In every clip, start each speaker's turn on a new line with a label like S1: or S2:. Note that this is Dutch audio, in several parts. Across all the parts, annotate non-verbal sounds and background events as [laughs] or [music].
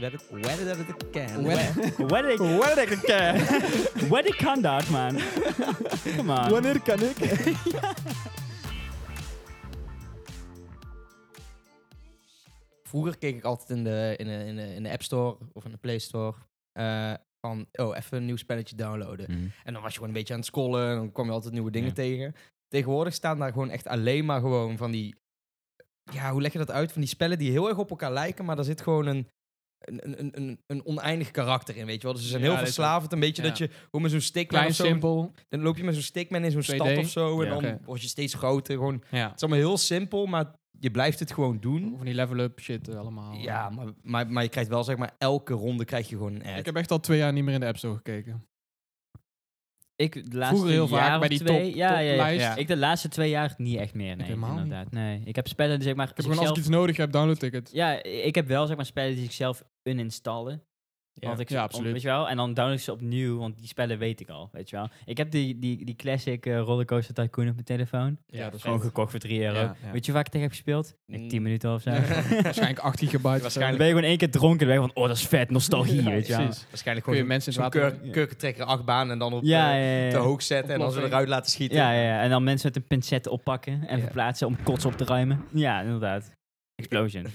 S1: Wedded at the can.
S2: Weddick. Weddick again. Weddick kan dat, man. Come on.
S3: Wanneer kan ik?
S1: Vroeger keek ik altijd in de, in de, in de, in de App Store of in de Play Store. eh, van, oh, even een nieuw spelletje downloaden.
S2: Mhm.
S1: En dan was je gewoon een beetje aan het scrollen. En dan kwam je altijd nieuwe dingen
S2: Ja.
S1: tegen. Tegenwoordig staan daar gewoon echt alleen maar gewoon van die... Ja, hoe leg je dat uit? Van die spellen die heel erg op elkaar lijken. Maar daar zit gewoon een, een, een, een, een oneindig karakter in, weet je wel. Dus ze zijn
S4: Ja,
S1: heel
S4: dit is wel-
S1: verslavend. Een beetje
S4: ja.
S1: dat je hoe met zo'n stickman
S4: Klein,
S1: of zo...
S4: simpel.
S1: Dan loop je met zo'n stickman in zo'n
S4: 2D.
S1: stad of zo. En
S2: Ja.
S1: dan
S4: Oké.
S1: word je steeds groter. Gewoon, het
S4: Ja.
S1: is allemaal heel simpel, maar je blijft het gewoon doen.
S4: Van die level-up shit eh, allemaal.
S1: Ja, maar, maar, maar je krijgt wel, zeg maar, elke ronde krijg je gewoon een ad.
S4: Ik heb echt al twee jaar niet meer in de App Store gekeken.
S2: Ik de laatste
S4: Vroeger heel
S2: jaar
S4: vaak
S2: of
S4: bij die
S2: twee,
S4: top-
S2: ja, ja, ja.
S4: toplijst.
S2: Ik de laatste twee jaar niet echt meer. Nee,
S4: helemaal niet.
S2: inderdaad. Nee, ik heb spellen die zeg maar.
S4: Ik heb gewoon als ik
S2: zichzelf-
S4: iets nodig heb, download ik het.
S2: Ja, ik heb wel zeg maar spellen die ik zelf uninstallen.
S1: Ja.
S2: Want ik,
S4: Ja,
S2: om-
S4: absoluut.
S2: Weet je wel? En dan download ik ze opnieuw, want die spellen weet ik al. Weet je wel? Ik heb die, die, die classic eh, Rollercoaster Tycoon op mijn telefoon.
S4: Ja, dat is
S2: Gewoon gekocht voor 3 euro.
S4: Ja, ja.
S2: Weet je waar ik tegen heb gespeeld? Ik 10
S1: Mm.
S2: minuten
S4: [laughs]
S2: of zo.
S4: Waarschijnlijk eh, 8 gigabyte.
S2: Dan
S1: Waarschijnlijk.
S2: ben je gewoon één keer dronken. Dan ben je van, oh, dat is vet, nostalgie, weet je wel.
S4: precies.
S1: Waarschijnlijk
S4: Kun je
S1: gewoon
S4: mensen in
S1: zo'n
S4: het water...
S1: keur- kurkentrekker achtbaan en dan op
S2: Ja,
S1: eh,
S2: ja, ja, ja.
S1: te hoog zetten en dan ze
S4: Oplossing.
S1: eruit laten schieten.
S2: Ja, ja, ja. En dan mensen met een pincet oppakken en
S1: Ja.
S2: verplaatsen om kots op te ruimen. Ja, inderdaad.
S1: [laughs]
S2: Explosion.
S1: [laughs]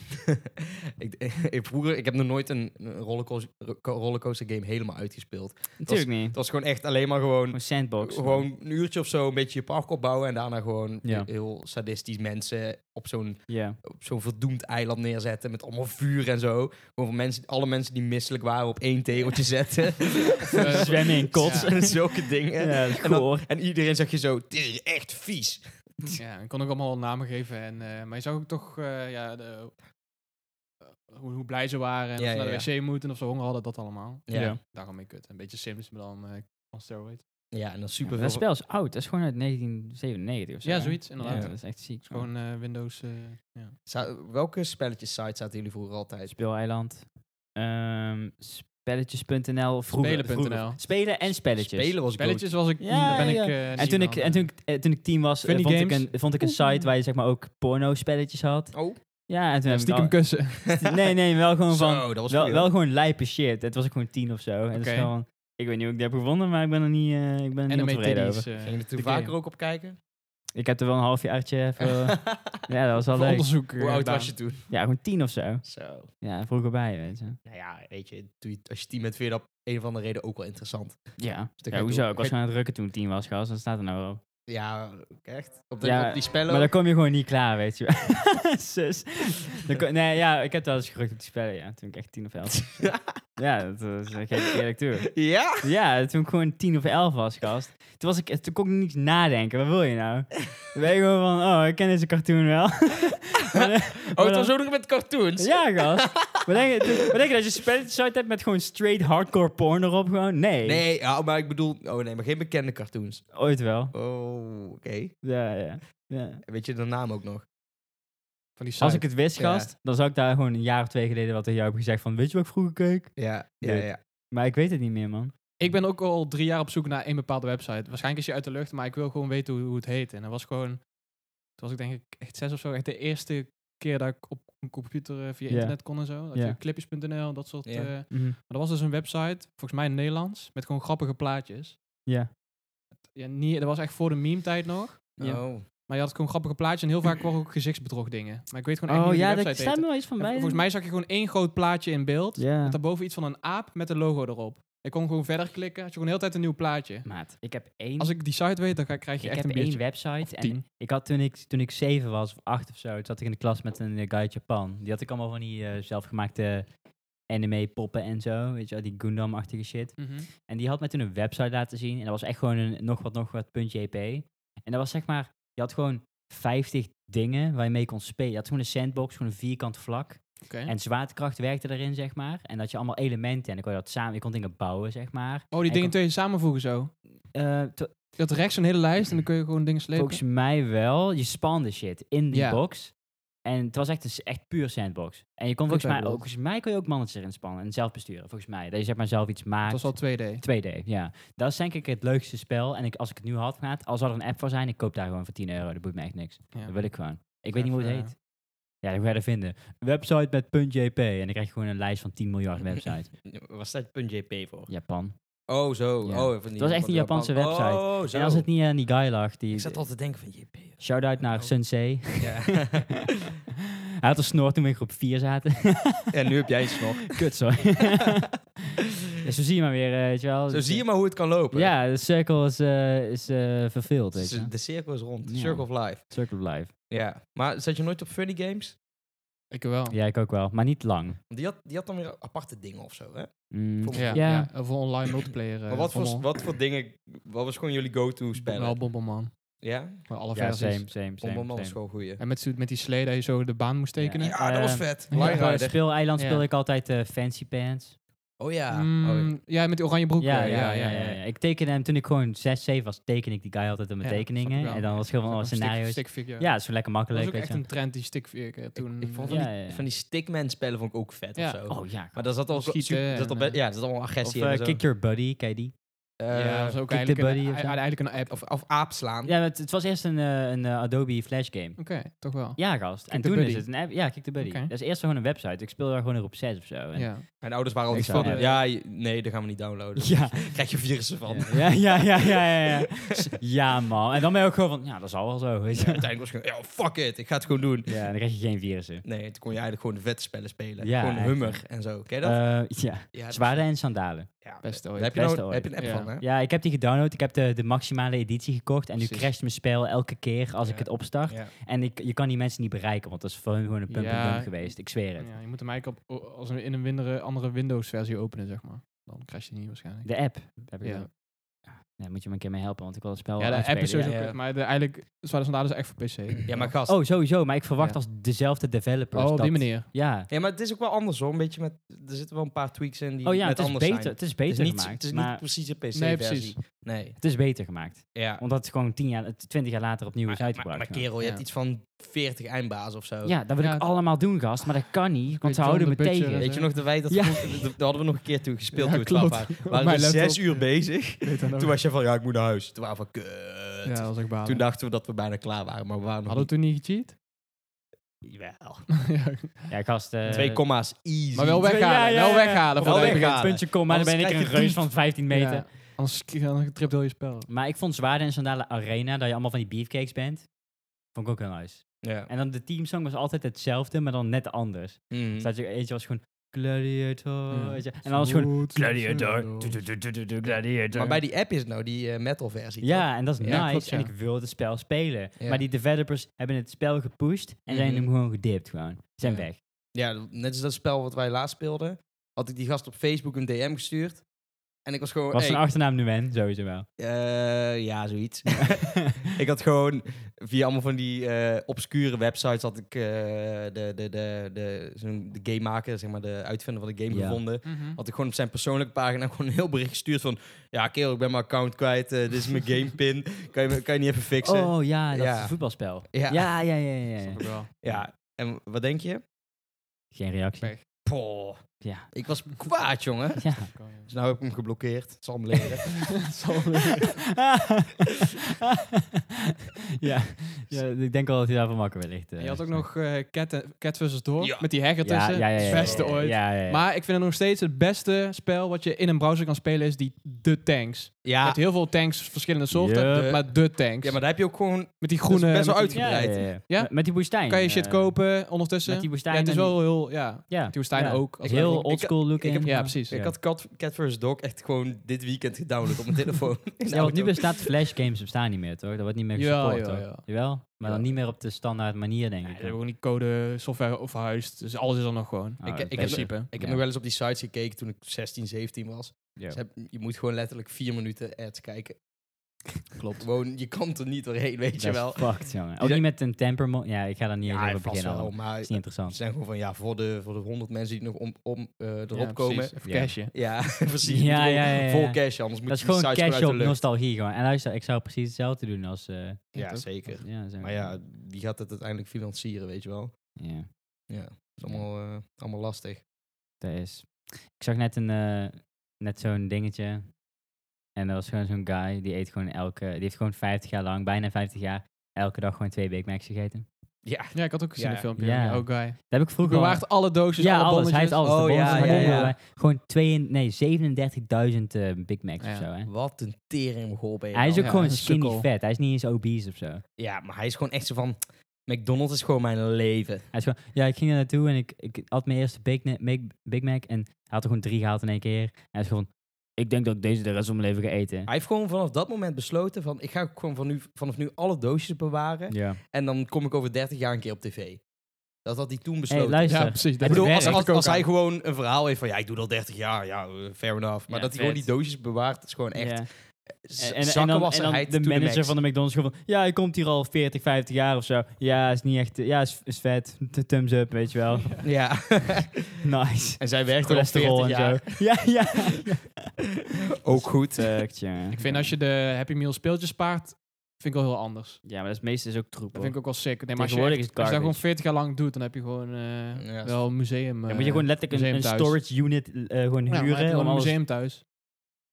S1: ik, [laughs] ik, vroeger, ik heb nog nooit een een rollercoaster, rollercoaster game helemaal uitgespeeld.
S2: Natuurlijk niet.
S1: Het was gewoon echt alleen maar gewoon
S4: Oh,
S2: Gewoon sandbox.
S1: Gewoon een uurtje of zo een beetje je park opbouwen en daarna gewoon
S2: Ja.
S1: heel sadistisch mensen op zo'n
S2: Ja.
S1: op zo'n verdoemd eiland neerzetten met allemaal vuur en zo. Gewoon van mensen, alle mensen die misselijk waren op één tegeltje zetten.
S2: [laughs]
S4: Eh,
S2: Zwemmen in
S1: [laughs]
S2: kots.
S4: Ja.
S1: en Zulke dingen.
S2: Ja, dat is
S1: en, dan-
S2: goor.
S1: en iedereen zag je zo, dit is echt vies.
S4: Ja, ik kon ook allemaal namen geven. En, eh, maar je zag ook toch eh, ja, de, eh, hoe, hoe blij ze waren. En
S1: Ja,
S4: of ze naar
S1: ja,
S4: de wc moeten of ze honger hadden, dat allemaal.
S1: Ja, ja.
S2: Ja.
S4: Daarom mee kut. Een beetje Sims, maar dan eh on steroids.
S1: en dan
S2: Ja,
S1: super
S2: dat
S1: veel...
S2: spel is oud. Dat is gewoon uit 1997 of zo.
S4: Ja,
S2: hè?
S4: zoiets, inderdaad.
S2: Ja, dat is echt ziek. Gewoon
S4: Gewoon eh, Windows... eh, ja.
S1: Za- welke spelletjes sites zaten jullie vroeger altijd?
S2: Speeleiland. Ehm, spelletjes.nl. vroeger-
S4: Spelen.nl.
S2: vroeger. Spelen en spelletjes.
S1: Spelen was goed.
S4: Spelletjes was ik...
S2: Ja,
S4: daar ben
S2: ja,
S4: ik
S2: ja.
S4: eh,
S2: En
S4: niet
S2: toen
S4: meer
S2: ik,
S4: aan,
S2: en toen,
S4: eh.
S2: ik, eh, toen ik tien was, eh,
S4: Funny
S2: vond, ik
S4: games.
S2: een, vond ik een site waar je zeg maar ook porno spelletjes had.
S1: Oh,
S2: Ja, en toen heb ik
S4: eh.
S2: Nou,
S4: Stiekem
S2: wel-
S4: kussen. [laughs]
S2: Nee, nee, wel gewoon van...
S1: zo, dat was
S2: Wel,
S1: goed.
S2: wel gewoon lijpe shit. Het was ook gewoon tien of zo. En dat is
S4: Oké.
S2: gewoon... Ik weet niet hoe ik dat heb gevonden, maar ik ben er niet, eh, ik ben er niet
S4: Anime
S2: ontevreden
S4: titties.
S2: over.
S4: eh,
S1: Ging je er toen
S4: de
S1: vaker
S4: game.
S1: ook op
S2: [laughs]
S1: kijken?
S2: Ik heb er wel een
S4: [laughs]
S2: halfjaartje
S1: [laughs]
S2: voor... ja, dat was wel
S4: Voor
S2: leuk.
S4: onderzoek. eh,
S1: Hoe oud
S4: gedaan.
S1: was je toen?
S2: Ja, gewoon tien of zo.
S1: Zo.
S2: Ja, vroeger bij, weet je.
S1: Nou ja, weet je, doe je- als je team bent, vind je dat op een of andere reden ook wel interessant.
S2: Ja,
S1: dan ga
S2: ja
S1: je
S2: hoezo?
S1: door.
S2: Ik was gewoon aan het rukken toen ik tien was, gast. Dat staat er nou wel op.
S1: Ja, echt. Op, de,
S2: Ja,
S1: op die spellen.
S2: Maar dan kom je gewoon niet klaar, weet je [laughs] wel. Zus. Dan ko- nee, ja, ik heb wel eens gerukt op die spellen, ja. Toen ik echt tien of
S4: [laughs]
S2: elf was. ja, dat was eh, geef ik eerlijk toe.
S1: [laughs] Ja?
S2: Ja, toen ik gewoon tien of elf was, gast. Toen, was ik, eh, toen kon ik niets nadenken. Wat wil je [laughs] nou? Dan ben je gewoon van, oh, ik ken deze cartoon wel. [laughs] Maar, eh,
S1: Oh, het
S2: maar dan-
S1: was ook nog met cartoons?
S2: Ja, gast. Wat denk, je, wat denk je dat je een spelletje hebt met gewoon straight hardcore porn erop? Gewoon? Nee.
S1: Nee, ja, maar ik bedoel... Oh nee, maar geen bekende cartoons.
S2: Ooit wel.
S1: Oh, oké.
S2: Ja, ja. ja.
S1: Weet je de naam ook nog?
S4: Van die
S2: Als
S4: site.
S2: ik het wist,
S1: Ja.
S2: gast, dan zou ik daar gewoon een jaar of twee geleden wat tegen jou hebben gezegd van, weet je wat ik vroeger keek?
S1: Ja, ja,
S2: Dit.
S1: ja.
S2: Maar ik weet het niet meer, man.
S4: Ik ben ook al drie jaar op zoek naar één bepaalde website. Waarschijnlijk is je uit de lucht, maar ik wil gewoon weten hoe, hoe het heet. En dat was gewoon... Toen was ik denk ik echt zes of zo. Echt de eerste keer dat ik op een computer eh, via
S2: Ja.
S4: internet kon en zo. Dat je
S2: Ja.
S4: Clipjes.nl, dat soort...
S1: Ja.
S4: eh, maar
S2: Mhm.
S4: er was dus een website, volgens mij in het Nederlands, met gewoon grappige plaatjes.
S2: Ja.
S4: Ja, niet, dat was echt voor de meme-tijd nog.
S2: Ja.
S1: Oh.
S4: Maar je had gewoon grappige plaatjes en heel vaak waren ook gezichtsbedrog dingen. Maar ik weet gewoon echt
S2: Oh
S4: niet hoe
S2: ja,
S4: die
S2: daar
S4: website
S2: staat
S4: heette.
S2: me wel iets van
S4: En
S2: bij.
S4: Volgens mij zag je gewoon één groot plaatje in beeld.
S2: Ja.
S4: Met daarboven iets van een aap met een logo erop. Ik kon gewoon verder klikken. Had je gewoon de hele tijd een nieuw plaatje.
S2: Maat, ik heb één,
S4: Als ik die site weet, dan ga- krijg je
S2: ik
S4: echt
S2: heb
S4: een
S2: één
S4: beetje.
S2: website.
S4: tien.
S2: En ik had toen ik, toen ik zeven was, of acht of zo, toen zat ik in de klas met een eh, guy uit Japan. Die had ik allemaal van die eh, zelfgemaakte anime poppen en zo, weet je wel, die Gundam-achtige shit.
S4: Mhm.
S2: En die had mij toen een website laten zien. En dat was echt gewoon een nog wat, nog wat .jp. En dat was zeg maar, je had gewoon 50 dingen waar je mee kon spelen. Je had gewoon een sandbox, gewoon een vierkant vlak.
S4: Oké.
S2: En zwaartekracht werkte erin, zeg maar. En dat je allemaal elementen en dan kon je dat samen, je kon dingen bouwen, zeg maar.
S4: Oh, die
S2: en
S4: dingen
S2: kon-
S4: twee samenvoegen zo.
S2: Eh, to-
S4: Je had rechts een hele lijst en dan kun je gewoon dingen slepen.
S2: volgens mij wel, je spande shit in die
S4: Ja.
S2: box. En het was echt, een, s- echt puur sandbox. En je kon volgens mij, ook,
S4: Uitwijkbord.
S2: volgens mij kon je ook mannetjes erin spannen en zelf besturen. Volgens mij, dat je zeg maar zelf iets maakt.
S4: Dat was al 2D.
S2: 2D, ja. Dat is denk ik het leukste spel. En ik, als ik het nu had gehad, al zou er een app voor zijn, ik koop daar gewoon voor 10 euro. Dat boeit me echt niks.
S4: Ja. eh,
S2: Dat wil ik gewoon. Ik weet niet hoe het heet. Ja, dat ga je er vinden. Website met .jp. En dan krijg je gewoon een lijst van 10
S4: [laughs]
S2: miljard websites.
S1: Waar staat .jp voor?
S2: Japan.
S1: Oh, zo.
S2: Ja.
S1: Oh, van die-
S2: Het was echt
S1: van
S2: een Japanse
S1: Japan.
S2: website.
S1: Oh, zo.
S2: En als het niet aan die guy lag,
S1: Ik
S2: die...
S1: zat al te denken van JP.
S2: Shout-out naar
S1: Oh. [laughs]
S2: Sensei.
S1: Ja.
S2: Hij had een snor toen we in groep 4 zaten.
S1: en nu heb jij het nog.
S2: [laughs]
S1: [laughs]
S2: Kut, sorry. Ja, zo zie je maar weer, eh, weet je wel.
S1: Zo zie je maar hoe het kan lopen.
S2: Ja, de cirkel is, eh, is eh, verveeld, weet je. wel.
S1: De cirkel is rond. De
S2: Ja.
S1: circle of life.
S2: Circle of life.
S1: Ja. Maar zat je nooit op funny games?
S4: Ik wel.
S2: Ja, ik ook wel. Maar niet lang.
S1: Want die had, die had dan weer aparte dingen of zo, hè?
S2: Mm,
S1: Voor-
S4: Ja,
S2: Ja.
S4: ja, voor online multiplayer. eh,
S1: maar wat voor,
S4: rommel.
S1: wat voor dingen... Wat was gewoon jullie go-to spellen?
S4: Wel Bomberman.
S1: ja?
S4: Voor alle
S2: ja,
S4: versies.
S2: same, same, same.
S1: Bomberman was
S2: same.
S1: gewoon een goeie.
S4: En met, zo- met die slee dat je zo de baan moest tekenen.
S2: Eh, Ja.
S1: Ja, dat was
S2: Eh,
S1: vet.
S4: ja.
S1: Line
S2: Op eh,
S1: Rider.
S2: speeleiland
S4: Ja.
S2: speelde ik altijd eh, Fancy Pants.
S1: Oh ja.
S4: Mm,
S1: Oh,
S4: ja, met die oranje broek.
S2: Ja,
S4: eh,
S2: ja, ja, ja, ja. Ik tekende hem toen ik gewoon 6, 7 was, teken ik die guy altijd op mijn
S4: Ja, snap ik
S2: tekeningen.
S4: wel.
S2: En dan was het heel van, oh,
S4: Stick-
S2: scenario's.
S4: stickfigure.
S2: Ja, dat is zo lekker
S4: dat was
S2: makkelijk.
S4: ook echt
S2: weet je
S4: een trend, die stickfigure toen.
S1: Ik, ik vond van,
S2: Ja,
S1: die,
S2: ja, ja.
S1: van die stickman spellen vond ik ook vet
S4: Ja.
S1: of zo.
S2: wel. Oh ja.
S1: Maar daar zat al
S4: Schieten
S1: super, zat al
S4: en,
S1: be-
S4: eh,
S1: ja, er zat al
S2: Of
S1: agressie
S2: eh,
S1: in. en zo.
S2: Kick Your Buddy, ken je die?
S1: Eh,
S4: ja, dat was ook
S2: Kick the
S4: eigenlijk een,
S2: Buddy of
S4: ei-
S2: zo.
S4: eigenlijk een app.
S1: of, of aap slaan.
S2: Ja, het, het was eerst een, eh, een eh, Adobe Flash game.
S4: Oké, toch wel.
S2: Ja, gast. en
S4: the
S2: toen
S4: Buddy.
S2: is het een app. Ja, Kick the Buddy.
S4: Oké.
S2: Dat is eerst gewoon een website. Ik speelde daar gewoon een op 6 of zo. En-
S4: Ja.
S1: Mijn ouders waren al
S2: Ik
S1: die
S2: zou-
S1: van, ja, je- nee, dat gaan we niet downloaden.
S2: [laughs] Ja.
S1: Krijg je virussen van.
S2: Ja, ja, ja, ja, ja, ja. Ja, man. En dan ben je ook gewoon van, ja, dat is al wel zo, weet je.
S1: [laughs] Uiteindelijk was ik gewoon, ja, fuck it, ik ga het gewoon doen.
S2: Ja, dan krijg je geen virussen.
S1: Nee, toen kon je eigenlijk gewoon de vette spellen spelen.
S2: Ja,
S1: gewoon
S2: eigenlijk.
S1: hummer en zo. Ken je dat?
S2: Eh ja,
S1: ja, dat-
S2: zwaarden en sandalen.
S1: ja,
S4: Best
S1: daar
S4: ooit.
S1: heb je,
S2: Best
S1: nou- heb
S2: ooit.
S1: je een app
S4: Ja.
S1: van, hè?
S2: Ja, ik heb die gedownload. Ik heb de, de maximale editie gekocht. En nu
S4: Precies.
S2: crasht mijn spel elke keer als ik
S1: Ja.
S2: het opstart.
S1: Ja.
S2: En ik, je kan die mensen niet bereiken, want dat is voor hun gewoon een pump
S4: Ja.
S2: and dump geweest. Ik zweer het.
S4: Ja, je moet hem eigenlijk op, o- als een, in een windere- andere Windows-versie openen, zeg maar. Dan crash je niet waarschijnlijk.
S2: De app. Heb ik
S4: Ja.
S2: ook. Daar moet je me een keer mee helpen, want ik wil het spel
S4: ja, de
S2: wel
S4: app is
S2: uitspelen.
S4: sowieso
S1: ja.
S4: kut, maar de, eigenlijk, Zwaarder Sandalen is dus echt voor PC.
S1: ja, maar gast.
S2: Ja. Oh, sowieso. Maar ik verwacht
S4: Ja.
S2: als dezelfde developers.
S4: oh, op
S2: dat-
S4: die manier.
S2: Ja.
S1: Ja, maar het is ook wel anders hoor. Een beetje met, er zitten wel een paar tweaks in die
S2: Oh ja,
S1: net
S2: het is,
S1: anders
S2: beter,
S1: zijn.
S2: het is beter
S1: het is niet,
S2: gemaakt.
S1: het is
S2: maar
S1: niet precies een PC-versie.
S4: Nee, precies.
S1: Nee,
S2: het is beter gemaakt.
S1: ja.
S2: Omdat het gewoon 10 jaar, 20 jaar later opnieuw is
S1: Maar, maar,
S2: uitgebracht.
S1: maar kerel, je
S4: Ja.
S1: hebt iets van 40 eindbazen of zo.
S2: ja, dat wil
S4: Ja,
S2: ik
S4: het-
S2: allemaal doen, gast. Maar dat kan niet, want ze
S4: John
S2: houden
S4: de
S2: me
S4: Butcher
S2: tegen.
S4: en
S1: Weet je nog dat wij dat,
S2: Ja.
S1: vroeg- dat hadden we nog een keer toen gespeeld
S4: Ja,
S1: toen we
S4: klopt.
S1: 12
S4: [laughs]
S1: waren. We
S4: Op
S1: waren
S4: mijn
S1: we
S4: laptop.
S1: zes uur bezig. Toen was je van, ja, ik moet naar huis. Toen waren we van,
S4: Ja,
S1: kut.
S4: dat was echt balen.
S1: Toen dachten we dat we bijna klaar waren, maar we waren nog
S4: Hadden we toen niet gecheat?
S1: niet- Jawel.
S4: ja.
S2: Ja, gast. eh,
S1: Twee komma's, easy.
S4: Maar wel
S2: ja,
S4: weghalen,
S2: ja, ja.
S4: wel weghalen.
S1: Wel
S4: voordat je
S1: weghalen.
S4: begint.
S2: Een puntje kom, maar dan
S4: Anders
S2: ben ik
S4: krijg je
S2: een reus
S4: dief.
S2: van 15 meter.
S4: Ja. Anders k- dan tript heel je spel.
S2: Maar ik vond Zwaarden en Sandalen Arena, dat je allemaal van die beefcakes bent, vond ik ook heel nice.
S1: Ja.
S2: En dan de teamsong was altijd hetzelfde, maar dan net anders.
S1: Mm.
S4: Hm.
S2: Dus dat je eentje was gewoon Gladiator.
S4: Ja.
S2: weet je. En dan was het gewoon
S4: Gladiator.
S1: Maar bij die app is het nou die eh, metal versie.
S2: Ja, en dat is
S4: Ja,
S2: nice.
S4: klopt, ja.
S2: En ik wilde het spel spelen.
S1: Ja.
S2: Maar die developers hebben het spel gepusht en zijn
S1: Mhm.
S2: hem gewoon gedipt gewoon. Zijn
S4: Ja.
S2: weg.
S1: Ja, net als dat spel wat wij laatst speelden, had ik die gast op Facebook een DM gestuurd. En ik was gewoon...
S2: Was
S1: hey,
S2: zijn achternaam Nguyen, sowieso wel.
S1: eh, ja,
S2: [laughs]
S1: zoiets. [laughs] ik had gewoon via allemaal van die eh, obscure websites had ik eh, de, de, de, de, zo'n- de gamemaker, zeg maar de uitvinder van de game
S2: Ja.
S1: gevonden. Had ik gewoon op zijn persoonlijke pagina [laughs] gewoon een heel bericht gestuurd van... Ja, kerel, ik ben mijn account kwijt. eh, dit is
S2: [laughs]
S1: mijn gamepin. Kan je, me- kan je niet even fixen?
S2: Oh ja, dat
S1: Ja.
S2: is een voetbalspel.
S1: Ja.
S2: Ja, ja, ja, ja. ja,
S4: Snap ik wel.
S1: [laughs] Ja, en wat denk je?
S2: Geen reactie.
S4: Nee.
S1: Poh,
S2: Ja.
S4: [laughs]
S2: [laughs]
S1: ik was kwaad, jongen.
S2: ja.
S1: Dus nou heb ik hem geblokkeerd. Het zal hem
S2: [laughs]
S1: leren.
S2: ja. ja, ik denk wel dat hij daarvan makker wellicht.
S4: En
S2: eh,
S4: je had ook nog eh, Cat, Cat vs. Door,
S1: Ja.
S4: met die hacker
S2: ja,
S4: tussen.
S2: ja, ja, ja, ja,
S4: Beste
S2: ja,
S4: ooit.
S2: Ja, ja, ja.
S4: Maar ik vind het nog steeds het beste spel wat je in een browser kan spelen is die de tanks. Je
S1: Ja,
S4: hebt heel veel tanks, verschillende soorten,
S2: Yup.
S4: maar de tanks.
S1: ja, maar daar heb je ook gewoon...
S4: met die groene...
S1: dat is best wel
S4: met die-
S2: ja, ja, ja, ja.
S4: Ja?
S2: Met- Met die woestijn.
S4: Kan je shit
S2: eh,
S4: kopen ondertussen?
S2: Met die woestijn.
S4: ja, het is
S2: en die-
S4: wel heel... Ja, met
S2: ja.
S4: die woestijn
S2: Ja.
S4: ook. Als
S2: Heel
S4: wel-
S2: oldschool looking.
S1: heb-
S4: Ja, precies.
S1: Dus Ik had Cat, Cat vs. Dog echt gewoon dit weekend gedownload op mijn [laughs] telefoon.
S2: Ja, want nu bestaat Flash games bestaan niet meer, toch? Dat wordt niet meer
S4: Ja,
S2: gesupport,
S4: ja,
S2: toch?
S4: ja.
S2: Jawel? Maar dan
S1: Ja.
S2: niet meer op de standaard manier, denk
S4: Ja,
S2: ik.
S4: we hebben ook niet code software of verhuisd, dus alles is er nog gewoon.
S2: Oh,
S1: ik- ik
S2: dat is
S1: heb-
S2: beter.
S4: principe.
S1: Ik heb
S2: Ja.
S1: nog wel eens op die sites gekeken toen ik 16, 17 was.
S2: Ja.
S1: Dus heb- je moet gewoon letterlijk vier minuten ads
S2: [laughs]
S1: kijken. Klopt. Gewoon, je kan er niet doorheen, weet
S2: Dat
S1: je
S2: is
S1: wel. [laughs]
S2: fucked, jongen. Ook
S1: zijn-
S2: niet met een temperament. Ja, ik ga daar niet eens over
S1: vast
S2: beginnen.
S1: wel,
S2: allemaal.
S1: maar
S2: Dat is niet
S1: Ze
S2: interessant.
S1: zijn gewoon van, ja, voor de, voor de 100 mensen die nog om, om, eh, erop
S4: Ja,
S1: komen.
S4: precies. Even
S2: Ja.
S4: cashen.
S1: Ja, [laughs] precies. Ja,
S2: Ja, ja, ja, ja.
S1: Vol cash, anders moet
S2: Dat is
S1: je die
S2: gewoon
S1: sites gewoon uit
S2: cash
S1: de
S2: op
S1: lucht.
S2: nostalgie, gewoon. En luister, ik zou precies hetzelfde doen als... eh,
S1: Ja,
S4: toch?
S1: zeker.
S2: ja, zo.
S1: Maar ja, die gaat het uiteindelijk financieren, weet je wel.
S2: Ja,
S1: Ja, dat is allemaal, eh, allemaal lastig.
S2: dat is... Ik zag net, een, eh, net zo'n dingetje. En dat was gewoon zo'n guy, die eet gewoon elke... Die heeft gewoon 50 jaar lang, bijna 50 jaar, elke dag gewoon twee Big Macs gegeten.
S1: Ja.
S4: Ja, ik had ook gezien
S1: Ja.
S4: een filmpje.
S2: Ja.
S4: Ja. Oh, guy.
S2: Dat heb ik vroeger... al-
S4: Bewaart alle doosjes,
S2: ja,
S4: alle
S2: alles.
S4: bonnetjes.
S2: Hij heeft alles.
S1: Oh,
S2: de
S1: ja,
S2: bonnetjes,
S1: ja,
S2: maar
S1: ja.
S2: ook, eh, Gewoon twee, nee, 37.000 eh, Big Macs
S4: Ja.
S2: of zo, hè.
S1: Wat een tering op
S2: Hij is ook
S4: Ja,
S2: gewoon
S4: een
S2: skinny
S4: sukkel.
S2: vet. Hij is niet eens obese of zo.
S1: nou. Ja, maar hij is gewoon echt zo van... McDonald's is gewoon mijn leven.
S2: Hij is gewoon, ja, ik ging daar naartoe en ik, ik had mijn eerste Big, Ne- Mac, Big Mac en hij had er gewoon drie gehaald in één keer. En hij is gewoon, ik denk dat ik deze de rest van mijn leven ga eten.
S1: Hij heeft gewoon vanaf dat moment besloten van... Ik ga ook gewoon van nu, vanaf nu alle doosjes bewaren.
S2: Ja.
S1: En dan kom ik over 30 jaar een keer op tv. Dat had hij toen
S2: Hey,
S1: besloten.
S2: luister.
S4: Ja, precies.
S1: ik
S4: Dat
S1: bedoel,
S2: werkt.
S1: als, als,
S4: Ik ook
S1: als hij
S4: aan.
S1: gewoon een verhaal heeft van... Ja, ik doe dat 30 jaar. Ja, eh, fair enough. Maar
S2: Ja,
S1: dat hij gewoon
S2: vet.
S1: die doosjes bewaart, is gewoon echt...
S2: Ja.
S1: z-
S2: En, en, en dan, en dan
S1: zakkenwasserheid
S2: de
S1: to the
S2: manager
S1: max.
S2: van de McDonald's gewoon van, ja, hij komt hier al 40, 50 jaar of zo. Ja, is niet echt, eh, ja, is, is vet. Th- Thumbs up, weet je [laughs] wel.
S1: Ja.
S2: Nice.
S1: en zij werkt er al 40
S2: Cholesterol en
S1: jaar.
S2: zo. Ja, ja. [laughs]
S1: Ook goed.
S2: Fuck, ja.
S4: Ik vind als je de Happy Meal speeltjes spaart, vind ik wel heel anders.
S2: Ja, maar dat is meestal is ook troep.
S4: Dat
S2: hoor.
S4: vind ik ook wel sick. Nee, maar als je,
S2: Tegenwoordig
S4: echt-
S2: is het
S4: als je dat gewoon
S2: garbage.
S4: 40 jaar lang doet, dan heb je gewoon eh,
S1: Ja,
S4: wel een museum.
S2: Dan
S4: eh,
S2: moet je gewoon letterlijk een, een
S4: museum thuis.
S2: storage unit eh, gewoon
S4: ja, dan heb je
S2: huren.
S4: gewoon
S2: om
S4: een
S2: alles...
S4: museum thuis.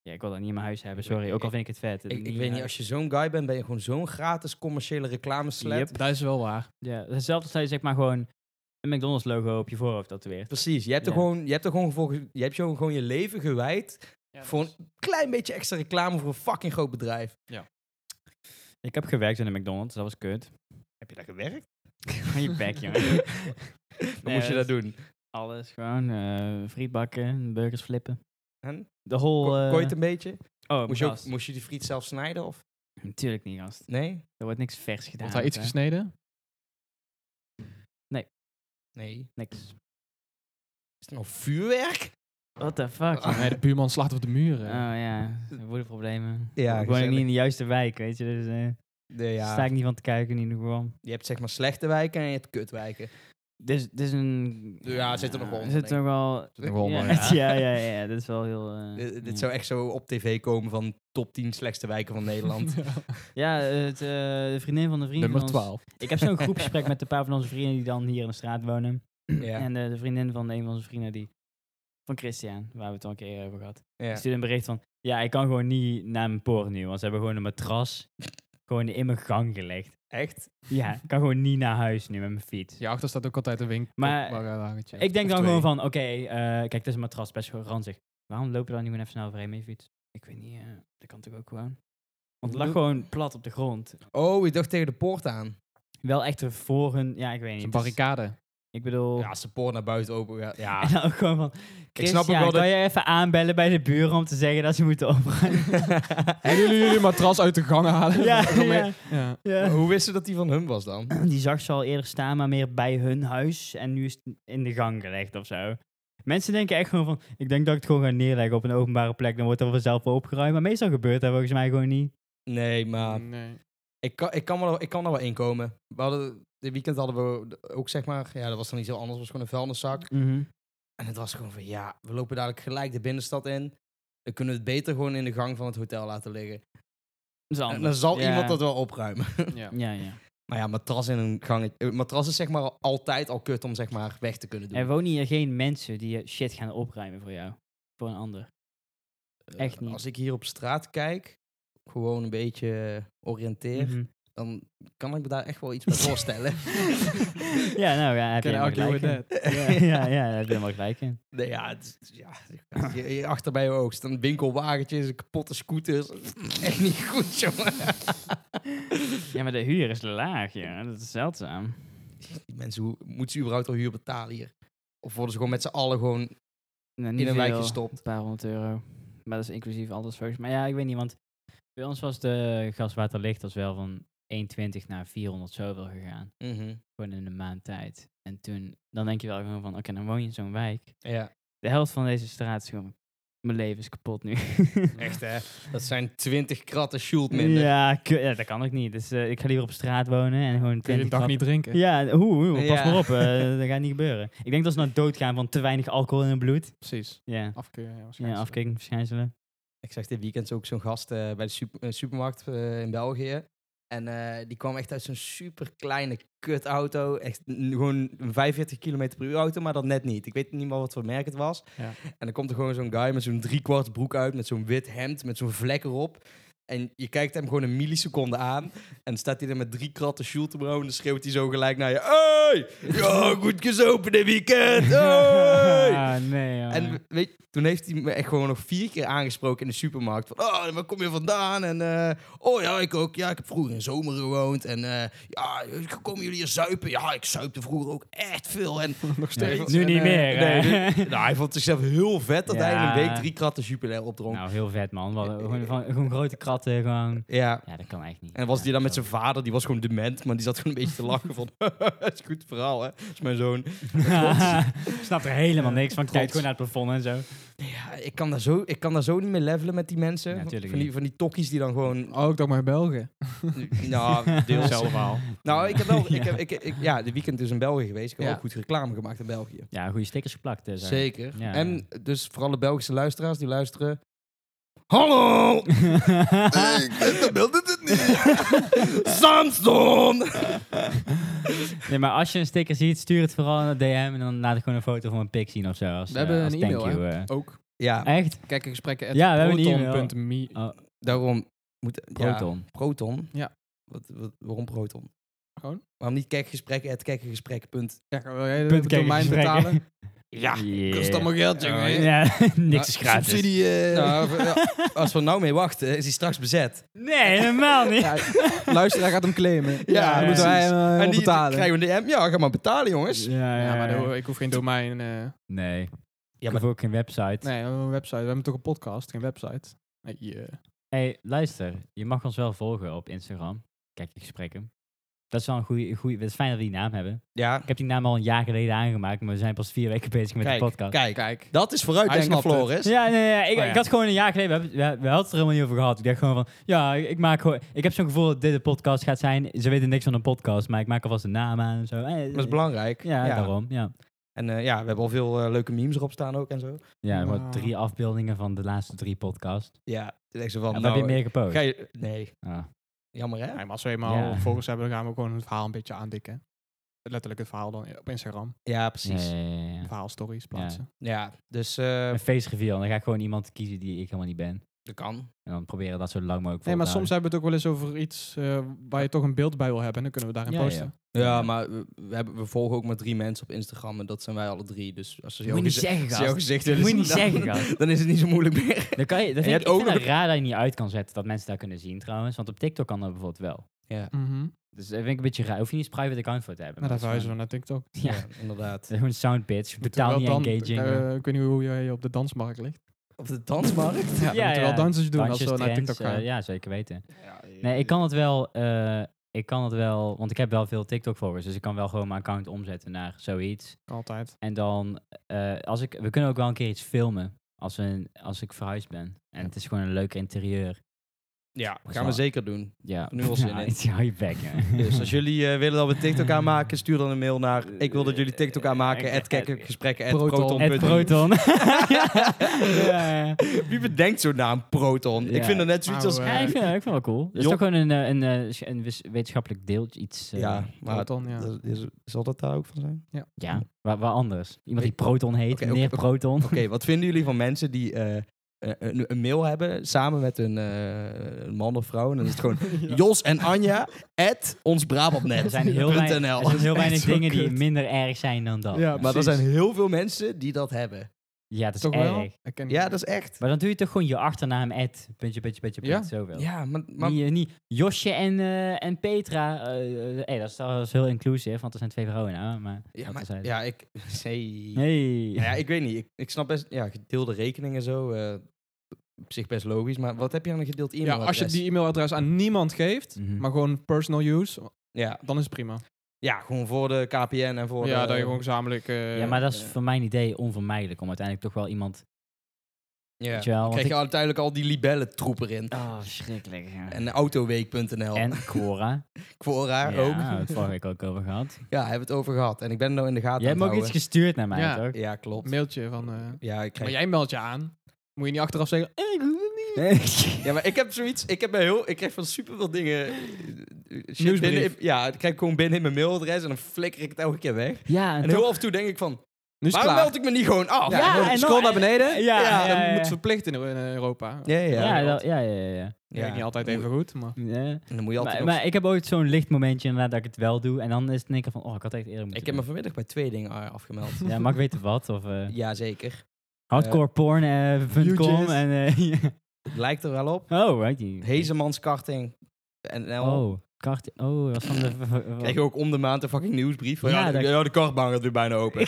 S2: Ja, ik wil dat niet in mijn huis hebben, sorry. Ook al vind ik het vet. eh,
S1: Ik, ik weet niet, als je zo'n guy bent, ben je gewoon zo'n gratis commerciële reclameslet.
S2: Yep.
S4: Dat is wel waar.
S2: Ja, hetzelfde als dat je zeg maar gewoon een McDonald's logo op je voorhoofd tatoeëert.
S1: Precies, je hebt, er
S2: Ja.
S1: gewoon, je hebt er gewoon voor, ge- je hebt gewoon, gewoon je leven gewijd voor een klein beetje extra reclame voor een fucking groot bedrijf.
S2: Ik heb gewerkt in een McDonald's, dat was kut.
S1: Heb je daar gewerkt?
S2: Van je
S1: [laughs]
S2: bek, jongen.
S1: Dan
S2: Nee,
S1: moest je
S2: dat-
S1: dat doen.
S2: Alles gewoon, eh frietbakken, burgers flippen.
S1: En?
S2: De whole... eh,
S1: Ko- kooit een beetje?
S2: oh,
S1: Moest je, ook, moest je die friet zelf snijden of?
S2: Natuurlijk niet, gast.
S1: Nee?
S2: Er wordt niks vers gedaan.
S4: Wordt daar iets
S2: hè? [laughs]
S4: gesneden?
S1: Nee.
S2: Niks.
S1: Is het nou vuurwerk?
S2: What the fuck,
S1: Ah.
S2: jongen?
S4: Nee, de buurman slaat op de muren.
S2: Oh ja, woedeproblemen.
S1: Ja,
S2: ik woon ook
S1: gezellig.
S2: niet in de juiste wijk, weet je. Dus eh
S1: Nee,
S2: sta
S1: ja.
S2: ik niet van te kijken in ieder geval.
S1: Je hebt zeg maar slechte wijken en je hebt kutwijken.
S2: Dus, dus een...
S1: Ja, het zit er nog wel
S2: Er
S1: onder,
S2: zit nog wel...
S4: Zit er wel onder,
S2: ja, [laughs] ja, ja, ja, dat is wel heel... eh,
S1: Dit, dit
S2: ja.
S1: zou echt zo op tv komen van top 10 slechtste wijken van
S4: [laughs]
S1: Nederland.
S2: Ja, het, eh, de vriendin van de vriend
S4: Nummer
S2: van ons-
S4: 12.
S2: [laughs] Ik heb
S1: [laughs]
S2: zo'n groepsgesprek met een paar van onze vrienden die dan hier in de straat wonen.
S1: Ja.
S2: En eh, de vriendin van een van onze vrienden die... Van Christian, waar we het al een keer eerder over gehad. Die
S1: ja.
S2: stuurde een bericht van... Ja, ik kan gewoon niet naar mijn poort nu, want ze hebben gewoon een matras gewoon in mijn gang gelegd.
S1: Echt?
S2: Ja,
S1: [laughs]
S2: ik kan gewoon niet naar huis nu met mijn fiets.
S4: Je achter staat ook altijd een winkel.
S2: Maar
S4: waar, eh, hangertje.
S2: Ik denk
S4: Of
S2: dan
S4: twee.
S2: gewoon van, oké, eh, kijk, dit is een matras, best wel ranzig. Waarom lopen we daar niet gewoon even snel overheen met je fiets? Ik weet niet, eh, dat kan toch ook gewoon? Want het lag
S1: Doe-
S2: gewoon plat op de grond.
S1: Oh, je dacht tegen de poort aan.
S2: Wel echt er voor hun, ja, ik weet
S4: Het is
S2: niet.
S4: Een
S2: het is- [laughs]
S4: barricade.
S2: Ik bedoel...
S1: Ja, als de poort naar buiten open gaat. Ja.
S2: [laughs] En dan ook gewoon van,
S1: Ik snap ook
S2: Christian,
S1: wel dat-
S2: kan je even aanbellen bij de buren om te zeggen dat ze moeten
S1: [laughs]
S2: opruimen?
S4: Hebben jullie jullie matras uit de gang halen? [laughs]
S2: [laughs] ja, ja,
S1: mee.
S4: Ja.
S1: Maar
S2: ja.
S1: hoe wisten dat die van hun was dan?
S2: Die zag ze al eerder staan, maar meer bij hun huis. En nu is het in de gang gelegd of zo. Mensen denken echt gewoon van, ik denk dat ik het gewoon ga neerleggen op een openbare plek. Dan wordt er vanzelf wel opgeruimd. Maar meestal gebeurt dat volgens mij gewoon niet.
S1: Nee, maar
S4: Nee.
S1: ik kan, ik kan, wel, ik kan er wel inkomen. We hadden, dit weekend hadden we ook zeg maar, ja, dat was dan niet heel anders, was gewoon een vuilniszak. En het was gewoon van, ja, we lopen dadelijk gelijk de binnenstad in. Dan kunnen we het beter gewoon in de gang van het hotel laten liggen.
S2: Dat is
S1: En
S2: anders.
S1: dan zal
S2: Ja.
S1: iemand dat wel opruimen. [laughs]
S4: Ja.
S2: Ja, ja.
S1: Maar ja, matras in een gang. eh, Matras is zeg maar al- altijd al kut om zeg maar weg te kunnen doen.
S2: Er wonen hier geen mensen die eh, shit gaan opruimen voor jou. Voor een ander.
S1: Eh,
S2: echt niet.
S1: Als ik hier op straat kijk, gewoon een beetje eh, oriënteer,
S2: Mhm.
S1: dan kan ik me daar echt wel
S2: [laughs]
S1: iets bij voorstellen.
S2: ja, nou ja, heb je
S4: Can I
S2: helemaal
S4: argue
S2: gelijk
S4: with
S2: in.
S4: that?
S1: [laughs]
S2: Ja, [laughs] ja, ja, daar heb je helemaal gelijk in.
S1: Nee, ja, het is- ja je, je achter bij je oog staan winkelwagentjes, kapotte scooters. Echt niet goed, jongen. [laughs]
S2: Ja, maar de huur is laag, ja. Dat is zeldzaam.
S1: Die mensen, hoe, moeten ze überhaupt al huur betalen hier? Of worden ze gewoon met z'n allen gewoon
S2: Nou, niet
S1: in een wijk
S2: veel.
S1: gestopt?
S2: Een paar honderd euro. Maar dat is inclusief alles volgens mij. Maar ja, ik weet niet, want bij ons was de gaswaterlicht als wel van 1,20 naar 400 zoveel gegaan.
S1: Mhm.
S2: Gewoon in een maand tijd. En toen, dan denk je wel gewoon van, oké, dan woon je in zo'n wijk.
S1: Ja,
S2: De helft van deze straat is gewoon, mijn leven is kapot nu.
S1: echt hè. Dat zijn twintig kratten Schuld minder.
S2: ja, ku- ja, dat kan ook niet. Dus eh, ik ga liever op straat wonen en gewoon
S4: Kun je
S2: 20
S4: de dag
S2: grappen-
S4: niet drinken?
S2: Ja, hoe, hoe, pas
S1: Ja.
S2: maar op.
S1: [laughs]
S2: eh, dat gaat niet gebeuren. Ik denk dat ze nou doodgaan van te weinig alcohol in hun bloed.
S4: Precies.
S2: Ja,
S4: Afkeur. Ja,
S2: ja
S4: waarschijnlijk.
S1: [laughs]
S2: afkikingsverschijnselen.
S1: Ik zag dit weekend ook zo'n gast eh, bij de sup- eh, supermarkt eh, in België. En eh, die kwam echt uit zo'n super kleine kutauto. Echt n- gewoon een 45 km per uur auto, maar dat net niet. Ik weet niet meer wat voor merk het was.
S4: Ja.
S1: En dan komt er gewoon zo'n guy met zo'n driekwart broek uit, met zo'n wit hemd, met zo'n vlek erop. En je kijkt hem gewoon een milliseconde aan. En dan staat hij er met drie kratten Sjoel te brouwen. En dan schreeuwt hij zo gelijk naar je. Hey! Ja, goed gezopen dit weekend!
S2: [laughs]
S1: Hey!
S2: ah, nee, jongen.
S1: En weet, je, toen heeft hij me echt gewoon nog vier keer aangesproken in de supermarkt. Van, oh, waar kom je vandaan? En, eh, oh ja, ik ook. Ja, ik heb vroeger in zomer gewoond. En eh, ja, komen jullie hier zuipen? Ja, ik zuipte vroeger ook echt veel.
S2: [laughs]
S1: En nog
S2: Nee, nu niet meer,
S1: nee,
S2: [laughs] hè?
S1: nu- nou, hij vond zichzelf heel vet dat hij in
S2: Ja.
S1: een week drie kratten Jupiler opdronk.
S2: nou, heel vet, man.
S1: Eh,
S2: Wat- gewoon, van- gewoon grote kratten, gewoon.
S1: Ja.
S2: Ja, dat kan echt niet.
S1: En was
S2: Ja,
S1: die dan met
S2: zo.
S1: zijn vader, die was gewoon dement, maar die zat gewoon een beetje te lachen van, [laughs] dat is een goed verhaal hè, dat is mijn zoon.
S2: [laughs] Snapt er helemaal niks van. Kijkt
S1: Trots.
S2: gewoon naar het plafond en zo.
S1: Ja, ik kan daar zo, ik kan daar zo niet mee levelen met die mensen.
S2: Ja,
S1: van,
S2: tuurlijk
S1: die,
S2: niet.
S1: van die tokkies die dan gewoon
S4: Oh, ik dacht maar Belgen.
S2: [laughs]
S1: Nou, deels.
S2: Zelf
S1: al. Nou, ik heb wel... Ik
S2: Ja.
S1: heb, ik, ik, ja, de weekend is in België geweest. Ik heb
S4: Ja.
S1: ook goed reclame gemaakt in België.
S2: Ja, goede stickers geplakt. Dus, hè.
S1: Zeker.
S2: Ja.
S1: En dus voor alle Belgische luisteraars die luisteren... Hallo! ik wilde dit niet! [laughs] Sandstorm!
S2: [laughs] nee, maar als je een sticker ziet, stuur het vooral naar DM. En dan laat ik gewoon een foto van een pik zien of zo. Als,
S4: We
S2: eh,
S4: hebben
S2: als
S4: een
S2: thank
S4: e-mail,
S2: you, eh.
S4: [laughs] Ook.
S1: Ja,
S2: Echt?
S4: Kijk in gesprekken.
S2: Ja, we hebben een e-mail.
S4: proton.me.
S1: daarom... Moet, Ja,
S2: Proton.
S1: proton?
S4: Ja.
S1: Wat, wat- waarom proton?
S4: Gewoon?
S1: Waarom niet kijkgesprekken, het kijkgesprek, punt.
S4: Ja, wil jij de
S2: Punt kijken,
S4: domein
S2: gesprekken.
S4: betalen?
S2: [laughs]
S1: Ja,
S2: Yeah.
S4: Kost allemaal geld, jongen.
S2: Ja, [laughs] niks
S4: Ah,
S2: is gratis.
S4: Subsidie. eh.
S1: Nou, v- ja, als we er nou mee wachten, is hij straks bezet.
S2: Nee, helemaal niet.
S4: Ja, luisteraar gaat hem claimen. Ja,
S1: Ja,
S4: dan moeten wij hem eh,
S1: en
S4: helemaal
S1: die
S4: betalen.
S1: krijgen we een DM. Ja, ga maar betalen, jongens.
S2: Ja,
S4: Ja, maar dan- ik hoef geen domein. eh,
S2: Nee. Ik
S1: Ja,
S2: heb ook geen website.
S4: nee, we hebben een website. We hebben toch een podcast, geen website. Nee, eh,
S2: Hey, luister. Je mag ons wel volgen op Instagram. Kijk, ik spreek hem. Dat is wel een goede... goede. Het is fijn dat we die naam hebben.
S1: Ja,
S2: Ik heb die naam al een jaar geleden aangemaakt, maar we zijn pas vier weken bezig met
S1: kijk,
S2: de podcast.
S1: kijk.
S4: Kijk.
S1: Dat is
S4: Hij
S1: vooruitdenken,
S4: snapt het.
S1: Floris.
S2: Ja, nee, nee, ik,
S4: Oh ja.
S2: ik had gewoon een jaar geleden, we, hebben- we, we hadden het er helemaal niet over gehad. Ik dacht gewoon van, ja, ik, ik maak gewoon, ik heb zo'n gevoel dat dit een podcast gaat zijn. Ze weten niks van een podcast, maar ik maak alvast een naam aan en zo. Eh,
S1: Dat is belangrijk.
S2: Ja, daarom, ja.
S1: En eh, ja, we hebben al veel eh, leuke memes erop staan ook en zo.
S2: Ja, gewoon
S4: Wauw.
S2: drie afbeeldingen van de laatste drie podcasts.
S1: Ja, toen denk ze
S2: En
S1: van,
S2: wat
S1: nou,
S2: heb je meer gepost?
S1: ga je... Nee,
S2: Ah.
S1: jammer hè?
S4: Ja, maar als we eenmaal
S2: Ja.
S4: volgers hebben, dan gaan we gewoon het verhaal een beetje aandikken. Letterlijk het verhaal dan op Instagram.
S1: Ja, precies.
S2: Ja, ja, ja, ja.
S4: Verhaalstories plaatsen.
S1: Ja, dus eh,
S2: Een face reveal, dan ga ik gewoon iemand kiezen die ik helemaal niet ben.
S1: dat kan.
S2: En dan proberen dat zo lang mogelijk
S4: Nee,
S2: vol
S4: maar
S2: te
S4: soms hebben we het ook wel eens over iets eh, waar je toch een beeld bij wil hebben. En dan kunnen we daarin
S2: Ja,
S4: posten.
S1: Ja,
S2: Ja,
S1: maar we, we hebben, we volgen ook maar drie mensen op Instagram en dat zijn wij alle drie. Dus als ze
S2: houden.
S1: jouw
S2: Moet je
S1: geze-
S2: niet
S4: [laughs]
S2: zeggen,
S1: als ze jouw gezicht
S2: gast. Moet
S4: dus
S1: willen
S2: je
S1: zien,
S4: Nou,
S2: niet
S1: dan,
S2: zeggen, gast.
S1: dan is het niet zo moeilijk meer.
S2: Dan kan je, dat
S1: je
S2: vind
S1: hebt
S2: ik, ik vind
S1: ook
S2: dat
S1: nog-
S2: raar dat je niet uit kan zetten dat mensen dat kunnen zien trouwens. Want op TikTok kan dat bijvoorbeeld wel.
S1: Ja,
S4: Mhm.
S2: Dus dat vind ik een beetje raar. Hoef je niet eens private account voor te hebben.
S4: Maar daar
S2: dat is
S4: Nou, verhuizen we naar Tiktok.
S2: gewoon-
S1: ja.
S2: [laughs] Ja,
S1: inderdaad.
S2: dat is gewoon sound bitch. Betaal
S4: Terwijl
S2: niet
S4: dan-
S2: engaging.
S4: eh, ik weet niet hoe jij op de dansmarkt ligt.
S1: Op de dansmarkt?
S4: [laughs] Ja, we moeten wel dansjes doen
S2: Dansjes,
S4: als we naar
S2: trends,
S4: Tiktok gaan.
S2: eh, ja, zeker weten.
S1: Ja,
S2: Nee, ik kan het wel... eh, ik kan het wel... Want ik heb wel veel TikTok-volgers. Dus ik kan wel gewoon mijn account omzetten naar zoiets.
S4: Altijd.
S2: En dan, eh, als ik, we kunnen ook wel een keer iets filmen als, we, een- als ik verhuisd ben. En het is gewoon een leuk interieur.
S1: Ja, gaan we zeker
S2: [laughs]
S1: doen.
S2: Ja,
S1: Nu al zin in.
S2: Ja, hou je bek, hè.
S1: Dus als jullie eh, willen dat we TikTok aanmaken, stuur dan een mail naar ik wil dat jullie TikTok aanmaken.
S2: Eh,
S1: at gekkengesprekken, at
S4: Proton.
S1: proton.
S2: Het proton. ja, ja, ja.
S1: [laughs] Wie bedenkt zo'n naam, proton? Ik
S2: Ja.
S1: vind dat net zoiets als...
S4: Ouwe.
S2: Ja, ik vind, ik vind het wel cool. Het is
S1: Job-
S2: toch gewoon een, eh, een, eh, sch- een wis- wetenschappelijk deeltje, iets. eh,
S1: Ja, maar
S4: Proton, ja.
S1: dat is- zal dat daar ook van zijn?
S2: ja waar, waar anders. Iemand die proton heet,
S1: Oké,
S2: meneer
S1: oké, oké. [laughs]
S2: proton.
S1: Oké, wat vinden jullie van mensen die eh, eh, een, een mail hebben samen met een eh, een man of vrouw? En dan is het
S2: [laughs]
S1: gewoon Jos en Anja at
S2: Er
S1: onsbrabantnet.nl
S2: zijn heel, weinig, er zijn heel
S1: [laughs]
S2: weinig
S4: Zo
S2: dingen die
S4: kut.
S2: minder erg zijn dan dat.
S4: Ja,
S2: Ja,
S1: Maar er
S4: precies.
S1: zijn heel veel mensen die dat hebben.
S2: dat is
S4: Toch
S2: erg.
S4: wel? Ik ken-
S1: Ja, dat is echt.
S2: Maar dan doe je toch gewoon je achternaam, Ed. Puntje, puntje, puntje,
S4: Ja.
S2: puntje, zoveel.
S1: Ja, maar... maar
S2: niet, eh, niet Josje en, eh, en Petra. eh, eh, hey, dat, is, dat is heel inclusief, want er zijn twee vrouwen nou. Maar,
S1: ja,
S2: dat
S1: maar-
S2: terzijde.
S1: ja, ik... [laughs] Nee.
S2: Hey.
S1: Nou ja, ik weet niet. Ik, ik snap best, ja, gedeelde rekeningen zo. eh, op zich best logisch. Maar wat heb je aan een gedeeld
S4: Ja,
S1: e-mailadres?
S4: als je die e-mailadres aan niemand geeft,
S2: Mhm.
S4: maar gewoon personal use,
S1: Ja,
S4: dan is het prima.
S1: ja, gewoon voor de KPN en voor
S4: ja,
S1: de...
S4: dat je gewoon gezamenlijk... eh,
S2: ja, maar dat is
S1: eh.
S2: voor mijn idee onvermijdelijk om uiteindelijk toch wel iemand.
S1: Ja.
S2: Weet je wel,
S1: Dan
S2: want
S1: krijg je
S2: ik-
S1: uiteindelijk al die libellentroep erin.
S2: Oh, schrikkelijk. Ja. En,
S1: En autoweek.nl. [laughs] En
S2: Cora.
S1: Quora
S2: ja,
S1: ook.
S2: daar hebben we het vorige week ook over
S1: [laughs]
S2: gehad.
S1: Ja, hebben we het over gehad. En ik ben er nou in de gaten
S2: Jij hebt
S1: aan
S2: me ook
S1: het
S2: iets gestuurd naar mij,
S4: Ja.
S2: toch?
S1: houden. Ja, klopt.
S4: Mailtje van... eh,
S1: Ja, ik
S4: maar
S1: krijg...
S4: jij meldt je aan. Moet je niet achteraf zeggen... eh, ik doe het niet.
S1: Ja, maar ik heb zoiets... Ik heb bij heel... Ik krijg van super veel dingen... eh, shit
S4: Nieuwsbrief.
S1: binnen in- ja, ik krijg ik gewoon binnen in mijn mailadres en dan flikker ik het elke keer weg.
S2: [laughs] Ja, en,
S1: En Dus
S2: toch-
S1: heel af en toe denk ik van...
S4: Nu is het
S1: Waarom
S4: klaar.
S1: meld ik me niet gewoon af?
S4: Ja,
S2: Ja,
S4: gewoon
S2: en
S4: scroll
S2: dan-
S4: naar beneden.
S2: Ja,
S4: Ja,
S2: ja,
S4: dat
S2: ja, ja.
S4: moet verplicht in, in Europa.
S1: ja, ja.
S2: Ja,
S4: dat-
S2: dat- ja, ja, ja. ja.
S4: Dat werkt niet altijd
S1: Moet-
S4: even goed, maar...
S2: Ja.
S1: En dan moet je altijd
S2: Maar,
S1: nog-
S2: maar ik heb ooit zo'n licht momentje inderdaad dat ik het wel doe. En dan is het in één keer van, oh, ik had echt eerder moeten
S1: Ik heb me
S2: doen.
S1: vanmiddag bij twee dingen eh, afgemeld.
S2: Ja, mag ik weten wat? Of eh
S1: Jazeker.
S2: hardcoreporn.com
S4: UGIS.
S2: en... eh, [laughs] ja.
S1: Het lijkt er wel op.
S2: oh, right. die-
S1: Hezemans karting. En
S2: Oh, kart... Oh, was van de...
S4: [laughs]
S1: Krijg je ook om de maand een fucking nieuwsbrief. Van,
S2: Ja,
S1: ja, de,
S2: dat-
S1: ja, de kartbaan gaat weer bijna open.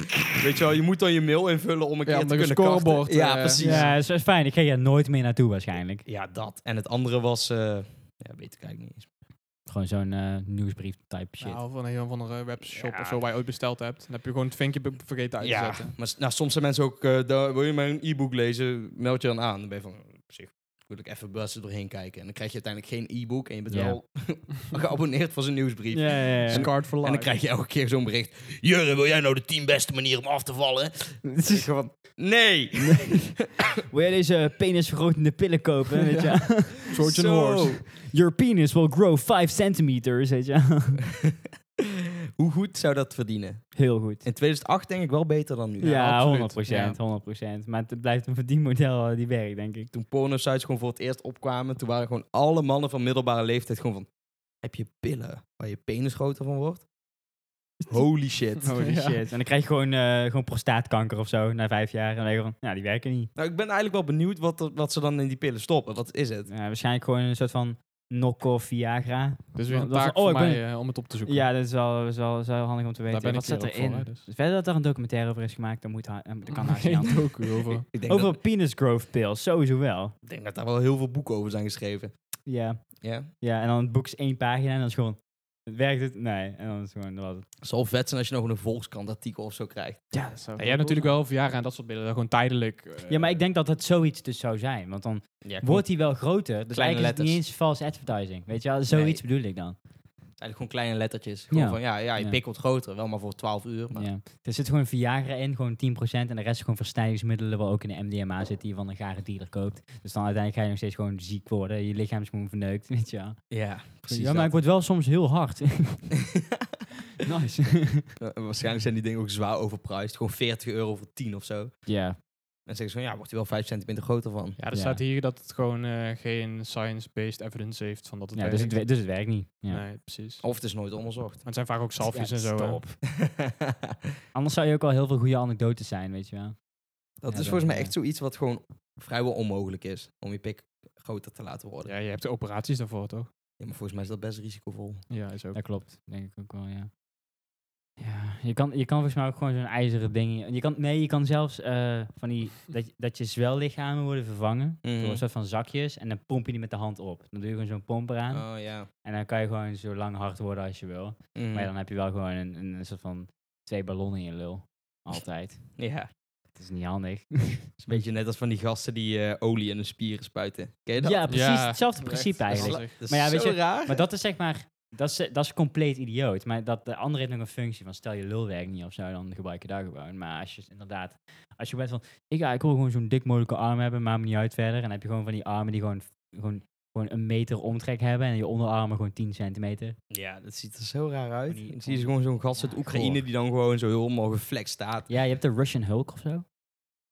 S1: Weet je wel, je moet dan je mail invullen om een
S4: Ja,
S1: keer
S4: om
S1: te
S4: nog een
S1: kunnen karten.
S4: scorebord,
S1: Ja,
S4: eh,
S1: precies. Ja.
S2: Ja, dat is- dat is fijn. Ik ga er nooit meer naartoe waarschijnlijk.
S1: dat. En het andere was... eh, ja, weet ik eigenlijk niet eens.
S2: Gewoon zo'n eh, nieuwsbrief type shit.
S4: [laughs] Nou, van een van de webshop
S1: Ja.
S4: of zo waar je ooit besteld hebt. Dan heb je gewoon het vinkje be- vergeten uit te
S1: Ja,
S4: zetten.
S1: maar s- nou, soms zijn mensen ook... eh, daar, wil je mijn e-book lezen? Meld je dan aan. Dan ben je van... eh, Op zich wil ik even best er doorheen kijken. En dan krijg je uiteindelijk geen e-book. En je bent
S2: Ja.
S1: wel [laughs] geabonneerd voor zijn nieuwsbrief.
S2: ja, ja,
S4: [laughs]
S2: ja.
S1: En-
S4: Card for
S1: En
S4: life.
S1: dan krijg je elke keer zo'n bericht. Jurre, wil jij nou de tien beste manieren om af te [laughs] vallen? Gewoon, nee!
S2: Wil jij deze eh, penisvergrotende pillen
S4: [laughs]
S2: kopen? Weet je?
S4: Trojan
S1: Zo. [laughs]
S4: horse.
S2: Your penis will grow 5 centimeters, weet je.
S1: Hoe goed zou dat verdienen?
S2: [laughs] Heel goed.
S1: In 2008 denk ik wel beter dan nu.
S2: Ja,
S4: absoluut.
S2: 100 procent, 100 Maar het blijft een verdienmodel eh, die werkt, denk ik.
S1: Toen pornosites gewoon voor het eerst opkwamen, toen waren gewoon alle mannen van middelbare leeftijd gewoon van... Heb je pillen waar je penis groter van wordt? Holy shit.
S4: [laughs]
S2: [laughs] Holy
S4: Oh, Ja.
S2: shit. En dan krijg je gewoon, eh, gewoon prostaatkanker of zo na vijf jaar. En dan denk je van, ja, die werken niet.
S1: nou, ik ben eigenlijk wel benieuwd wat, er- wat ze dan in die pillen stoppen. Wat is het?
S2: Ja, waarschijnlijk gewoon een soort van knock-off Viagra.
S4: Dus weer een
S2: Dat is-
S4: taak
S2: oh,
S4: voor
S2: ik ben-
S4: mij eh, om het op te zoeken.
S2: Ja, dat is wel, is wel, is wel handig om te weten.
S4: ben ik
S2: Wat zit
S4: hier ook
S2: erin?
S4: voor, hè, dus. Oh,
S2: Dus verder dat er een documentaire over is gemaakt, dan moet ha- eh, dat
S4: [laughs]
S2: kan haast niet
S4: geen
S2: anders.
S4: docu over.
S1: Ik denk,
S2: Over
S1: dat,
S2: penis growth pills, sowieso wel.
S1: ik denk dat daar wel heel veel boeken over zijn geschreven.
S2: Ja.
S1: Ja?
S2: ja, en dan het boek is één pagina en dan is gewoon... Werkt het? Nee. En dan is gewoon... Dat was het.
S1: Het zal vet zijn als je nog een Volkskrant artikel of zo krijgt.
S2: Ja, dat
S4: Ja, je hebt natuurlijk wel verjaren en dat soort beelden. Gewoon tijdelijk. eh,
S2: Ja, maar ik denk dat het zoiets dus zou zijn. Want dan
S1: Ja,
S2: wordt hij wel groter. Dus
S1: Kleine
S2: eigenlijk is het niet
S1: letters.
S2: eens false advertising. Weet je wel, zoiets bedoel ik dan.
S1: Eigenlijk gewoon kleine lettertjes. Gewoon
S2: Ja.
S1: van, ja, ja je
S2: Ja.
S1: pik wordt groter. Wel maar voor 12 uur. Maar
S2: Ja. Er zit gewoon Viagra in, gewoon 10%. En de rest is gewoon verstijvingsmiddelen, wat ook in de MDMA zit, die je van een gare dealer koopt. Dus dan uiteindelijk ga je nog steeds gewoon ziek worden. Je lichaam is gewoon verneukt, [laughs] weet je wel.
S1: Ja, precies.
S2: ja, maar ik word wel soms heel hard. nice.
S1: dat. Eh, Waarschijnlijk zijn die dingen ook zwaar overpriced. Gewoon 40 euro voor 10 of zo.
S2: ja.
S1: En zeggen ze van, ja, wordt hij wel 5 centimeter groter van.
S4: Ja, er
S2: Ja.
S4: staat hier dat het gewoon eh, geen science-based evidence heeft van dat het
S2: ja
S4: werkt.
S2: dus, het, we- dus het werkt niet. Ja.
S4: Nee, precies.
S1: Of het is nooit onderzocht. [laughs]
S4: Maar het zijn vaak ook zalfjes
S2: Ja,
S4: en zo. hè.
S2: stop. Anders zou je ook al heel veel goede anekdotes zijn, weet je wel.
S1: dat
S2: Ja,
S1: is
S2: dat-
S1: volgens mij echt zoiets wat gewoon vrijwel onmogelijk is. Om je pik groter te laten worden.
S4: Ja, je hebt de operaties daarvoor, toch?
S1: Ja, maar volgens mij is dat best risicovol.
S4: Ja, is ook.
S2: Dat klopt, denk ik ook wel, ja. Ja, je kan, je kan volgens mij ook gewoon zo'n ijzeren ding... in- Je kan, nee, je kan zelfs eh, van die... Dat, je- dat je zwellichamen worden vervangen door
S1: Mhm.
S2: een soort van zakjes. En dan pomp je die met de hand op. Dan doe je gewoon zo'n pomp eraan.
S1: Oh ja.
S2: En dan kan je gewoon zo lang hard worden als je wil.
S1: Mm.
S2: Maar ja, dan heb je wel gewoon een, een, een soort van twee ballonnen in je
S1: [laughs]
S2: lul. Altijd.
S1: Ja.
S2: Dat is niet
S1: [laughs]
S2: handig.
S1: Het is een beetje net als van die gasten die eh, olie in hun spieren spuiten. Ken je dat?
S2: ja, precies
S4: Ja,
S2: hetzelfde principe
S1: Dat is-
S2: eigenlijk.
S1: Dat is
S2: Maar ja, weet
S1: zo
S2: je,
S1: raar.
S2: Maar dat is zeg maar... Dat is, dat is compleet idioot. Maar dat, de andere heeft nog een functie van stel je lul werkt niet of zo, dan gebruik je daar gewoon. Maar als je inderdaad, als je bent van, ik, ja, ik wil gewoon zo'n dik mogelijke arm hebben, maakt me niet uit verder. En dan heb je gewoon van die armen die gewoon, gewoon, gewoon een meter omtrek hebben en je onderarmen gewoon 10 centimeter.
S1: Ja, dat ziet er zo raar uit.
S2: Van die-
S1: Dan zie je gewoon zo'n gast uit
S2: Ja,
S1: Oekraïne
S2: goor.
S1: die dan gewoon zo helemaal geflex staat.
S2: Ja, je hebt de Russian Hulk of zo.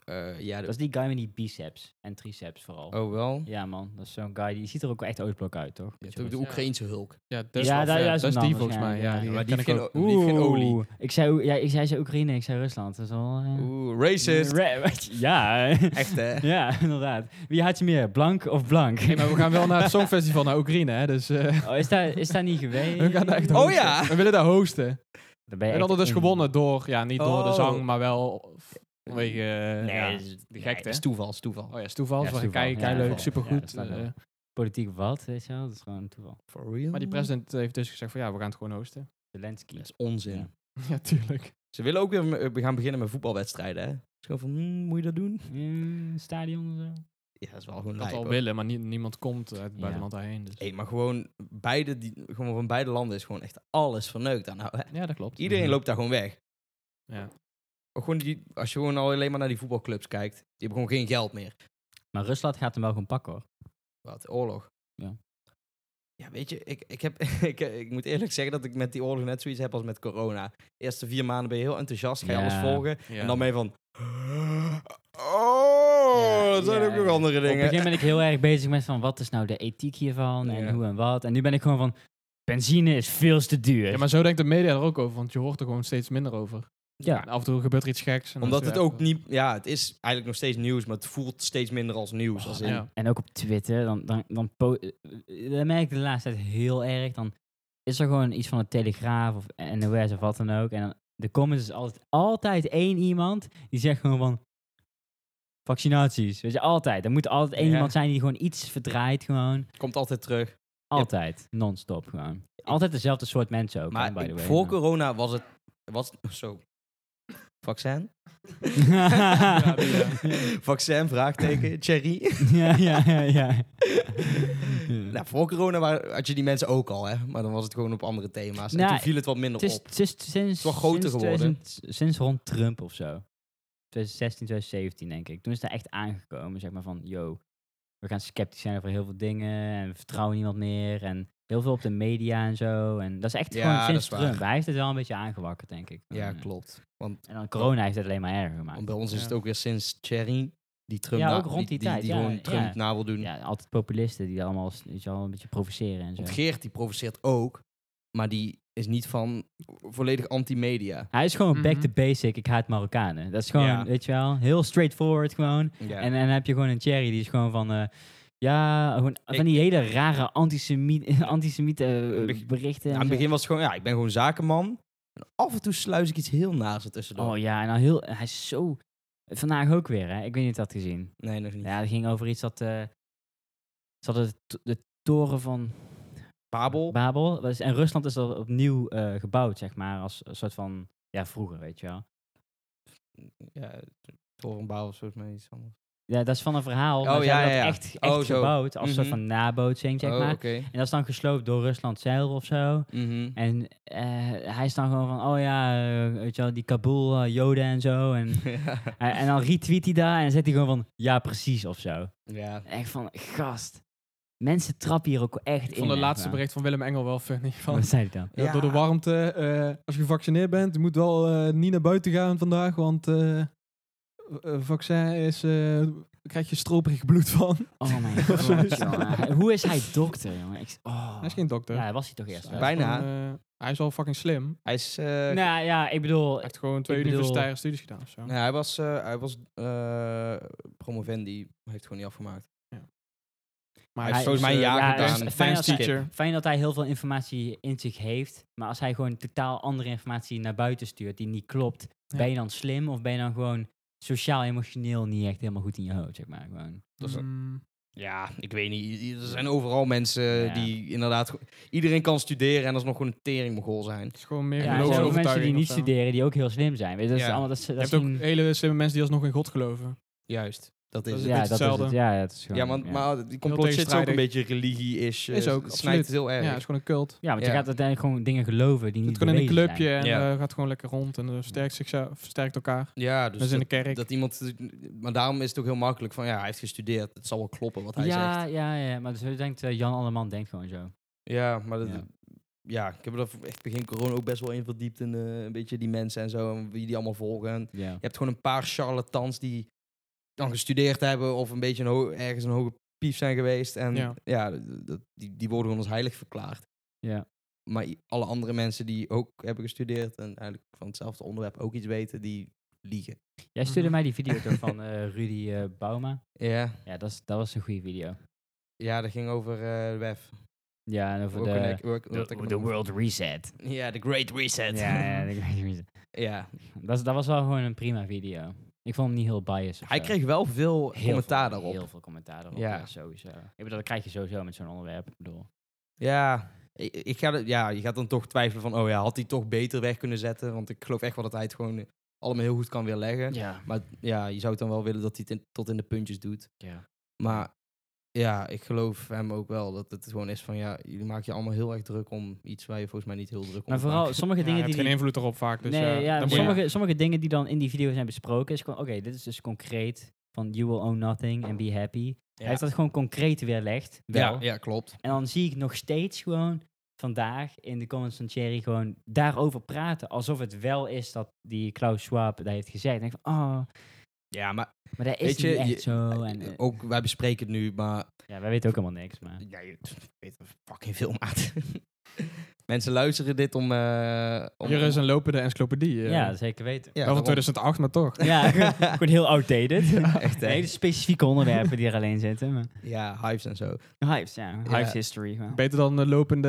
S1: Eh, ja,
S2: Dat
S1: dat
S2: is die guy met die biceps en triceps vooral.
S1: Oh wel?
S2: Ja man, dat is zo'n guy, die ziet er ook wel echt oostblok uit toch?
S1: Je
S2: Met
S1: hebt
S2: zo'n
S1: ook de
S4: Ja.
S1: Oekraïnse hulk.
S4: Ja, dat is,
S2: Ja,
S4: wel
S2: daar-
S4: vet.
S2: daar is
S4: dat is
S2: hem
S4: die
S2: dan
S4: volgens mij.
S2: waarschijnlijk,
S4: Ja,
S2: ja.
S4: die
S1: Maar
S4: ken
S1: die
S4: ik
S1: geen,
S4: ook.
S1: die heeft geen olie.
S2: Oeh, Ik zei, ja, ik zei ze Oekraïne, ik zei Rusland. Dat is wel... eh,
S1: Oeh, racist.
S2: ra- [laughs]
S4: [laughs]
S2: ja.
S1: Echt hè?
S2: Ja, inderdaad. Wie had je meer, blank of blank?
S4: Nee, maar we gaan wel naar het Songfestival naar Oekraïne, hè? Dus eh,
S2: [laughs] Oh, is dat is daar niet
S4: [laughs]
S2: geweest?
S4: we gaan daar echt
S1: Oh
S4: hosten.
S1: ja.
S4: We willen daar hosten.
S2: Dan ben je
S4: En
S2: echt
S4: hadden dus
S2: in-
S4: gewonnen door, ja, niet door de
S1: Oh.
S4: zang, maar wel vanwege. eh,
S2: Nee,
S4: ja.
S2: dat is-
S4: de
S2: nee,
S4: gekte.
S1: Dat is toeval, is toeval.
S4: Oh ja, is toeval.
S2: Ja, is
S4: Ja,
S2: toeval.
S4: Kijk,
S2: Ja,
S4: leuk,
S1: toeval.
S2: Ja,
S4: supergoed.
S2: dat is wel
S4: eh.
S2: leuk. Politiek wat, weet je wel? Dat is gewoon toeval.
S1: For real?
S4: maar die president heeft dus gezegd van ja, we gaan het gewoon hosten. [laughs]
S2: Zelensky.
S1: Dat is onzin.
S2: Ja.
S4: ja, tuurlijk.
S1: Ze willen ook weer eh, we gaan beginnen met voetbalwedstrijden hè? Het is gewoon van, hmm, moet je dat doen?
S2: Mm, stadion of zo.
S1: Ja, dat is wel gewoon
S4: Dat
S1: lijp,
S4: al
S1: hoor.
S4: willen, maar nie- niemand komt uit het
S2: Ja.
S4: buitenland daarheen. Dus.
S1: Hey, maar gewoon, beide die, gewoon van beide landen is gewoon echt alles verneukt aan. Nou, hè?
S4: Ja, dat klopt.
S1: Iedereen
S2: Mhm.
S1: loopt daar gewoon weg.
S4: Ja.
S1: Ook Gewoon die, als je gewoon alleen maar naar die voetbalclubs kijkt, die hebben gewoon geen geld meer.
S2: Maar Rusland gaat hem wel gewoon pakken hoor.
S1: Wat, oorlog.
S2: Ja.
S1: Ja, weet je, ik, ik, heb, [laughs] ik, ik moet eerlijk zeggen dat ik met die oorlog net zoiets heb als met corona. De eerste vier maanden ben je heel enthousiast, ga je
S2: Ja.
S1: alles volgen.
S4: Ja.
S1: En dan ben je van... Oh,
S2: Ja,
S1: dat zijn
S2: ja,
S1: ook nog
S2: ja.
S1: andere
S2: Op het
S1: dingen.
S2: begin ben ik heel erg bezig met van wat is nou de ethiek hiervan en
S1: Ja.
S2: hoe en wat. En nu ben ik gewoon van benzine is veel te duur.
S4: Ja, maar zo denkt de media er ook over, want je hoort er gewoon steeds minder over.
S2: Ja.
S4: En af en toe gebeurt er iets geks. en dan
S1: Omdat
S4: is
S1: het
S4: weer
S1: ook
S4: even-
S1: niet... Ja, het is eigenlijk nog steeds nieuws, maar het voelt steeds minder als nieuws. als
S2: Oh,
S1: in,
S4: Ja.
S2: En ook op Twitter, dan, dan, dan, po- eh, eh, dat merk ik de laatste tijd heel erg. Dan is er gewoon iets van de Telegraaf of NOS of wat dan ook. En dan, de comments is altijd, altijd één iemand die zegt gewoon van vaccinaties. Weet je, altijd. Er moet altijd één
S1: Ja.
S2: iemand zijn die gewoon iets verdraait gewoon.
S1: Komt altijd terug.
S2: Altijd. Non-stop gewoon. Altijd dezelfde soort mensen ook. hè,
S1: Maar
S2: by the
S1: ik-
S2: way.
S1: voor corona was het... Was, zo.
S2: [laughs]
S1: Vaccin? [laughs]
S2: ja,
S4: die,
S1: Vaccin, vraagteken, Thierry.
S2: [laughs] ja, ja, ja, ja.
S1: nou, voor corona waren, had je die mensen ook al, hè? Maar dan was het gewoon op andere thema's. en
S2: Nou,
S1: toen viel het wat minder
S2: Het is,
S1: op.
S2: het is sinds,
S1: wel groter
S2: sinds
S1: geworden.
S2: 2000 sinds rond Trump of zo. 2016, 2017 denk ik. Toen is het echt aangekomen, zeg maar, van yo, we gaan sceptisch zijn over heel veel dingen en we vertrouwen niemand meer en heel veel op de media en zo. En dat is echt
S1: Ja,
S2: gewoon
S1: dat
S2: sinds
S1: is waar.
S2: Trump. Hij heeft het wel een beetje aangewakkerd, denk ik.
S1: Ja,
S2: En, eh,
S1: klopt. Want,
S2: En dan corona heeft het alleen maar erger gemaakt.
S1: want bij ons is
S4: Ja.
S1: het ook weer sinds Thierry, die Trump
S2: Ja,
S1: na-
S2: ook rond die tijd,
S1: Die,
S2: ja,
S1: gewoon Trump
S2: ja.
S1: na wil doen.
S2: Ja, altijd populisten die allemaal weet je wel, een beetje provoceren en zo.
S1: Want Geert, die provoceert ook. Maar die is niet van volledig anti-media.
S2: Hij is gewoon back
S4: Mhm.
S2: to basic, ik haat Marokkanen. Dat is gewoon,
S1: Ja.
S2: weet je wel, heel straightforward gewoon.
S1: Ja.
S2: En, en dan heb je gewoon een Thierry die is gewoon van... eh, ja, gewoon van die hele rare [laughs] antisemiet, antisemiete eh,
S1: Beg-
S2: berichten.
S1: Nou,
S2: en
S1: aan het
S2: zo.
S1: begin was het gewoon, ja, ik ben gewoon zakenman. En af en toe sluis ik iets heel naast er tussendoor.
S2: Oh ja, en dan heel, hij is zo... Vandaag ook weer, hè? Ik weet niet of je dat had gezien.
S1: Nee, nog niet.
S2: Ja, het ging over iets dat... eh ze hadden de to- de toren van
S1: Babel.
S2: Babel. was- En Rusland is er opnieuw eh, gebouwd, zeg maar. Als een soort van... Ja, vroeger, weet je wel.
S1: Ja, Toren Babel is volgens mij iets anders.
S2: Ja, dat is van een verhaal.
S1: Oh,
S2: maar ze
S1: ja,
S2: hebben
S1: ja, ja.
S2: dat echt, echt
S1: Oh, zo.
S2: gebouwd. Als een soort
S1: Mhm.
S2: van nabootsing, zeg
S1: oh,
S2: maar.
S1: oké.
S2: En dat is dan gesloopt door Rusland zelf of zo.
S1: Mhm.
S2: En eh, hij is dan gewoon van, oh ja, eh, weet je wel, die Kabul, eh, Joden en zo. En,
S1: [laughs]
S2: eh,
S1: ja.
S2: en, en dan retweet hij daar en dan zet hij gewoon van, ja precies of zo.
S1: ja.
S2: Echt van, gast, mensen trappen hier ook echt in.
S4: Ik vond het
S2: echt
S4: laatste
S2: waar.
S4: bericht van Willem Engel wel funny. Van,
S2: Wat zei hij dan?
S4: Ja,
S1: Ja.
S4: Door de warmte. eh, als je gevaccineerd bent, je moet wel eh, niet naar buiten gaan vandaag, want eh, eh, vaccin is... eh krijg je stroperig bloed van.
S1: Ah.
S2: Oh mijn
S4: Of zoiets.
S2: god, jongen. Hij- Hoe is hij dokter, jongen? Ik, oh.
S4: Hij is geen dokter.
S2: Ja, dat was hij toch eerst.
S4: Dus
S2: wel?
S1: Bij-
S4: hij is
S1: Bijna.
S4: gewoon, eh, hij is al fucking slim.
S1: Hij is... eh,
S2: Nou ja, ik bedoel,
S4: Hij heeft gewoon twee
S2: Ik bedoel-
S4: universitaire studies gedaan of zo.
S1: nee, hij was, eh, hij was eh, promovendi. Hij heeft het gewoon niet afgemaakt.
S4: Maar
S1: Hij
S4: hij
S1: heeft
S2: is,
S1: volgens mij een
S2: eh,
S1: jaar
S2: ja, hij is
S1: gedaan.
S2: een fijn als hij-
S1: teacher.
S2: fijn dat hij heel veel informatie in zich heeft. Maar als hij gewoon totaal andere informatie naar buiten stuurt die niet klopt,
S4: Ja.
S2: ben je dan slim of ben je dan gewoon sociaal-emotioneel niet echt helemaal goed in je hoofd, zeg maar. Gewoon.
S1: Dat is-
S4: Mm,
S1: Ja, ik weet niet. Er zijn overal mensen
S2: Ja.
S1: die inderdaad... go- Iedereen kan studeren en dat is nog gewoon een teringmogol zijn.
S4: het is gewoon meer
S2: Ja,
S1: geloof
S2: er zijn ook
S1: overtuiging
S2: mensen die niet
S4: studeren.
S2: studeren die ook heel slim zijn. Weet je, dat is
S1: Ja.
S2: allemaal, dat is, dat
S4: Je
S2: is
S4: hebt ook
S2: een-
S4: hele slimme mensen die alsnog in God geloven.
S1: Juist. Dat is
S4: Dat
S1: het.
S4: is
S2: ja,
S4: beetje
S2: dat is het.
S4: hetzelfde.
S2: Ja, dat is gewoon,
S1: Ja, want,
S2: ja.
S1: maar die complot shit is ook een
S4: tegenstrijdig.
S1: beetje religie-ish. eh,
S4: Is
S1: het
S4: ook, absoluut.
S1: Snijdt het heel
S4: Ja,
S1: erg.
S4: het is gewoon een cult.
S2: ja, want je
S1: ja.
S2: gaat uiteindelijk gewoon dingen geloven die
S4: Je
S2: niet
S4: zit gewoon in een
S2: bewezen
S4: clubje
S2: zijn.
S4: en
S1: Ja.
S4: eh, gaat gewoon lekker rond en eh, versterkt zichzelf, versterkt elkaar.
S1: Ja, dus
S4: Dat is in de
S1: dat,
S4: kerk.
S1: dat iemand... Maar daarom is het ook heel makkelijk van... Ja, hij heeft gestudeerd. Het zal wel kloppen wat hij
S2: ja,
S1: zegt.
S2: ja, ja, maar zo denkt eh, Jan Alleman denkt gewoon zo.
S1: Ja, maar dat,
S2: Ja.
S1: ja. ik heb er v- echt begin corona ook best wel in verdiept. En eh, een beetje die mensen en zo. En wie die allemaal volgen. En
S2: Ja.
S1: je hebt gewoon een paar charlatans die dan gestudeerd hebben. Of een beetje een ho- ergens een hoge pief zijn geweest. En
S4: Ja.
S1: ja, d- dat, die, die worden gewoon als heilig verklaard.
S2: Ja.
S1: Maar i- alle andere mensen die ook hebben gestudeerd. En eigenlijk van hetzelfde onderwerp ook iets weten. Die liegen.
S2: Jij stuurde
S4: Mhm.
S2: mij die video toch van eh, Rudy eh, Bauma.
S1: Ja,
S2: Ja, dat, is, dat was een goede video.
S1: ja dat ging over eh WEF.
S2: Ja, en over
S1: Ook een
S2: de,
S1: ec- work-
S2: de,
S1: work
S2: de,
S1: economic-
S2: World Reset.
S1: Ja, de Great Reset.
S2: Ja, [laughs] ja, dat weet ik niet.
S1: [laughs] ja.
S2: dat, is- dat was wel gewoon een prima video. Ik vond hem niet heel biased. of
S1: Hij
S2: zo.
S1: kreeg wel veel
S2: Heel
S1: commentaar
S2: veel-
S1: daarop.
S2: Heel veel commentaar daarop, ja.
S1: Ja.
S2: sowieso. Ik bedoel, dat krijg je sowieso met zo'n onderwerp. Ik bedoel.
S1: Ja, ik, ik ga, dat- ja, je gaat dan toch twijfelen van, oh ja, had hij toch beter weg kunnen zetten? Want ik geloof echt wel dat hij het gewoon eh, allemaal heel goed kan weerleggen.
S2: Ja.
S1: Maar ja, je zou het dan wel willen dat hij het in- tot in de puntjes doet.
S2: ja.
S1: Maar ja, ik geloof hem ook wel dat het gewoon is van, ja, jullie maken je allemaal heel erg druk om iets waar je volgens mij niet heel druk om
S2: Maar
S1: te
S2: vooral
S1: maken.
S2: sommige
S4: Ja,
S2: dingen
S4: je hebt
S2: die...
S4: geen
S2: die
S4: invloed erop vaak. Dus
S2: nee,
S4: ja,
S2: ja,
S4: dan moet je-
S2: sommige, sommige dingen die dan in die video zijn besproken, is gewoon, oké, dit is dus concreet van you will own nothing and be happy. Hij
S1: Ja.
S2: heeft dat gewoon concreet weerlegd. Wel.
S1: Ja, ja, klopt.
S2: En dan zie ik nog steeds gewoon vandaag in de comments van Thierry gewoon daarover praten. Alsof het wel is dat die Klaus Schwab dat heeft gezegd. En ik van, oh,
S1: Ja, maar
S2: maar dat is
S1: Weet je,
S2: niet echt
S1: je- oh.
S2: zo. En, eh,
S1: ook wij bespreken het nu, maar
S2: ja, wij weten ook helemaal niks, maar...
S1: ja, je weet er fucking veel [laughs] maat. Mensen luisteren dit om. eh om
S4: Hier is een lopende encyclopedie. eh.
S2: Ja, zeker weten.
S1: ja,
S4: wel van
S1: daarom. [laughs]
S4: 2008, maar toch.
S2: [laughs] Ja, gewoon heel outdated.
S1: echt hè?
S2: Hele specifieke onderwerpen die er alleen zitten. Maar.
S1: Ja, hives en zo.
S2: Hives, ja.
S1: Ja.
S2: Hives history. gewoon.
S4: Beter dan de lopende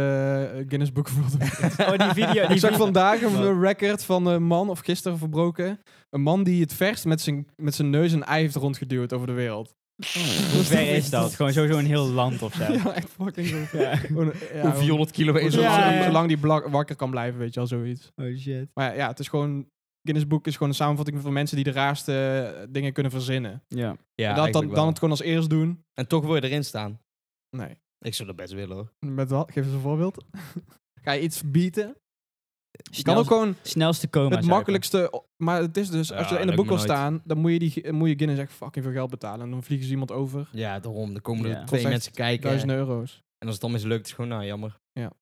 S4: eh, Guinness Book of World Records.
S2: Oh, die video. Die
S4: Ik zag
S2: video.
S4: vandaag
S2: Wat?
S4: een record van een man, of gisteren verbroken. Een man die het verst met zijn, met zijn neus een ei heeft rondgeduwd over de wereld.
S2: Hoe ver
S1: [laughs]
S2: is dat? Gewoon sowieso een heel land of zo.
S4: Ja, echt fucking zo. [laughs]
S2: Ja.
S4: Gewoon, ja, gewoon-
S1: kilometer.
S4: Zolang,
S2: Ja, ja.
S4: zolang die blak, wakker kan blijven, weet je wel, zoiets.
S2: Oh shit.
S4: Maar ja, ja, het is gewoon... Guinness Book is gewoon een samenvatting van mensen die de raarste eh, dingen kunnen verzinnen.
S2: Ja.
S1: Ja,
S4: en dat, dan,
S1: eigenlijk
S4: dan
S1: wel.
S4: het gewoon als eerst doen.
S1: En toch wil je erin staan.
S4: Nee.
S1: Ik zou dat best willen hoor.
S4: Met wat? Geef eens een voorbeeld. Ga je iets bieten? Je kan
S2: Snel-
S4: ook gewoon
S2: Snelste coma.
S4: het
S2: zuipen.
S4: makkelijkste... o- Maar het is dus,
S1: Ja,
S4: als je in de
S1: lukt
S4: boek
S1: me
S4: wil
S1: nooit.
S4: staan, dan moet je, die, eh, moet je Guinness echt fucking veel geld betalen. En dan vliegen ze iemand over.
S1: Ja, daarom. Er komen
S2: Ja.
S1: er
S4: Kost
S1: twee
S4: echt
S1: mensen kijken.
S4: Duizenden
S2: eh,
S4: euro's.
S1: En als het dan mislukt, is het gewoon nou jammer.
S2: Ja,
S1: Ja,
S2: dus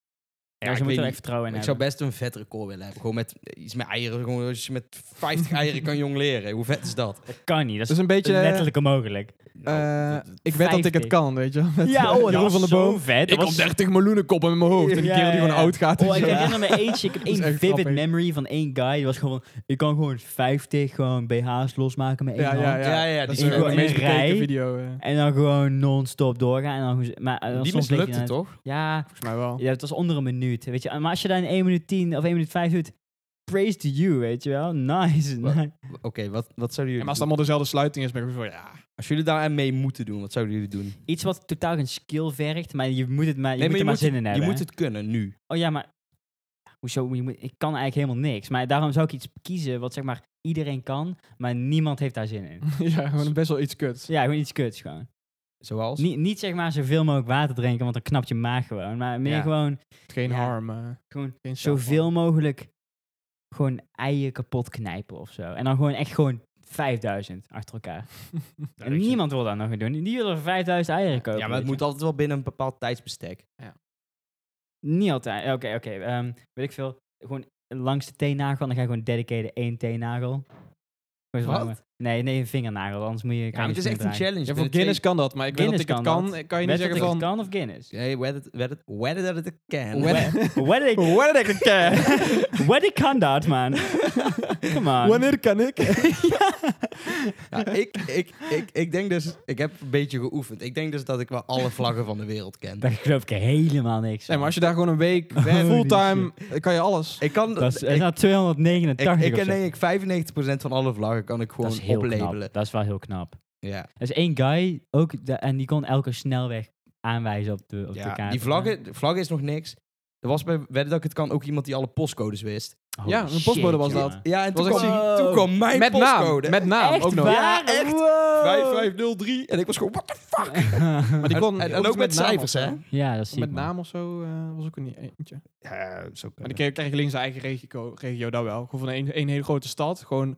S2: je
S1: ik
S2: moet
S1: weet
S2: er echt
S1: niet.
S2: vertrouwen in
S1: ik zou
S2: hebben.
S1: best een vet record willen hebben. Gewoon met eh, iets met eieren. Gewoon als je met [laughs] 50 eieren kan jong leren. Hoe vet is dat?
S2: Dat kan
S4: Dat
S2: niet. Dat is
S4: is Dus een beetje...
S2: letterlijk onmogelijk.
S1: Nou,
S4: eh,
S1: dat-
S4: ik weet dat ik het
S2: 50.
S4: kan, weet je wel. Met, eh,
S2: [laughs] Ja, oh,
S4: Jeroen van
S2: dat was
S4: de
S2: zo
S4: Boom.
S2: vet.
S4: Ik
S2: Dat
S4: had
S2: was-
S4: 30 miljoenenkoppen in mijn hoofd. En die
S2: Ja,
S4: kerel die
S2: ja,
S4: gewoon
S2: ja.
S4: oud gaat.
S2: Oh, ik
S4: weet je wel.
S2: herinner me eentje. Ik [laughs] heb
S4: [laughs] Dat is
S2: één
S4: echt
S2: vivid
S4: grappig.
S2: memory van één guy. Die was gewoon... Ik kan gewoon 50 gewoon BH's losmaken met één
S4: Ja,
S2: hand.
S4: ja, ja.
S1: Ja, ja,
S4: dat
S1: die
S4: is
S2: gewoon
S4: ook de
S2: in
S4: meest
S2: een
S4: bekeken
S2: rij.
S4: video. eh,
S2: En dan gewoon non-stop doorgaan. En dan, gewoon- maar, eh, dan
S1: die
S2: soms lig je
S1: mislukte
S2: dan-
S1: toch?
S2: Ja,
S4: volgens mij wel.
S2: ja, het was onder een minuut. Weet je. Maar als je dan in 1 minuut 10 of 1 minuut 5 doet... Praise to you, weet je wel. [laughs] Nice.
S1: Wat?
S2: nice.
S1: W- Oké, wat, wat zouden jullie
S4: En als het
S1: doen?
S4: allemaal dezelfde sluiting is, ben ik weer van ja. [laughs]
S1: Als jullie daar aan mee moeten doen, wat zouden jullie doen?
S2: Iets wat totaal geen skill vergt, maar je moet, het maar, je
S1: Nee,
S2: moet er
S1: je
S2: maar
S1: moet
S2: zin
S1: het-
S2: in hebben.
S1: Je
S2: hè?
S1: moet het kunnen, nu.
S2: Oh ja, maar hoezo? Je moet- ik kan eigenlijk helemaal niks. Maar daarom zou ik iets kiezen wat zeg maar iedereen kan, maar niemand heeft daar zin in.
S1: Hm.
S4: ja, gewoon best wel iets kuts.
S2: Ja, gewoon iets kuts gewoon.
S1: Zoals?
S2: Niet, niet zeg maar zoveel mogelijk water drinken, want dan knapt je maag gewoon. Maar meer
S1: Ja.
S2: gewoon,
S4: Geen
S2: Ja.
S4: harm. eh,
S2: gewoon
S4: geen
S2: zoveel mogelijk gewoon eieren kapot knijpen of zo. En dan gewoon echt gewoon 5000 achter
S1: [laughs]
S2: elkaar.
S4: zelfmoord.
S2: En niemand wil dat nog gaan doen. Die willen 5000 eieren kopen.
S1: ja, maar het
S2: weet je.
S1: moet altijd wel binnen een bepaald tijdsbestek.
S2: Niet altijd. Oké, oké. ehm, weet ik veel. Gewoon langs de teennagel. En dan ga je gewoon dedicated één teennagel. Gewoon zo
S1: Wat?
S2: lang- Nee, nee, een vingernagel. Anders moet je...
S1: Ja, maar het is echt een challenge.
S4: Ja, voor
S1: Binnen
S4: Guinness kan dat, maar ik weet dat ik
S2: Guinness
S4: het
S2: kan
S4: kan.
S2: dat.
S4: eh, Kan je niet zeggen van.
S2: kan of
S1: [laughs]
S2: Guinness?
S1: twee- Hey, whether, whether, whether that it can.
S4: Whether-
S2: Wat ik... [laughs] eh?
S4: Wanneer ik het kan.
S2: Wat ik kan dat, man. Come on.
S4: Wanneer kan ik?
S1: Ja, ik, ik, ik, ik denk dus... Ik heb een beetje geoefend. Ik denk dus dat ik wel alle vlaggen van de wereld ken.
S2: Daar geloof ik helemaal niks
S4: Nee, maar
S2: van.
S4: als je daar gewoon een week
S2: Holy
S4: werkt, fulltime, eh, kan je alles.
S1: Ik kan...
S2: Dat is, dat is
S1: ik,
S2: nou
S1: ik,
S2: 289
S1: ik
S2: of
S1: ken
S2: zo.
S1: denk ik 95% van alle vlaggen kan ik
S2: Dat
S1: gewoon
S2: is heel
S1: oplabelen.
S2: knap. Dat is wel heel knap.
S1: Ja,
S2: Er is één guy, ook, de- en die kon elke snelweg aanwijzen op de, op de
S1: ja.
S2: kaart.
S1: die vlaggen, de vlaggen is nog niks. Er was bij Wedden dat ik het kan ook iemand die alle postcodes wist.
S2: Holy
S4: Ja, een
S2: shit,
S4: postbode was
S2: jongen.
S4: dat.
S1: Ja, en
S4: Was
S1: toen,
S4: echt
S1: kwam,
S2: ziek.
S1: toen kwam mijn
S4: Met naam.
S1: postcode.
S4: Met naam
S2: Echt
S4: ook nog.
S2: waar?
S1: Ja, echt.
S2: Wow.
S1: 5503. En ik was gewoon, what the fuck?
S4: Maar die
S1: En-
S4: kon
S1: en- en
S4: iets
S1: ook met
S4: naam
S1: cijfers,
S4: of zo.
S1: hè?
S2: ja, dat zie
S4: Met
S2: ik. man.
S4: naam of zo eh, was ook niet eentje.
S1: Ja, zo
S4: Maar dan kreeg- kreeg je links zijn eigen regio, regio daar wel. Gewoon van één één hele grote stad. Gewoon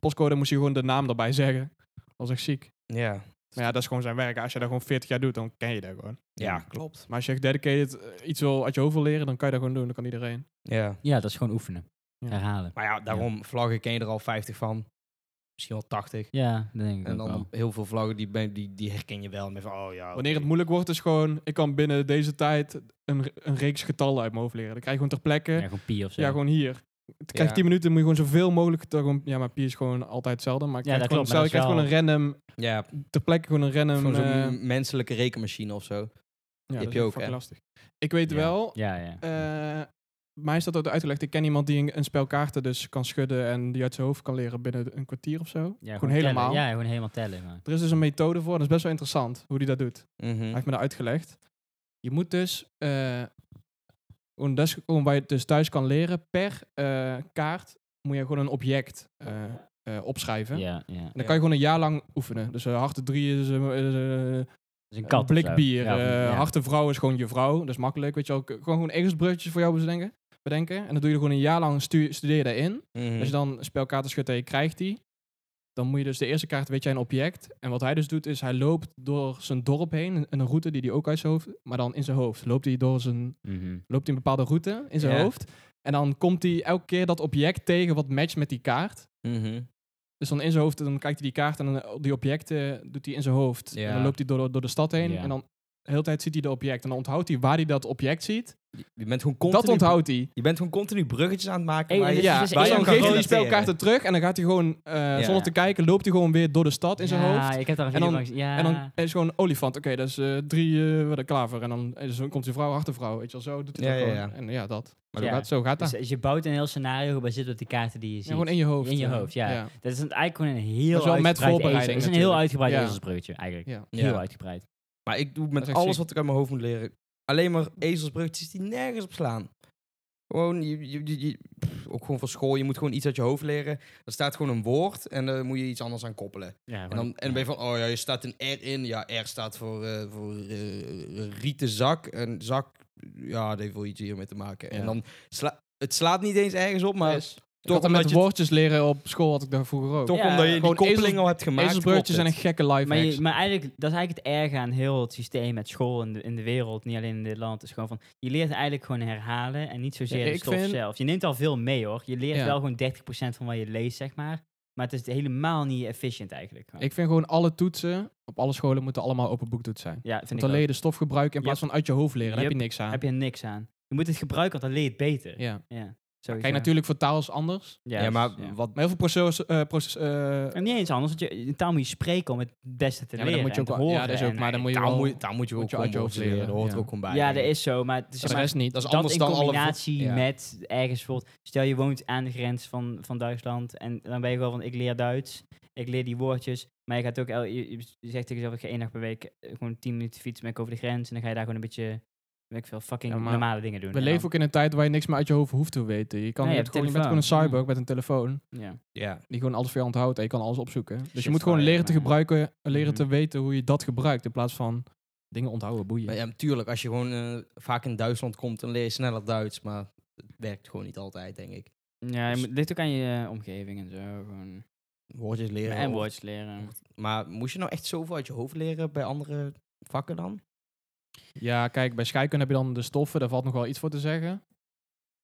S4: postcode moest je gewoon de naam erbij zeggen. Dat was echt ziek.
S1: Ja.
S4: Maar ja, dat is gewoon zijn werk. Als je dat gewoon 40 jaar doet, dan ken je dat gewoon.
S1: ja, klopt.
S4: Maar als je echt dedicated eh, iets wil uit je hoofd wil leren, dan kan je dat gewoon doen. Dan kan iedereen.
S1: Ja.
S2: Ja, dat is gewoon oefenen.
S4: Ja.
S2: Herhalen.
S1: Maar ja, daarom, vlaggen ken je er al 50 van. Misschien wel 80.
S2: Ja, dat denk ik
S1: En
S2: ook
S1: dan
S2: wel.
S1: heel veel vlaggen, die, ben- die, die herken je wel. Met van, oh ja. oké.
S4: Wanneer het moeilijk wordt, is gewoon... Ik kan binnen deze tijd een, re- een reeks getallen uit mijn hoofd leren. Dan krijg je gewoon ter plekke.
S2: Ja,
S4: Ja,
S2: gewoon pie of zo.
S4: gewoon hier. Dan krijg
S1: Ja.
S4: je 10 minuten, moet je gewoon zoveel mogelijk... ter- gewoon- ja, maar pi is gewoon altijd hetzelfde. Maar ik
S2: Ja,
S4: krijg
S2: dat
S4: gewoon,
S2: klopt, maar
S4: hetzelfde.
S2: dat
S4: Ik
S2: is
S4: krijg gewoon een random...
S1: Ja,
S4: Ter plekke gewoon een random...
S1: gewoon zo'n
S4: eh,
S1: menselijke rekenmachine of zo.
S4: ja,
S1: heb
S4: dat
S1: je
S4: is
S1: ook,
S4: fucking
S1: hè?
S4: lastig. Ik weet
S2: Ja.
S4: wel...
S2: Ja, ja.
S4: eh, mij is dat ook uitgelegd. Ik ken iemand die een, een spel kaarten dus kan schudden... en die uit zijn hoofd kan leren binnen een kwartier of zo.
S2: Ja,
S4: gewoon
S2: tellen.
S4: helemaal.
S2: Ja, gewoon helemaal tellen. Man.
S4: Er is dus een methode voor. en Dat is best wel interessant hoe die dat doet.
S1: Mhm.
S4: Hij heeft me dat uitgelegd. Je moet dus, eh gewoon dat is gewoon waar je het dus thuis kan leren, per eh, kaart moet je gewoon een object eh, eh, opschrijven.
S2: Ja, ja.
S4: En dan kan je gewoon een jaar lang oefenen. Dus eh harte drie is eh, is, eh,
S2: Dus een
S4: een
S2: kat
S4: blik bier.
S2: Ja,
S4: eh
S2: of- ja.
S4: Harte vrouw is gewoon je vrouw. Dat is makkelijk. Weet je wel. K- Gewoon gewoon ezelsbruggetjes voor jou bedenken. bedenken. En dan doe je er gewoon een jaar lang stu- studeer je daarin.
S1: Mhm.
S4: Als je dan spelkaarten schudt en je krijgt die, Dan moet je dus de eerste kaart, weet jij, een object. En wat hij dus doet, is hij loopt door zijn dorp heen. een- Een route die hij ook uit zijn hoofd, maar dan in zijn hoofd. Loopt hij door zijn,
S2: Mhm.
S4: loopt hij een bepaalde route in zijn
S1: Ja.
S4: hoofd. En dan komt hij elke keer dat object tegen wat matcht met die kaart.
S1: Mhm.
S4: Dus dan in zijn hoofd, dan kijkt hij die kaart en dan eh, die objecten doet hij in zijn hoofd.
S1: Ja.
S4: En dan loopt hij door, door de stad heen
S2: Ja.
S4: en dan de hele tijd ziet hij de object. En dan onthoudt hij waar hij dat object ziet.
S1: Je- Je bent gewoon continu...
S4: dat onthoudt hij.
S1: Je bent gewoon continu bruggetjes aan het maken.
S2: Hey,
S1: waar je-
S2: dit is
S4: Ja,
S2: dus
S4: dus
S1: waar je
S2: één
S4: dan
S1: aan kan
S4: geeft hij die
S1: relateren.
S4: spelkaarten terug en dan gaat hij gewoon, eh, zonder te kijken, loopt hij gewoon weer door de stad in zijn hoofd.
S2: ik heb daar een
S4: En
S2: video
S4: dan-
S2: van gezien. Ja.
S4: En dan is gewoon een olifant. Oké, dat is eh, drie eh de klaver. En dan is, komt die vrouw achter vrouw. Weet je wel, zo doet hij
S1: Ja, ja,
S4: dat gewoon.
S1: ja.
S4: En ja, dat. Maar
S2: Ja.
S4: zo gaat, zo gaat dat.
S2: dus, dus je bouwt een heel scenario gebaseerd op de kaarten die je
S4: Ah. Ja,
S2: ziet.
S4: gewoon in je hoofd.
S2: In je
S4: eh,
S2: hoofd, ja. Dat is een, eigenlijk gewoon een heel
S4: Dat is wel met
S2: uitgebreid
S4: voorbereiding
S2: ezels- Dat is een heel
S4: natuurlijk.
S2: uitgebreid
S4: Ja.
S2: ezelsbruggetje eigenlijk.
S4: ja.
S1: Ja.
S2: Heel uitgebreid.
S1: Maar ik doe
S4: Dat is
S1: met
S4: echt
S1: alles
S4: ziek.
S1: wat ik uit mijn hoofd moet leren. Alleen maar ezelsbruggetjes die nergens op slaan. Gewoon, je, je, je- je- pff, ook gewoon van school, je moet gewoon iets uit je hoofd leren. Er staat gewoon een woord en daar moet je iets anders aan koppelen.
S2: Ja,
S1: En dan, en dan ben je van, oh ja, je staat een R in. Ja, R staat voor, eh, voor eh, rieten zak. En zak, ja, dat heeft wel iets hiermee te maken.
S4: Ja.
S1: En dan, sla het slaat niet eens ergens op, maar
S4: Maar
S2: Dus,
S4: is, ik
S1: toch
S4: had dat met
S1: omdat je het-
S4: woordjes leren op school, had ik daar vroeger ook.
S1: toch
S2: Ja,
S1: omdat je die
S4: gewoon
S1: koppeling
S4: ezels-
S1: al hebt gemaakt.
S4: Ezelsbroodjes zijn
S1: klopt
S4: een
S1: het.
S4: gekke live
S2: maar, je, maar eigenlijk, dat is eigenlijk het erge aan heel het systeem met school in de, in de wereld, niet alleen in dit land, is gewoon van, je leert eigenlijk gewoon herhalen en niet zozeer
S4: Ja,
S2: de
S4: ik
S2: stof
S4: vind-
S2: zelf. Je neemt al veel mee hoor, je leert
S4: Ja.
S2: wel gewoon 30% van wat je leest, zeg maar, maar het is helemaal niet efficient eigenlijk.
S4: Ik vind gewoon alle toetsen op alle scholen moeten allemaal open boektoets zijn.
S2: ja, vind
S4: Want
S2: ik
S4: dan
S2: ook.
S4: leer je de stof gebruiken in plaats van uit je hoofd leren. Dan heb je
S2: Yep.
S4: niks aan.
S2: heb je niks aan. Je moet het gebruiken, want dan leer je het beter.
S4: Ja.
S2: Ja, sowieso.
S4: Kijk, natuurlijk voor taal is anders.
S2: Ja,
S1: ja, maar
S2: dus, ja.
S1: wat...
S4: Maar heel veel proces... eh, proces eh,
S2: En niet eens anders, want je, in taal moet je spreken om het beste te
S4: Ja, maar dan
S2: leren
S4: moet je
S2: en te
S4: ook wel- ja,
S2: horen.
S4: dat is ook-
S2: en- eh,
S4: maar dan moet je
S1: Daar
S4: wel-
S1: moet, je- daar moet je ook
S4: moet je
S1: gewoon
S4: uit je hoofd
S1: woordjes leren.
S4: leren,
S1: Dat hoort er
S4: ja.
S1: ook gewoon bij.
S2: ja, dat
S1: denk ik.
S2: is zo, maar het is
S4: voor de
S2: maar-
S4: rest niet.
S1: Dat is
S2: dat
S1: anders
S2: in
S1: dan alle...
S2: combinatie
S1: ja.
S2: met ergens bijvoorbeeld, stel je woont aan de grens van, van Duitsland en dan ben je gewoon van ik leer Duits, ik leer die woordjes, maar je gaat ook, el- je, je zegt tegen jezelf ik ga één dag per week eh, gewoon 10 minuten fietsen ben ik over de grens en dan ga je daar gewoon een beetje, weet ik veel, fucking
S4: Ja, maar
S2: normale dingen doen.
S4: We
S2: En
S4: leven
S2: dan-
S4: ook in een tijd waar je niks meer uit je hoofd hoeft te weten. Je, kan
S2: Nee, je
S4: je, hebt
S2: hebt Mm.
S4: gewoon, je bent gewoon een
S2: telefoon.
S4: cyborg met een telefoon
S2: ja.
S1: Ja.
S4: die gewoon alles voor je onthoudt en je kan alles opzoeken. Dus
S2: Shit,
S4: je moet gewoon
S2: sorry,
S4: leren te
S2: maar-
S4: gebruiken, leren
S2: Mhm.
S4: te weten hoe je dat gebruikt in plaats van dingen onthouden, boeien.
S1: Maar ja, natuurlijk, als je gewoon eh, vaak in Duitsland komt, dan leer je sneller Duits. Maar het werkt gewoon niet altijd, denk ik.
S2: Ja, je
S1: Dus-
S2: moet- het ligt ook aan je eh, omgeving en zo. Gewoon.
S1: Woordjes leren.
S2: en
S1: of-
S2: woordjes leren.
S1: Maar moest je nou echt zoveel uit je hoofd leren bij andere vakken dan?
S4: Ja, kijk, bij scheikunde heb je dan de stoffen, daar valt nog wel iets voor te zeggen.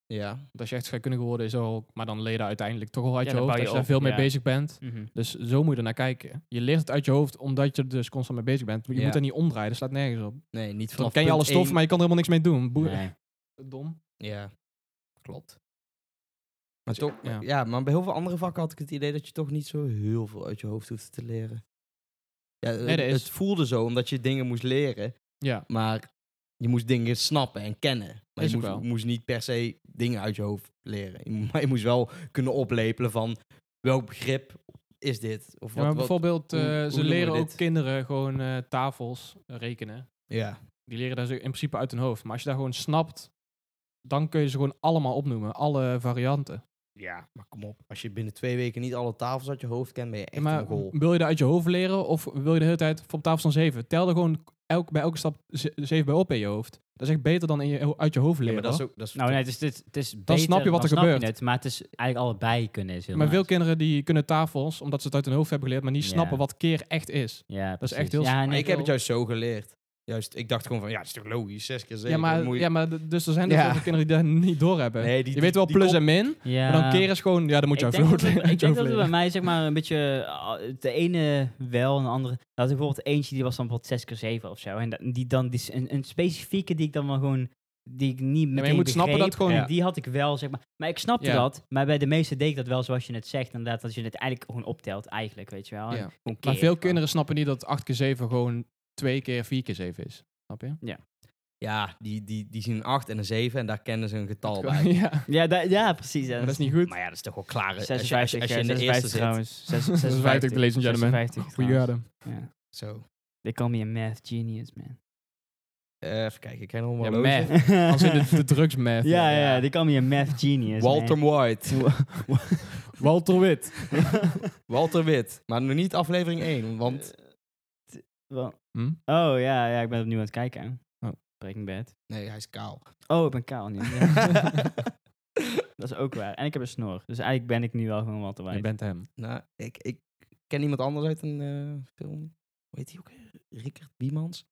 S1: Ja.
S4: Want als je echt scheikundige geworden is, al, maar dan leren uiteindelijk toch al uit
S2: Ja,
S4: je
S2: dan
S4: hoofd
S2: bouw
S4: als
S2: je
S4: je daar
S2: op,
S4: veel mee
S2: ja.
S4: bezig bent.
S2: Mhm.
S4: Dus zo moet je er naar kijken. Je leert het uit je hoofd omdat je er dus constant mee bezig bent. Je
S1: Ja.
S4: moet er niet omdraaien, dat slaat nergens op.
S1: Nee, niet
S4: Dan
S1: vanaf
S4: ken je alle
S1: punt
S4: stof,
S1: één.
S4: maar je kan er helemaal niks mee doen. Boer.
S2: Nee.
S4: Dom.
S1: Ja, klopt. Maar, toch,
S4: ja.
S1: ja. maar bij heel veel andere vakken had ik het idee dat je toch niet zo heel veel uit je hoofd hoeft te leren. Ja, het,
S4: dat is-
S1: het voelde zo, omdat je dingen moest leren,
S4: Ja,
S1: maar je moest dingen snappen en kennen. Maar
S4: Is
S1: je
S4: ook
S1: moest,
S4: wel.
S1: moest niet per se dingen uit je hoofd leren. Je, mo- [laughs] maar je moest wel kunnen oplepelen van welk begrip is dit? Of
S4: Ja,
S1: wat,
S4: maar
S1: wat-
S4: bijvoorbeeld,
S1: hoe-
S4: eh,
S1: hoe
S4: ze
S1: noemen we
S4: leren ook
S1: dit?
S4: kinderen gewoon eh, tafels eh, rekenen.
S1: ja.
S4: Die leren dat ze in principe uit hun hoofd. Maar als je daar gewoon snapt, dan kun je ze gewoon allemaal opnoemen. Alle varianten.
S1: ja, maar kom op. Als je binnen twee weken niet alle tafels uit je hoofd kent, ben je echt
S4: maar
S1: een goal.
S4: wil je dat uit je hoofd leren of wil je de hele tijd van tafel van zeven? Tel er gewoon elk, bij elke stap ze- zeven bij op in je hoofd. Dat is echt beter dan in je, uit je hoofd leren.
S1: Ja, maar dat is
S4: hoor.
S1: ook... Dat is
S2: Nou nee, het is, het, het is beter,
S4: snap je wat er
S2: dan snap je
S4: gebeurt.
S2: het, maar het is eigenlijk allebei kunnen is heel
S4: maar
S2: nice.
S4: veel kinderen die kunnen tafels, omdat ze het uit hun hoofd hebben geleerd, maar niet
S2: Ja.
S4: snappen wat keer echt is.
S2: Ja,
S4: is echt
S2: precies.
S4: heel
S2: ja,
S4: sma-
S1: Maar
S2: nee,
S1: ik heb het
S2: wel.
S1: juist zo geleerd. Juist, ik dacht gewoon van, ja, dat is toch logisch, zes keer zeven.
S4: Ja, maar,
S1: moet je-
S4: ja, maar d- dus er zijn dus
S1: Ja.
S4: heel veel kinderen die dat [laughs] niet doorhebben.
S1: Nee, die-
S4: je
S1: die-
S4: weet wel
S1: die
S4: plus
S1: kop-
S4: en min,
S2: Ja.
S4: maar dan keren is gewoon... Ja, dan moet je
S2: ik
S4: uit je [laughs]
S2: denk, dat
S4: hoofd
S2: het,
S4: leren.
S2: ik
S4: uit je
S2: denk
S4: hoofd
S2: dat het
S4: leren.
S2: bij mij zeg maar een beetje ah, de ene wel en de andere. Dat ik bijvoorbeeld eentje die was dan bijvoorbeeld 6 keer 7 of zo. En dat- die dan die, s- een, een specifieke die ik dan wel gewoon die ik niet meteen
S4: maar je moet snappen
S2: begreep,
S4: dat gewoon-
S2: en
S4: Ja.
S2: Die had ik wel zeg maar. Maar ik snapte
S4: Ja.
S2: dat. Maar bij de meeste deed ik dat wel zoals je het zegt inderdaad dat je het eigenlijk gewoon optelt eigenlijk weet je wel.
S4: Ja.
S2: En gewoon
S4: Maar
S2: keert
S4: veel
S2: gewoon.
S4: kinderen snappen niet dat 8 keer 7 gewoon 2 keer 4 keer 7 is. Snap je?
S1: Ja, die, die, die zien een 8 en een 7 en daar kennen ze een getal bij.
S4: [laughs] Ja,
S2: Ja, da- ja precies. Ja,
S4: maar dat is niet goed.
S1: Maar ja, dat is toch wel klaar. Als je- als je-
S2: 56
S1: als je in de
S2: 56
S1: eerste zit.
S2: trouwens.
S4: [laughs]
S2: 56
S4: ladies and gentlemen.
S2: 56
S4: Goeie
S2: trouwens.
S4: adem.
S2: Ja.
S1: Zo.
S2: They call me a math genius man.
S1: Eh, even kijken, ik ken hem
S4: Ja,
S1: wel
S4: meh. Als in de,
S2: [laughs]
S4: de drugsmath.
S2: Ja, ja, ja, die kan me een math genius. [laughs]
S1: Walter White.
S4: Walter Wit.
S2: Eh,
S1: Walter Wit. Maar nog niet aflevering 1, want...
S2: Wel-
S4: Hm?
S2: Oh ja, ja, ik ben opnieuw aan het kijken.
S4: Oh.
S2: Breaking Bad.
S1: Nee, hij is
S2: [laughs]
S1: kaal.
S2: Oh, ik ben kaal nu. Ja, [laughs] dat is ook waar. En ik heb een snor. Dus eigenlijk ben ik nu wel gewoon Walter
S4: Je
S2: White.
S4: bent hem.
S1: nou, ik, ik ken iemand anders uit een eh, film. Hoe heet die ook? weer? Rickert Biemans?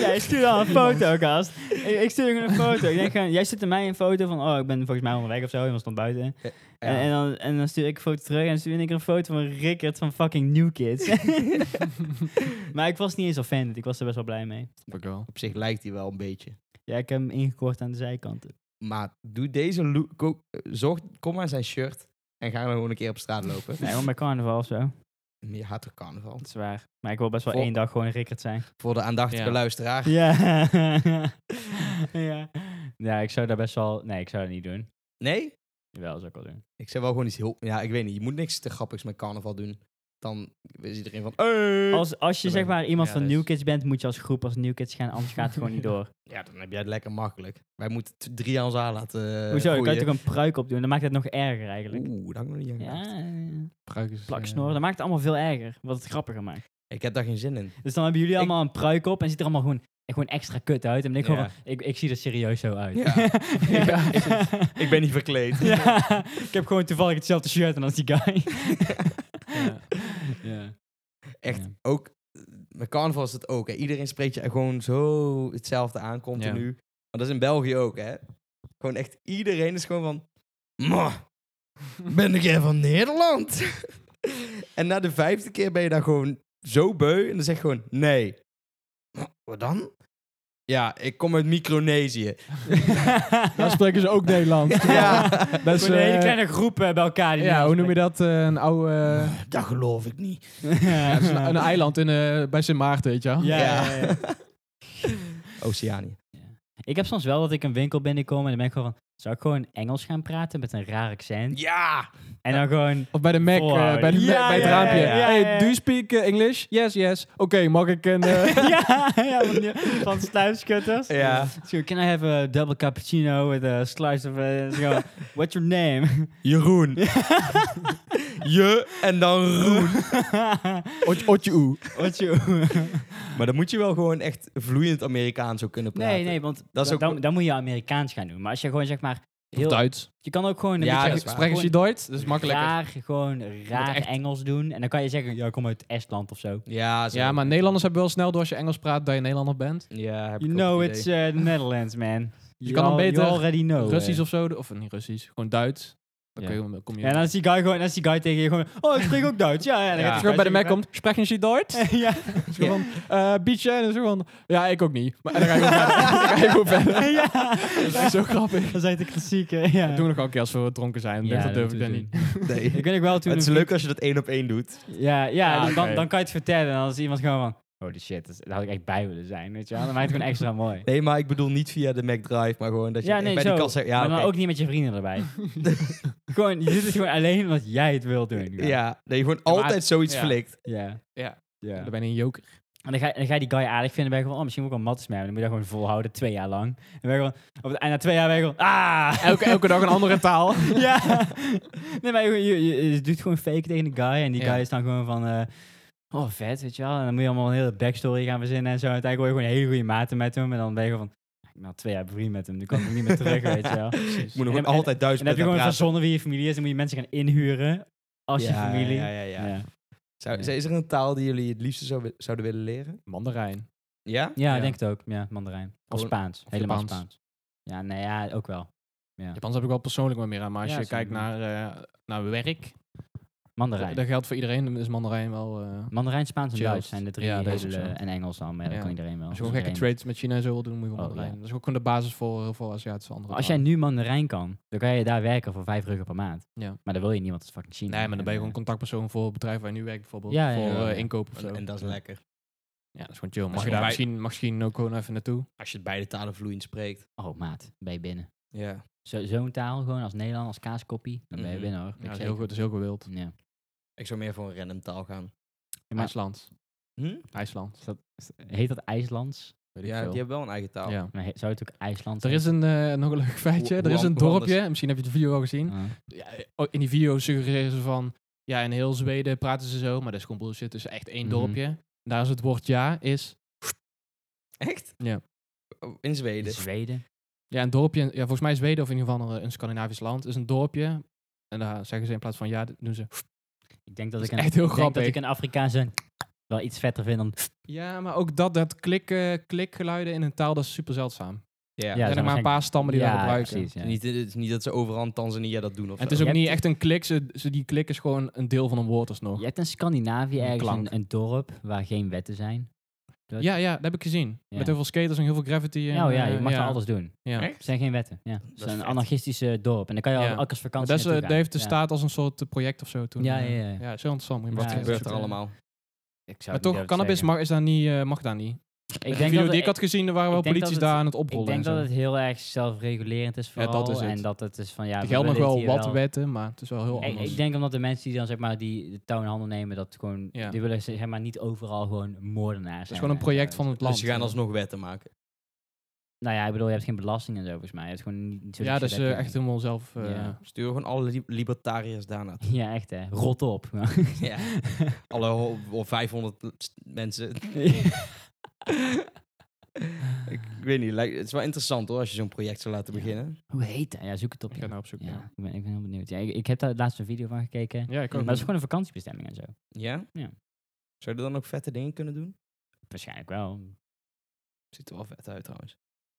S2: Jij stuurt
S4: [laughs]
S2: al een foto, gast. Ik, ik stuur gewoon een foto. Ik denk, gewoon, jij stuurt mij een foto van, oh, ik ben volgens mij onderweg of zo. Iemand stond buiten. En, en, dan, en dan stuur ik een foto terug en dan stuur ik een foto van Rickert van fucking New Kids. [laughs] maar ik was niet eens offended. Ik was er best wel blij mee.
S4: Snap ik wel.
S1: Op zich lijkt hij wel een beetje.
S2: Ja, ik heb hem ingekort aan de zijkanten.
S1: Maar doe deze look. ko- eh, Zorg, kom aan zijn shirt. En ga dan gewoon een keer op straat lopen.
S2: Nee, gewoon bij carnaval of zo.
S1: Je haat toch carnaval?
S2: Dat is waar. Maar ik wil best wel
S1: Vol-
S2: één dag gewoon Rickert
S1: [laughs]
S2: zijn.
S1: Voor de aandachtige
S4: Ja.
S1: luisteraar.
S2: Ja. ja. Ja, ik zou daar best wel... Nee, ik zou dat niet doen.
S1: Nee?
S2: Jawel, zou ik wel doen.
S1: Ik zou wel gewoon iets heel... Ja, ik weet niet. Je moet niks te grappigs met carnaval doen. Dan is iedereen van... "Hey!"
S2: Als, als je
S1: dat
S2: zeg
S1: ben
S2: maar iemand
S4: ja,
S2: van
S4: dat
S2: New
S4: is-
S2: Kids bent, moet je als groep als New Kids gaan. Anders gaat het gewoon
S1: [laughs]
S2: niet door.
S1: Ja, dan heb jij het lekker makkelijk. Wij moeten t- drie jaar ons haar laten eh,
S2: Hoezo? Ik kan je
S1: groeien.
S2: toch een pruik op doen? Dan maakt het nog erger eigenlijk.
S1: Oeh, dat heb ik nog niet aan
S2: Ja,
S1: gedacht.
S4: Pruik is,
S2: plak
S4: eh,
S2: snor. Dat maakt het allemaal veel erger. Wat het grappiger maakt.
S1: Ik heb daar geen zin in.
S2: Dus dan hebben jullie
S1: Ik-
S2: allemaal een pruik op en ziet er allemaal gewoon, gewoon extra kut uit. En dan denk ik
S1: Ja.
S2: gewoon van, ik, ik zie er serieus zo uit. [laughs]
S1: Ja. Ja. Ik ben niet [laughs] verkleed.
S2: Ja, ik heb gewoon toevallig hetzelfde shirt aan als die guy.
S4: Ja. ja.
S1: Echt,
S4: Ja.
S1: ook... eh, Met carnaval is het ook, hè. Iedereen spreekt je gewoon zo hetzelfde aan, continu. Maar dat is in België ook, hè. Gewoon echt, iedereen is gewoon van... "Mwah, ben ik jij van Nederland? [laughs] en na de vijfde keer ben je daar gewoon zo beu en dan zeg je gewoon nee. "Mwah, Wat dan? Ja, ik kom uit
S2: Eh.
S1: Micronesië.
S4: Dan Nou spreken ze
S2: [laughs]
S4: ook Nederlands. ja. Dat is,
S2: Gewoon een hele
S4: eh,
S2: kleine groep eh, bij elkaar. Die
S4: ja, hoe noem je dat? Eh, een oude... eh,
S1: Dat geloof ik niet.
S4: [laughs]
S2: ja,
S4: een, een eiland in, eh, bij Sint Maarten, weet je wel.
S2: Ja,
S1: Ja.
S2: ja, ja.
S1: [laughs] Oceanië.
S2: Ik heb soms wel dat ik een winkel binnenkom en dan ben ik gewoon van... Zou ik gewoon Engels gaan praten met een raar accent?
S1: Ja!
S2: En dan gewoon...
S4: Of bij de Mac,
S2: Volhouden.
S4: eh, bij, de Mac,
S2: Ja,
S4: bij het
S2: ja,
S4: raampje.
S2: ja, ja, ja.
S4: Hey, do you speak eh, English? Yes, yes. Oké, mag ik een... eh,
S2: ja, ja, van, die- van sluiskutters.
S1: Ja.
S2: So, can I have a double cappuccino with a slice of... eh, zo, what's your name? [laughs]
S1: Jeroen. Je en dan Roen.
S4: Ot- Otje oe.
S2: what's your...
S1: Maar dan moet je wel gewoon echt vloeiend Amerikaans ook kunnen praten.
S2: Nee, nee, want
S1: Dat is
S2: dan,
S1: ook-
S2: dan, dan moet je Amerikaans gaan doen. Maar als je gewoon zeg maar... [laughs] Heel,
S4: Duits.
S2: je kan ook gewoon een
S1: Ja, dat
S2: beetje...
S1: is waar.
S4: Spreken ze
S2: gewoon
S4: Duits? Dat is makkelijker.
S2: Raar, gewoon raar
S4: echt-
S2: Engels doen. En dan kan je zeggen, ja, ik kom uit Estland of zo.
S1: Ja, zo.
S4: Ja, maar Nederlanders hebben wel snel door als je Engels praat dat je Nederlander bent.
S1: Ja, heb
S2: You
S1: ik ook
S2: know
S1: het
S2: it's
S1: idee.
S2: uh, the Netherlands, man.
S4: Je kan dan
S2: al-
S4: beter
S2: You already know.
S4: Russisch
S2: eh.
S4: of zo, of niet Russisch, gewoon Duits. Dan
S2: Ja.
S4: kun je, dan kom je.
S2: Ja, en als die guy gewoon, als die guy tegen je gewoon, oh, ik spreek ook Duits, ja. ja, dan
S1: Ja.
S2: gaat
S4: als
S2: die
S4: je
S2: guy
S4: bij de Mac
S2: zeggen,
S4: komt, spreken ze Duits?
S2: ja. [laughs]
S4: Zo van, eh bietje, en zo van, ja, ik ook niet. Maar en dan ga ik ook verder. Dan ga ik ook verder. [laughs]
S2: [laughs] ja.
S4: Dat is zo grappig.
S2: Dat is echt de klassieke, ja.
S4: Dat doen we nog wel een keer als we dronken zijn.
S2: Ja,
S4: dat durf ik
S2: dat
S4: dan
S2: doen
S4: niet.
S2: [laughs]
S1: Nee.
S2: Ik weet ook wel toen...
S1: Het is
S2: een
S1: leuk als je dat één op één doet.
S2: vriend- Ja, ja,
S4: Ah,
S2: dan, dan,
S4: oké.
S2: dan kan je het vertellen. En dan is iemand gewoon van, holy shit, dat, daar had ik echt bij willen zijn, weet je wel. Dan maakt het gewoon extra mooi.
S1: Nee, maar ik bedoel niet via de McDrive, maar gewoon dat je
S2: Ja, nee,
S1: bij
S2: zo.
S1: die kassa... [laughs] Ja,
S2: maar dan
S1: oké.
S2: ook niet met je vrienden erbij. gewoon, je doet het gewoon alleen omdat jij het wil doen.
S1: Ja, dat je gewoon
S4: maar
S1: altijd
S4: het-
S1: zoiets
S4: ja.
S1: flikt.
S2: Ja.
S4: Ja.
S2: Ja.
S4: Dan ben je een joker.
S2: En dan ga, dan ga je die guy aardig vinden. Ben je gewoon, oh, misschien moet ik wel matties mee hebben. Dan moet je dat gewoon volhouden, twee jaar lang. En ben je gewoon, op het einde na twee jaar ben je gewoon, ah!
S4: [laughs] Elke, elke dag een andere taal.
S2: [laughs] ja. Nee, maar je, je, je- je doet gewoon fake tegen de guy. En die
S4: Ja.
S2: guy is dan gewoon van... eh, oh, vet, weet je wel. En dan moet je allemaal een hele backstory gaan verzinnen en zo. En uiteindelijk word je gewoon hele goede maten met hem. En dan ben je gewoon van... Ik ben al twee jaar vriend met hem. Nu kan ik er niet meer terug, weet
S1: [laughs]
S2: je wel. En
S1: Ik moet nog
S2: En-
S1: gewoon altijd
S2: dan
S1: duizend
S2: heb je
S1: Dus met
S2: gewoon
S1: haar praten.
S2: verzonnen wie je familie is. Dan moet je mensen gaan inhuren als
S1: Ja,
S2: je familie.
S1: Ja, ja, ja.
S2: ja.
S1: Zou,
S2: Ja.
S1: Is er een taal die jullie het liefste zou wi- zouden willen leren?
S4: Mandarijn.
S1: Ja?
S2: Ja, ik
S4: Ja.
S2: denk het ook. Ja, Mandarijn. Of
S1: Gewoon-
S2: Spaans.
S4: of
S2: Helemaal
S4: Japans.
S2: Spaans. Ja, nee, ja, ook wel.
S4: Japans heb ik wel persoonlijk wat meer aan. Maar als
S2: Ja,
S4: je
S2: snap
S4: kijkt
S2: ik.
S4: naar, eh, naar werk,
S2: Mandarijn.
S4: dat geldt voor iedereen. Dan is mandarijn wel... eh,
S2: Mandarijn, Spaans en
S4: Chill.
S2: Duits zijn de drie
S4: Ja, dat is ook
S2: hele...
S4: zo.
S2: En Engels dan, maar ja, dat
S4: Ja.
S2: kan iedereen wel.
S4: Als je gewoon
S2: Dus
S4: gekke
S2: iedereen-
S4: trades met China en zo wil doen, moet je gewoon
S2: Oh,
S4: mandarijn.
S2: ja.
S4: Dat is ook gewoon de basis voor heel veel Aziatische andere
S2: Maar Als jij
S4: talen.
S2: nu Mandarijn kan, dan kan je daar werken voor vijf ruggen per maand.
S4: Ja.
S2: Maar dan wil je niemand uit fucking China.
S4: Nee, maar dan ben je
S2: En,
S4: gewoon contactpersoon voor het bedrijf waar je nu werkt bijvoorbeeld.
S2: Ja, ja,
S4: voor
S2: ja,
S4: eh,
S2: ja.
S4: inkoop of zo.
S1: En, en dat is lekker.
S4: ja, dat is gewoon chill.
S1: is
S4: Mag je
S1: gewoon
S4: daar
S1: bij-
S4: misschien, mag misschien ook gewoon even naartoe?
S1: Als je het beide talen vloeiend spreekt.
S2: eh, Oh, maat, ben je binnen.
S1: Ja.
S2: Zo- Zo'n taal, gewoon als Nederland, als kaaskoppie, dan ben je
S1: Mhm.
S2: binnen hoor.
S4: Ja,
S2: Weet
S4: dat,
S2: ik
S4: is heel,
S2: zeker.
S4: goed- dat is heel gewild.
S2: Ja.
S1: Ik zou meer voor een random taal gaan.
S2: Ja, maar-
S4: IJsland.
S1: Hm?
S4: IJsland.
S2: Is dat, is- heet dat IJslands?
S4: Weet ik
S1: Ja,
S4: veel.
S1: die hebben wel een eigen taal.
S4: Ja.
S2: Maar he- zou het ook IJsland
S4: Er is een, eh, nog een leuk feitje.
S1: Hoe-
S4: er is
S1: hoe
S4: een
S1: anders-
S4: dorpje. Misschien heb je de video al gezien.
S2: Ah.
S4: Ja, eh, oh, in die video suggereren ze van... Ja, in heel Zweden praten ze zo, maar dat is gewoon bullshit. Het is echt één
S2: Mhm.
S4: dorpje. Daar is het woord ja, is...
S1: Echt?
S4: Ja.
S1: Oh, In Zweden.
S2: Zweden. Zweden.
S4: Ja, een dorpje. Ja, volgens mij Zweden of in ieder geval een, een Scandinavisch land. is een dorpje. En daar zeggen ze in plaats van ja, doen ze...
S2: Ik denk dat,
S4: Dat
S2: ik
S4: is
S2: een,
S4: echt heel
S2: ik denk dat
S4: grappig.
S2: ik een Afrikaanse wel iets vetter vind dan...
S4: Ja, maar ook dat, dat klik, eh, klikgeluiden in een taal, dat is super zeldzaam.
S1: Ja.
S4: er
S2: zijn
S4: zijn nog maar een paar stammen die dat
S2: Ja,
S4: gebruiken.
S2: precies, ja.
S1: Niet, het is niet dat ze overal in Tanzania dat doen of
S4: En het
S1: zo.
S4: is ook
S2: Je
S4: niet
S2: hebt-
S4: echt een klik, ze, ze- die klik is gewoon een deel van een woord alsnog.
S2: Je hebt in Scandinavië
S4: Een
S2: ergens
S4: klank.
S2: een, een dorp waar geen wetten zijn. dat-
S4: Ja, ja, dat heb ik gezien.
S2: Ja.
S4: Met heel veel skaters en heel veel graffiti. En,
S2: Nou ja, je
S4: eh,
S2: mag daar alles doen.
S4: ja.
S1: Echt?
S2: Er zijn geen wetten. Ja. Het is
S1: Dat is
S2: een
S1: vet.
S2: anarchistische dorp. En dan kan je
S4: Ja.
S2: al ook als vakantie
S4: Dat, is, eh,
S2: naartoe
S4: dat
S2: gaan.
S4: heeft de
S2: Ja.
S4: staat als een soort eh, project of zo toen.
S2: Ja,
S4: eh,
S2: ja, ja.
S4: is heel interessant. moet je
S1: Wat
S4: maar
S2: Wat
S4: eens
S2: Ja,
S1: gebeurt
S4: zoeken.
S1: er allemaal?
S2: Ik zou
S4: Maar
S2: het niet
S4: toch,
S2: durven
S4: cannabis
S2: zeggen.
S4: mag, is daar niet, eh, mag daar niet.
S2: Ik
S4: de
S2: denk
S4: video
S2: dat
S4: die
S2: het-
S4: ik had gezien, daar waren wel
S2: ik denk
S4: polities
S2: dat het-
S4: daar aan het
S2: Ik
S4: oprollen.
S2: denk
S4: en
S2: dat
S4: zo.
S2: het heel erg zelfregulerend is
S4: Ja,
S2: vooral.
S4: dat is het.
S2: En dat het is van ja...
S4: er
S2: we
S4: gelden nog
S2: willen
S4: wel
S2: dit
S4: wat
S2: hier wel-
S4: wetten, maar het is wel heel
S2: Ik-
S4: anders.
S2: Ik, denk omdat de mensen die dan zeg maar die de touw in handen nemen, dat gewoon...
S4: Ja.
S2: Die willen zeg maar niet overal gewoon moordenaars
S4: het is gewoon een project van het land.
S1: Dus ze gaan alsnog wetten maken.
S2: Nou ja, ik bedoel, je hebt geen belasting en zo volgens mij. Je hebt gewoon niet, niet zo
S4: Ja, dat is eh, echt helemaal zelf... eh,
S2: Ja.
S1: Stuur gewoon alle li- libertariërs daarna.
S2: Ja, echt hè. Rot op.
S1: [laughs]
S2: [laughs]
S1: ja. Alle ho- of 500 mensen. [laughs] ik weet niet, lijkt- het is wel interessant hoor, als je zo'n project zou laten
S2: Ja.
S1: beginnen.
S2: Hoe heet dat? Ja, zoek het op.
S4: Ik ga
S2: Ja,
S4: naar op zoek.
S2: Ja,
S4: Ja,
S2: ik, ben, ik ben heel benieuwd. Ja, ik, ik heb daar laatst een video van gekeken.
S4: Ja, ik
S2: Maar
S4: ook.
S2: dat is gewoon een vakantiebestemming en zo.
S1: Ja?
S2: Ja.
S1: Zou je er dan ook vette dingen kunnen doen?
S2: Waarschijnlijk wel.
S1: Ziet er wel vet uit trouwens.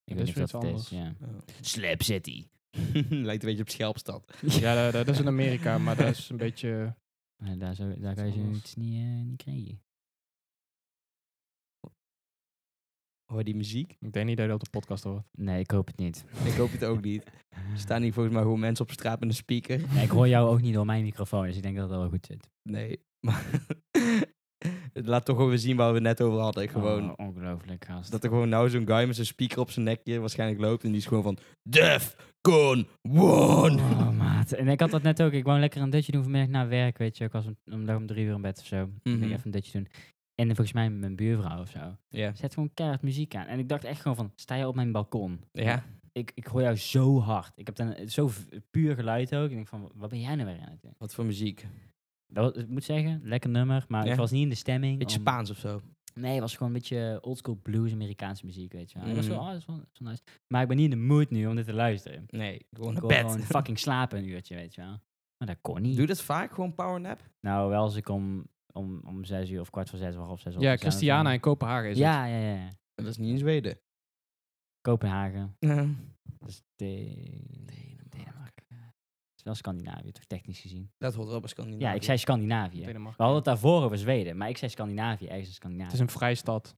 S2: Ik
S4: Ja, dat
S2: weet
S4: is
S2: niet of
S4: weer
S2: dat
S4: iets
S2: het is. Ja.
S1: Ja.
S2: Slap City.
S1: [laughs] Lijkt een beetje op Schelpstad.
S4: Ja, dat, dat is in Amerika, maar dat is een beetje...
S2: Maar daar, zou, daar kan je
S4: Iets anders.
S2: zoiets niet, eh, niet krijgen.
S1: [laughs] Hoor je die muziek?
S4: Ik denk niet dat je dat op de podcast hoort.
S2: Nee, ik hoop het niet.
S1: Ik hoop het ook
S2: [laughs]
S1: niet. Er staan hier volgens mij gewoon mensen op straat met een speaker.
S2: Nee, ik hoor jou ook niet door mijn microfoon, dus ik denk dat dat wel goed zit.
S1: Nee, maar [laughs] het laat toch gewoon weer zien waar we net over hadden. Gewoon,
S2: Oh, ongelooflijk, gast.
S1: Dat er gewoon nou zo'n guy met zo'n speaker op zijn nekje waarschijnlijk loopt en die is gewoon van Defcon One.
S2: Oh, maat. En ik had dat net ook. Ik wou lekker een dutje doen vanmiddag na werk, weet je. Ik was om, om, om drie uur in bed of zo. Ik
S1: Mhm.
S2: ging even een dutje doen. En volgens mij mijn buurvrouw of zo.
S1: Ja.
S2: Zet gewoon keihard muziek aan. En ik dacht echt gewoon van, sta je op mijn balkon?
S1: Ja.
S2: Ik, ik hoor jou zo hard. Ik heb dan eh, zo v- puur geluid ook. Ik denk van, wat ben jij nou weer aan het doen?
S1: Wat voor muziek?
S2: Dat was- ik moet zeggen, lekker nummer, maar
S1: Ja.
S2: ik was niet in de stemming.
S1: Beetje
S2: om-
S1: Spaans of zo.
S2: Nee, het was gewoon een beetje oldschool blues, Amerikaanse muziek, weet je wel. Ik was
S1: Mhm.
S2: zo, oh, dat is wel, dat is wel nice. Maar ik ben niet in de mood nu om dit te luisteren.
S1: Nee, gewoon
S2: Ik
S1: naar
S2: wil
S1: bed. [laughs]
S2: gewoon fucking slapen een uurtje, weet je wel. Maar dat kon niet.
S1: Doe je dat vaak, gewoon power nap?
S2: Nou, wel als ik om, om, om zes uur of kwart voor zes of half zes op
S4: Ja,
S2: moet zijn of zo.
S4: Christiana in Kopenhagen is het.
S2: Ja, ja, ja.
S1: Dat is niet in Zweden.
S2: Kopenhagen.
S1: Ja.
S2: Dat is de... Denemarken. Het is wel Scandinavië, toch technisch gezien.
S1: Dat hoort wel bij Scandinavië.
S2: Ja, ik zei Scandinavië. We
S4: Denemarken.
S2: hadden het daarvoor over Zweden, maar ik zei Scandinavië, ergens in Scandinavië.
S4: Het is een vrijstad.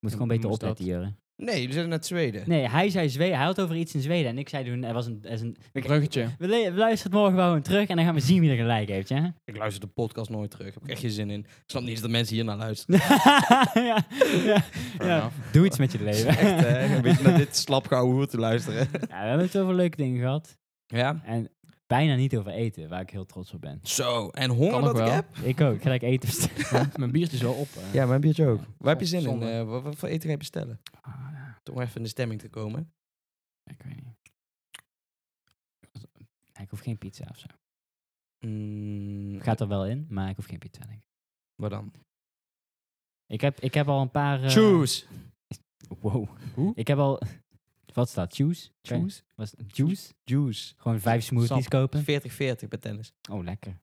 S2: Moet gewoon beter
S4: moest dat.
S2: opletten, Jure.
S1: Nee, jullie zijn naar Zweden.
S2: Nee, hij zei Zweden, hij had het over iets in Zweden en ik zei toen, er was een... Er is een we,
S4: Bruggetje.
S2: we le- we luisteren het morgen wel gewoon terug en dan gaan we zien wie er gelijk heeft, [laughs] ja?
S1: Ik luister de podcast nooit terug. Heb ik echt geen zin in. Ik snap niet eens dat mensen hier naar luisteren.
S2: ja, ja, ja.
S4: enough.
S2: Doe iets met je leven.
S1: Echt, hè? Een beetje naar dit slapgehouden hoer te luisteren.
S2: [laughs] Ja, we hebben het over leuke dingen gehad.
S1: [laughs] Ja?
S2: En bijna niet over eten, waar ik heel trots op ben.
S1: Zo, en honger
S4: Kan
S1: dat
S4: ook
S1: ik
S4: wel.
S1: heb?
S2: Ik ook, gelijk eten bestellen.
S4: [laughs] Mijn biertje is wel op. eh.
S1: Ja, mijn biertje ook. Waar heb je zin
S4: Zonde.
S1: in? Eh, wat, wat voor eten ga je bestellen? Om even in de stemming te komen.
S2: Ah, ik weet niet. Ik hoef geen pizza of zo.
S1: Mm,
S2: Gaat er wel in, maar ik hoef geen pizza, denk ik.
S1: Wat dan?
S2: Ik heb, ik heb al een paar... eh,
S1: Choose!
S2: Wow.
S4: Hoe?
S2: Ik heb al... Wat staat? Choose? Was juice?
S1: Juice.
S2: Gewoon vijf smoothies
S4: Sap.
S2: kopen.
S1: 40-40 bij tennis.
S2: Oh, lekker.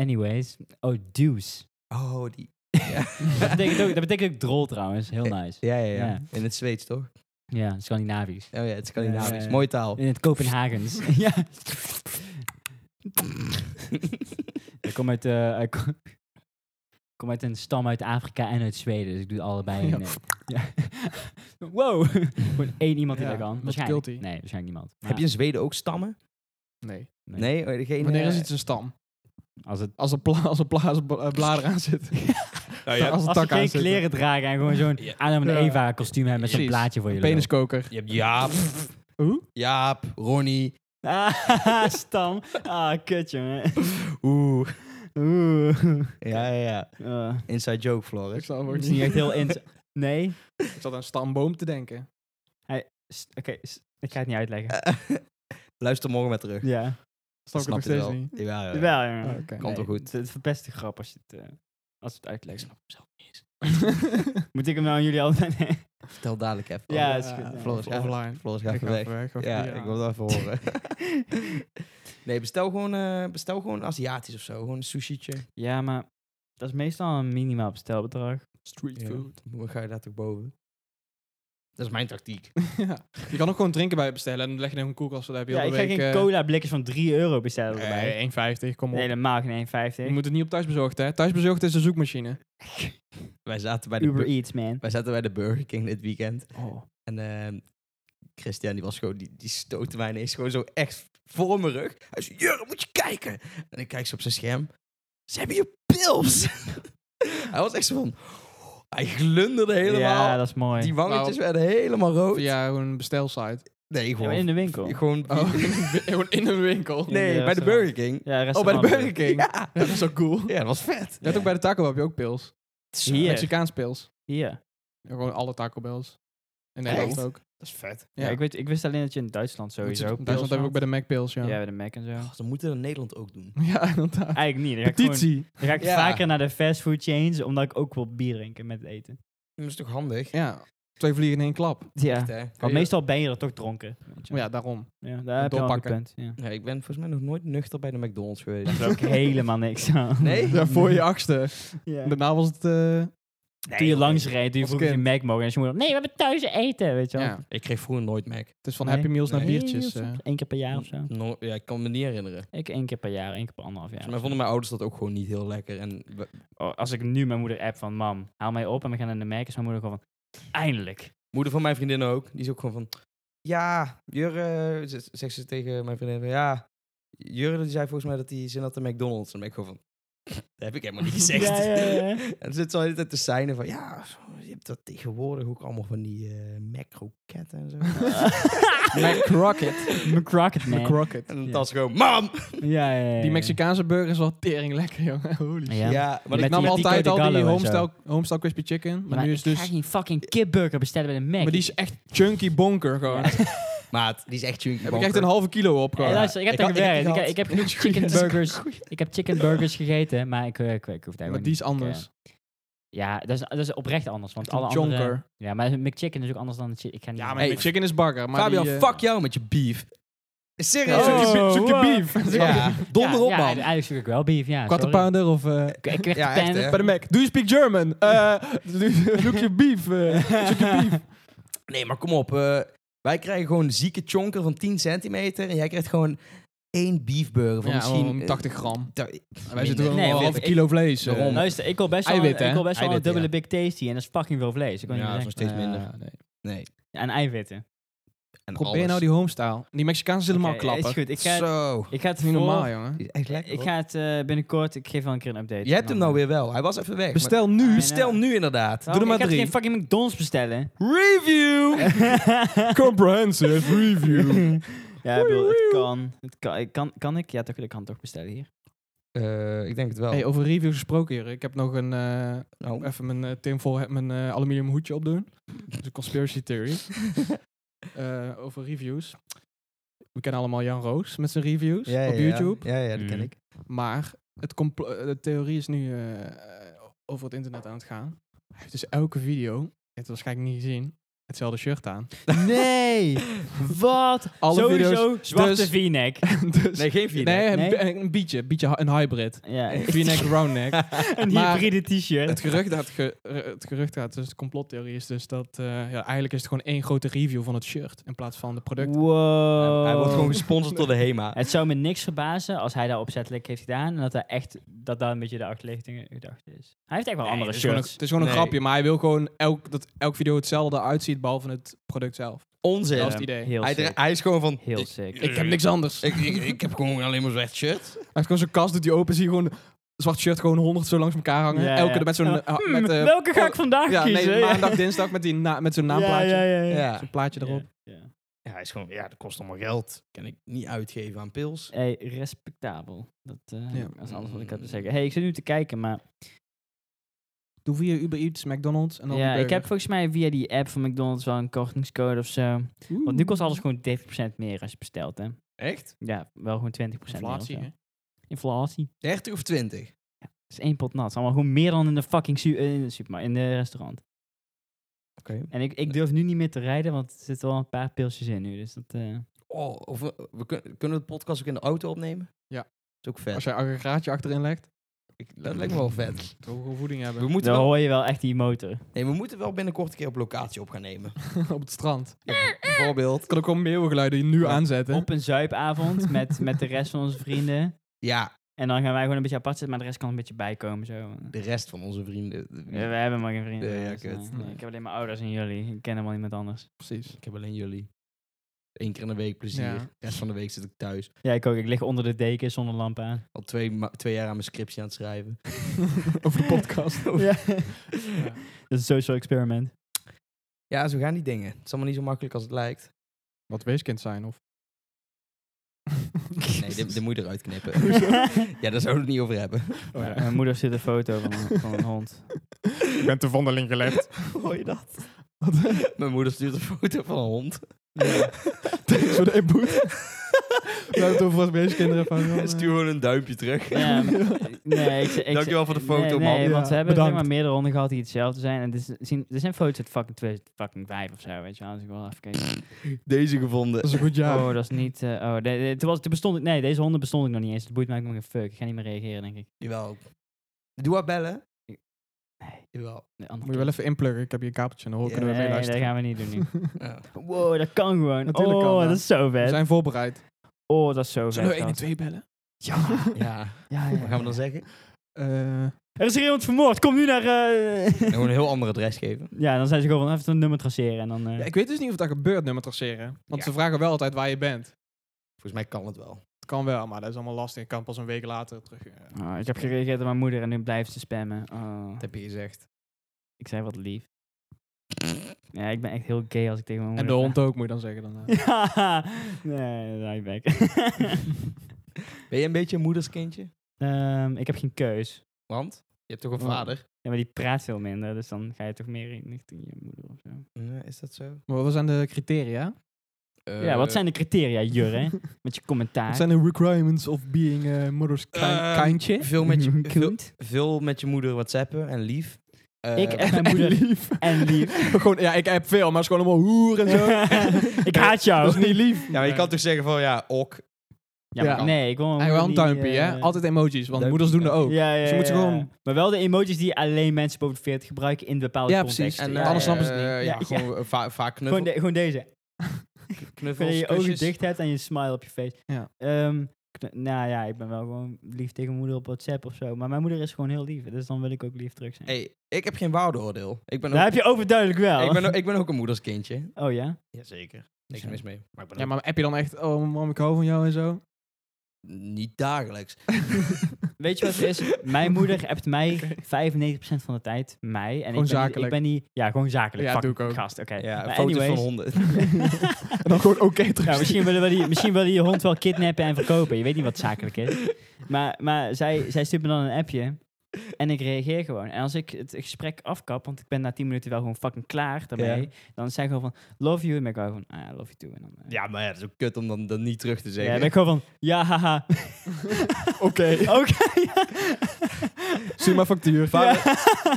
S2: Anyways. Oh, juice.
S1: Oh, die. Ja,
S2: [laughs] dat, betekent ook, dat betekent ook drol trouwens. Heel nice.
S1: [laughs] ja, ja, ja.
S2: Ja.
S1: In het Zweeds, toch?
S2: Eh. Ja, Scandinavisch.
S1: Oh ja, het is Scandinavisch.
S2: Ja, ja.
S1: Mooie taal.
S2: In het [laughs] Kopenhagens. ja. ik kom uit, eh, ik kom- ik kom uit een stam uit Afrika en uit Zweden, dus ik doe het allebei.
S4: Ja.
S2: in, eh, ja. [laughs] wow. [laughs] Gewoon één iemand die
S4: Ja,
S2: dat kan.
S4: wat
S2: Waarschijnlijk.
S4: guilty.
S2: Nee, waarschijnlijk niemand.
S1: Heb je in Zweden ook stammen?
S4: Nee.
S2: Ja,
S1: Nee, oh, degene,
S4: Wanneer is
S1: eh, [laughs]
S4: iets een stam?
S2: Als het
S4: Als er, pla als er, pla als er bla- eh, bladeren aan zitten.
S1: Nou, je, hebt,
S4: [laughs] als er
S2: als ze
S4: takken aan
S2: geen
S4: zitten.
S2: kleren dragen en gewoon zo'n
S1: Ja.
S2: Adam en
S4: Ja.
S2: Eva kostuum hebben met zo'n
S4: Precies.
S2: plaatje voor je lul.
S4: Peniskoker.
S1: je hebt Jaap.
S4: Hoe?
S1: Jaap, Ronnie.
S2: Ah, [laughs] stam. Ah, kut jongen.
S1: Oeh.
S2: Oeh.
S1: Ja, ja, ja.
S2: [laughs] Eh,
S1: Inside joke,
S4: Ik
S1: Floris. [laughs]
S4: snap het
S2: het
S4: ook
S2: is niet echt
S4: niet.
S2: heel in. Nee.
S4: Ik zat aan stamboom te denken.
S2: S- Oké, s- ik ga het niet uitleggen.
S4: Eh.
S1: Luister morgen met terug.
S2: ja.
S4: Snap ik het nog
S1: je
S4: steeds
S1: wel.
S4: niet.
S1: Jawel, ja, ja.
S2: Jawel, jongen.
S4: Ah, oké.
S1: Komt wel goed.
S2: Het, het verpest de grap als je het, eh, als je het uitlegt.
S1: Ik snap hem zelf niet eens.
S4: [laughs]
S2: Moet ik hem nou aan jullie altijd... [laughs]
S1: Vertel dadelijk even.
S2: Ja,
S1: Oh,
S2: is goed. Ja.
S1: Floris, ja.
S4: eh, Offline.
S1: Floris gaat even weg. Ja, ik wil dat even horen. [laughs] nee, bestel gewoon, eh, bestel gewoon Aziatisch of zo. Gewoon een sushietje.
S2: Ja, maar dat is meestal een minimaal bestelbedrag.
S4: Street
S1: Ja.
S4: food. [laughs]
S1: Dan ga je daar toch boven. Dat is mijn tactiek.
S4: Ja. Je kan ook gewoon drinken bij bestellen en dan leg je in een koelkast. Dan heb je
S2: Ja,
S4: heel
S2: ik
S4: de
S2: ga
S4: week,
S2: geen
S4: eh,
S2: cola blikjes van 3 euro bestellen erbij.
S4: Nee, 1,50. Kom op.
S2: Nee, helemaal geen 1,50.
S4: je moet het niet op thuisbezorgd, hè? Thuisbezorgd is een zoekmachine.
S1: Wij zaten bij de,
S2: Uber
S1: bur-
S2: Eats, man.
S1: wij zaten bij de Burger King dit weekend.
S2: Oh.
S1: En ehm, Christian, die was gewoon, die, die stootte mij ineens gewoon zo echt voor mijn rug. Hij zei, Jurre, moet je kijken. En ik kijk zo op zijn scherm. Ze hebben je pils. [laughs] Hij was echt zo van, hij glunderde helemaal.
S2: Ja, dat is mooi.
S1: die wangetjes
S4: Nou,
S1: werden helemaal rood.
S4: Via een bestelsite.
S1: Nee,
S2: Ja, maar
S1: gewoon.
S2: in de winkel.
S1: gewoon
S4: Oh, gewoon in een winkel.
S2: in
S1: nee,
S2: de
S1: bij de
S2: restaurant.
S1: Burger King.
S2: Ja,
S1: Oh, bij de
S2: restaurant.
S1: Burger King. Ja,
S4: Ja, dat is ook cool.
S1: ja dat was vet.
S4: Net ook bij de taco Bell heb je ook pils.
S1: Zo,
S2: Hier.
S1: Dat
S4: Mexicaans pils.
S2: Hier.
S4: Ja, Gewoon alle Taco Bells. In
S1: Echt?
S4: Nederland ook.
S1: is vet.
S2: Ja, ik, weet, ik wist alleen dat je in Duitsland
S4: Dat
S2: sowieso...
S4: is- in Duitsland hebben we ook bij de Mac Pils, ja. [laughs]
S2: Ja,
S4: Ja,
S2: bij de Mac en zo.
S1: Oh, ze moeten dat in Nederland ook doen.
S4: inderdaad.
S2: Eigenlijk niet. Dan ga ik, gewoon,
S4: Petitie.
S2: dan ga ik
S1: Ja.
S2: vaker naar de fastfood chains, omdat ik ook wil bier drinken met het eten.
S1: Dat is toch handig?
S4: Ja, twee vliegen in één klap.
S2: Ja.
S1: Echt, hè? Kun
S2: Want
S1: je-
S2: meestal ben je er toch dronken. weet je.
S4: Maar ja, daarom.
S2: Ja, daar heb je al een goed
S4: doorpakken.
S2: punt. Ja.
S1: Ja, ik ben volgens mij nog nooit nuchter bij de McDonald's geweest.
S2: Daar ook helemaal niks aan.
S4: [laughs]
S1: Nee?
S4: Ja, voor je achtste.
S2: [laughs] Ja.
S4: Daarna was het... eh,
S2: Toen je langs rijdt, toen je
S4: Als
S2: vroeg of je
S4: kind.
S2: Mac mogen. En ze moeder, nee, we hebben thuis eten, weet je wel.
S4: ja,
S2: Nee,
S1: Ik kreeg vroeger nooit Mac.
S4: het is van Happy Meals naar
S2: nee,
S4: biertjes.
S2: of
S4: eh.
S2: soms één keer per jaar of zo.
S1: No- ja, ik kan me niet herinneren.
S2: Ik één keer per jaar, één keer per anderhalf jaar.
S1: Volgens mij vonden mijn ouders dat ook gewoon niet heel lekker. En we-
S2: Oh, als ik nu mijn moeder app van, mam, haal mij op en we gaan naar de Mac, is mijn moeder gewoon van, eindelijk.
S1: moeder van mijn vriendin ook, die is ook gewoon van... Ja, Jurre, z- zegt ze tegen mijn vriendin. van, Ja, Jurre die zei volgens mij dat hij zin had in McDonald's. En dan ben ik gewoon van... [laughs] Dat heb ik
S2: [laughs]
S1: helemaal niet gezegd.
S2: Ja, ja, [laughs] ja.
S1: En dan zit ze al de hele tijd te zijn van... Ja, je hebt dat tegenwoordig ook allemaal van die eh Mac-kroketten
S2: [laughs]
S1: en zo.
S4: [laughs]
S1: [laughs]
S4: McCrocket. [laughs]
S2: McCrocket, man.
S4: McCrocket.
S1: en dan
S2: Ja.
S1: was ze gewoon... Mam!
S2: ja, ja, ja.
S4: Die Mexicaanse burger is wel tering lekker, jongen. Holy shit.
S2: Ja.
S1: Ja, maar
S2: Met
S1: ik nam
S4: nam
S2: die-
S1: al...
S2: Tico
S4: altijd
S2: de
S4: al
S2: Gallo
S4: die
S2: en zo.
S4: homestyle, homestyle crispy chicken. Maar, nu is
S2: ik ga
S4: dus...
S2: geen fucking kipburger bestellen bij de Mac.
S4: Maar die is echt chunky bonker gewoon.
S2: Ja.
S1: Maat, die is echt chunky
S4: Heb ik
S1: bonker.
S4: echt een halve kilo op
S2: Hey,
S4: gewoon.
S2: luister, ik heb
S1: Ik
S2: daar
S1: had- ik heb die
S2: gewerkt. Ik,
S1: gehad.
S2: ik heb genoeg chicken burgers. Ik heb chicken burgers gegeten, maar ik, eh, ik, ik hoef daar
S4: Maar
S2: gewoon
S4: die is
S2: niet- ik, eh,
S4: anders.
S2: Ja, dat is, dat is oprecht anders. Want
S4: Echt een
S2: alle andere...
S4: chonker.
S2: Ja, maar McChicken is ook anders dan... de chi- Ik ga niet
S4: Ja, maar
S1: Hey,
S4: chicken is bagger. Maar
S1: Fabian,
S4: die, eh,
S1: fuck jou met je beef.
S4: Ja,
S1: Serieus?
S4: zoek je,
S2: Oh,
S4: bie- zoek je
S2: wow.
S4: beef.
S1: Ja, donder op,
S2: ja,
S1: man.
S2: Eigenlijk zoek ik wel beef, ja.
S4: Quarter
S2: sorry.
S4: pounder of... eh,
S2: Ik, ik werd
S1: Ja,
S2: de
S1: echt,
S2: pen-
S1: hè?
S4: Bij de Mac. Do you speak German? Eh, doe- Zoek je beef. eh, zoek je beef.
S1: Nee, maar kom op. eh, wij krijgen gewoon een zieke chonker van 10 centimeter. En jij krijgt gewoon één beefburger van misschien... eh,
S4: gram.
S1: da-
S4: wij zitten
S1: nee,
S4: gewoon
S2: nee,
S4: een
S1: want
S4: halve
S1: ik-
S4: kilo vlees. eh.
S1: Daarom.
S2: Luister, ik wil best wel,
S4: Eiwit, hè?
S2: ik wil best wel een
S1: Eiwit,
S2: dubbele
S1: ja.
S2: Big Tasty. En dat is fucking veel vlees. Ik kan
S1: Ja,
S2: niet
S1: dat is nog
S2: zeggen.
S1: steeds
S4: Ja,
S1: minder.
S4: nee.
S1: Nee.
S2: En eiwitten.
S1: En
S4: Probeer
S1: alles.
S4: nou die homestyle. Die Mexicaanse is helemaal
S2: Oké,
S4: klappen.
S2: Is goed, ik ga,
S1: Zo.
S2: ik ga het
S4: is niet normaal,
S2: voor-
S4: jongen.
S1: Die is Echt lekker,
S2: Ik
S1: hoor.
S2: ga het eh, binnenkort, ik geef wel een keer een update.
S1: Je hebt hem nou weer wel. Hij was even weg. maar-
S4: Bestel nu.
S2: Ah,
S1: Bestel nu inderdaad.
S2: Doe
S4: er maar
S2: ik ga
S4: drie.
S2: geen fucking McDonald's bestellen.
S1: Review!
S4: Comprehensive
S2: [laughs]
S4: review.
S2: ja, ik bedoel, het kan. Het kan, ik kan. Kan ik? Ja, toch, ik kan toch bestellen hier.
S1: Eh, ik denk het wel.
S4: [laughs] Hey, oh, over reviews gesproken hier. Ik heb nog een... eh,
S1: Oh.
S4: even mijn eh, Tim vol mijn eh, aluminium hoedje opdoen. Dat is een conspiracy theory. Eh, over reviews. We kennen allemaal Jan Roos met zijn reviews
S1: Ja, ja,
S4: op
S1: ja.
S4: YouTube.
S1: Ja, ja, dat ken
S2: Mm.
S1: ik.
S4: Maar het complo- eh, de theorie is nu eh, eh, over het internet aan het gaan. Hij heeft dus elke video, je hebt het waarschijnlijk niet gezien, hetzelfde
S1: [laughs]
S4: shirt aan.
S2: Nee! Wat?
S4: Alle
S2: Sowieso zwarte
S4: dus-
S2: v-neck.
S4: [laughs] dus,
S1: Nee, geen vier.
S4: nee, een,
S2: nee.
S4: bi- een bietje, bietje, hy- een hybrid.
S2: Ja, [laughs]
S1: [laughs]
S4: V-neck, round neck.
S2: een
S4: Maar-
S2: hybride t-shirt.
S4: [laughs] Het gerucht gaat, ge- eh, het gerucht gaat, dus de complottheorie is dus dat, eh, ja, eigenlijk is het gewoon één grote review van het shirt in plaats van de product. Oh.
S2: Wow.
S1: Hij wordt gewoon gesponsord door de HEMA.
S2: Het zou me niks verbazen als hij dat opzettelijk heeft gedaan. En dat hij echt, dat daar een beetje de achterliggende gedachte is. Hij heeft echt wel
S1: Nee,
S2: andere
S1: dat is
S4: Het is gewoon
S2: shirts.
S4: een, het is gewoon een
S1: Nee.
S4: grapje, maar hij wil gewoon elk, dat elk video hetzelfde uitziet, behalve het product zelf.
S1: Onzin.
S4: dat is het idee.
S2: Heel
S1: Hij, dra-
S2: sick.
S1: hij is gewoon van...
S2: Heel
S1: ik-
S2: sick.
S4: Ik heb niks anders.
S1: Ik, ik, ik heb gewoon alleen maar zwart shirt.
S4: Hij heeft gewoon zo'n kast, doet die open, zie je gewoon zwart shirt gewoon honderd zo langs elkaar hangen.
S2: Ja,
S4: Elke
S2: ja.
S4: met zo'n...
S2: Ja,
S4: eh,
S2: hmm,
S4: met, eh,
S2: welke ga ik
S4: oh,
S2: vandaag
S4: Ja,
S2: kiezen?
S4: nee, maandag,
S2: [laughs]
S4: dinsdag met, die na- met zo'n naamplaatje.
S2: Ja, ja, ja.
S1: Ja.
S4: Zo'n plaatje erop.
S2: Ja.
S1: ja. Hij is gewoon... Ja, dat kost allemaal geld. Kan ik niet uitgeven aan pils.
S2: Hey, respectabel. Dat, eh,
S4: Ja.
S2: dat is alles wat ik had te zeggen. Hey, ik zit nu te kijken, maar
S4: Doe via Uber Eats, McDonald's en dan
S2: ja,
S4: die
S2: ik heb
S4: burger.
S2: volgens mij via die app van McDonald's wel een kortingscode of zo. Want nu kost alles gewoon 30% meer als je bestelt, hè?
S1: Echt?
S2: Ja, wel gewoon 20%
S4: Inflatie,
S2: meer.
S4: hè?
S2: of zo. Inflatie.
S1: 30 of 20?
S2: Dat is één pot nat. Het is allemaal gewoon meer dan in de fucking su- eh, in de supermarkt, in de restaurant. En ik, ik durf nu niet meer te rijden, want er zitten wel een paar pilsjes in nu. Dus dat, eh,
S1: Oh, of we, we kun- kunnen we de podcast ook in de auto opnemen?
S4: Ja.
S1: is ook vet.
S4: Als jij een aggregaatje achterin legt,
S1: Ik, dat lijkt me wel vet.
S4: dan wil je gewoon
S1: [laughs]
S4: voeding
S1: We
S4: hebben
S1: moeten,
S2: dan
S1: wel,
S2: hoor je wel echt die motor.
S1: nee, we moeten wel binnenkort een keer op locatie op gaan nemen.
S4: [laughs] op het strand.
S1: Ja, bijvoorbeeld.
S4: Ik kan ook wel meeuwengeluiden nu
S1: Ja.
S4: aanzetten.
S2: Op een zuipavond met, met de rest van
S1: [laughs]
S2: onze vrienden.
S1: Ja,
S2: En dan gaan wij gewoon een beetje apart zitten, maar de rest kan een beetje bijkomen. Zo.
S1: de rest van onze vrienden.
S2: We, we hebben maar geen vrienden.
S1: Ja, ja,
S2: dus, eh,
S1: kut.
S2: nee, ik heb alleen mijn ouders en jullie. Ik ken helemaal niemand anders.
S4: Precies.
S1: Ik heb alleen jullie. Eén keer in de week plezier.
S4: Ja.
S1: De rest van de week zit ik thuis.
S2: Ja, ik ook. Ik lig onder de deken zonder lamp aan.
S1: Al twee, ma- twee jaar aan mijn scriptie aan het schrijven.
S4: [laughs] Over de podcast.
S2: [laughs] ja. Dat is een social [laughs] experiment.
S1: Ja, zo gaan die dingen. Het is allemaal niet zo makkelijk als het lijkt.
S4: Wat weeskind zijn, of?
S1: Nee, dit, dit moet je eruit knippen.
S2: [laughs]
S4: Hoezo?
S1: ja, daar zouden we het niet over hebben.
S4: Oh, ja.
S2: Ja, Mijn moeder zit een foto van, een- van een hond.
S4: Ik ben te vondeling gelegd.
S2: [laughs]
S1: Hoor je dat? [laughs] Mijn moeder stuurt een foto van een hond. [laughs]
S4: Thanks voor de input. We hebben het over als weeskinderen van, joh, eh.
S1: Stuur gewoon een duimpje terug. [laughs]
S2: Ja, maar- eh, nee, ik, ik,
S1: Dankjewel voor de foto,
S2: nee,
S1: man.
S2: Nee, want
S4: Ja,
S2: ze hebben zeg
S4: bedankt.
S2: maar meerdere honden gehad die hetzelfde zijn. En dit is- zien, er zijn foto's uit fucking 2005 of zo, weet je wel. Als ik wel even keek.
S1: Deze gevonden.
S4: Dat is een goed jaar.
S2: Oh, dat is niet... eh, oh, de- de- toen was, toen bestond ik... Nee, deze honden bestond ik nog niet eens. Het boeit mij ook nog geen fuck. Ik ga niet meer reageren, denk ik.
S1: Jawel. Doe haar bellen.
S2: Nee.
S1: Jawel.
S2: De andere
S4: Moet je wel even inpluggen. Ik heb hier een kabeltje. Dan hoor-
S1: Ja,
S4: kunnen we
S2: nee,
S4: mee
S2: nee, dat
S4: luisteren.
S2: gaan we niet doen nu.
S4: [laughs]
S1: Ja.
S2: [laughs] Wow, dat kan gewoon.
S4: Natuurlijk
S2: oh,
S4: kan dat.
S2: dat is zo
S4: We
S2: vet.
S4: zijn voorbereid.
S2: Oh, dat is zo vet. gast.
S4: 2 bellen?
S2: [laughs] Ja.
S1: ja.
S2: Ja, ja,
S1: Wat gaan we dan
S2: ja.
S1: zeggen?
S4: Eh,
S2: Er is hier iemand vermoord. Kom nu naar... eh,
S1: En gewoon een heel ander adres geven.
S2: [laughs] Ja, dan zijn ze gewoon van even een nummer traceren en dan... eh,
S4: ja, ik weet dus niet of dat gebeurt, nummer traceren. Want
S1: Ja.
S4: ze vragen wel altijd waar je bent.
S1: Volgens mij kan het wel.
S4: Het kan wel, maar dat is allemaal lastig. Ik kan pas een week later terug. eh.
S2: oh, ik heb gereageerd op mijn moeder en nu blijft ze spammen. Oh,
S1: Dat heb je gezegd.
S2: ik zei wat lief. Ja, ik ben echt heel gay als ik tegen mijn
S4: En
S2: moeder...
S4: de hond ook, moet je dan zeggen. Dan, eh.
S2: Ja, [laughs] nee, dat ik back. [laughs]
S1: Ben je een beetje een moederskindje?
S2: Ehm, ik heb geen keus.
S1: Want? Je hebt toch een
S2: Oh.
S1: vader?
S2: Ja, maar die praat veel minder, dus dan ga je toch meer richting je moeder of zo.
S1: Nee, is dat zo?
S4: [laughs] Maar wat zijn de criteria?
S2: ja, wat zijn de criteria,
S4: [laughs]
S2: Jurre? Met je commentaar.
S4: Eh, Wat zijn de requirements of being eh mothers ki-
S1: Ehm,
S4: [laughs] kindje?
S1: Veel met je, [laughs] veel,
S2: Kunt.
S1: veel met je moeder whatsappen en lief. Eh,
S2: Ik [laughs] en mijn moeder.
S4: lief.
S2: En
S4: [laughs]
S2: lief.
S4: gewoon, ja, ik heb veel, [laughs] maar het is gewoon allemaal hoer
S2: [laughs]
S4: en zo.
S2: ik haat jou.
S4: Dat is niet lief.
S1: Ja, maar je kan toch zeggen van ja, ok.
S2: Ja, maar
S4: Ja.
S2: nee, ik wil mijn
S4: En wel een
S2: moeder niet,
S4: duimpje,
S2: eh,
S4: hè? Altijd emojis, want
S1: duimpje,
S4: moeders doen dat ook.
S2: Ja, ja,
S4: Dus je moet ze
S2: ja.
S4: gewoon-
S2: Maar wel de emojis die alleen mensen boven de 40 gebruiken in bepaalde
S4: Ja,
S2: contexten.
S4: precies.
S1: En
S4: Ja,
S1: eh,
S4: anders snappen ze het
S1: eh,
S4: niet.
S1: Ja,
S2: Ja,
S1: gewoon eh, va- vaak knuffel,
S2: Gewoon, de- gewoon deze. Wanneer
S1: knuffels,
S2: je je ogen
S1: kusjes.
S2: dicht hebt en je smile op je face.
S4: Ja.
S2: Ehm, kn- nou ja, ik ben wel gewoon lief tegen mijn moeder op WhatsApp of zo. Maar mijn moeder is gewoon heel lief. Dus dan wil ik ook lief terug zijn.
S1: Hey, ik heb geen waardeoordeel. Ik ben
S2: dat
S1: ook,
S2: heb je overduidelijk wel.
S1: ik ben, ook- ik ben ook een moederskindje.
S2: Oh ja?
S1: Jazeker. Niks
S2: Zo.
S1: mis mee. Maar ik ben
S4: Ja,
S1: ook
S4: maar heb je dan echt, oh mam, ik hou van jou en zo?
S1: niet dagelijks.
S2: [laughs] Weet je wat het
S1: [laughs]
S2: is? Mijn moeder
S4: [laughs]
S2: appt mij 95% van de tijd. Mij. En
S4: Gewoon
S2: ik ben, niet-
S4: zakelijk.
S2: Ik ben niet... Ja, gewoon zakelijk.
S4: Ja,
S2: Fuck,
S4: doe ik ook.
S2: Gast, oké.
S1: Ja,
S2: Maar
S1: foto's
S2: anyways.
S1: van honden. [laughs]
S4: En dan gewoon oké terug.
S2: Nou, misschien willen we die, misschien willen die hond wel kidnappen en verkopen. Je weet niet wat zakelijk is. Maar, maar zij, zij stuurt me dan een appje. En ik reageer gewoon. En als ik het gesprek afkap, want ik ben na 10 minuten wel gewoon fucking klaar daarmee.
S1: Ja.
S2: Dan zeg ik gewoon van, love you. En ben ik wel gewoon, ah, I love you too. En dan, eh,
S1: Ja, maar ja, dat is ook kut om dan, dan niet terug te
S2: ja,
S1: zeggen.
S2: ben ik gewoon van, ja, haha.
S4: [laughs] Oké.
S2: Oké.
S4: Stuur maar factuur.
S1: Fabian,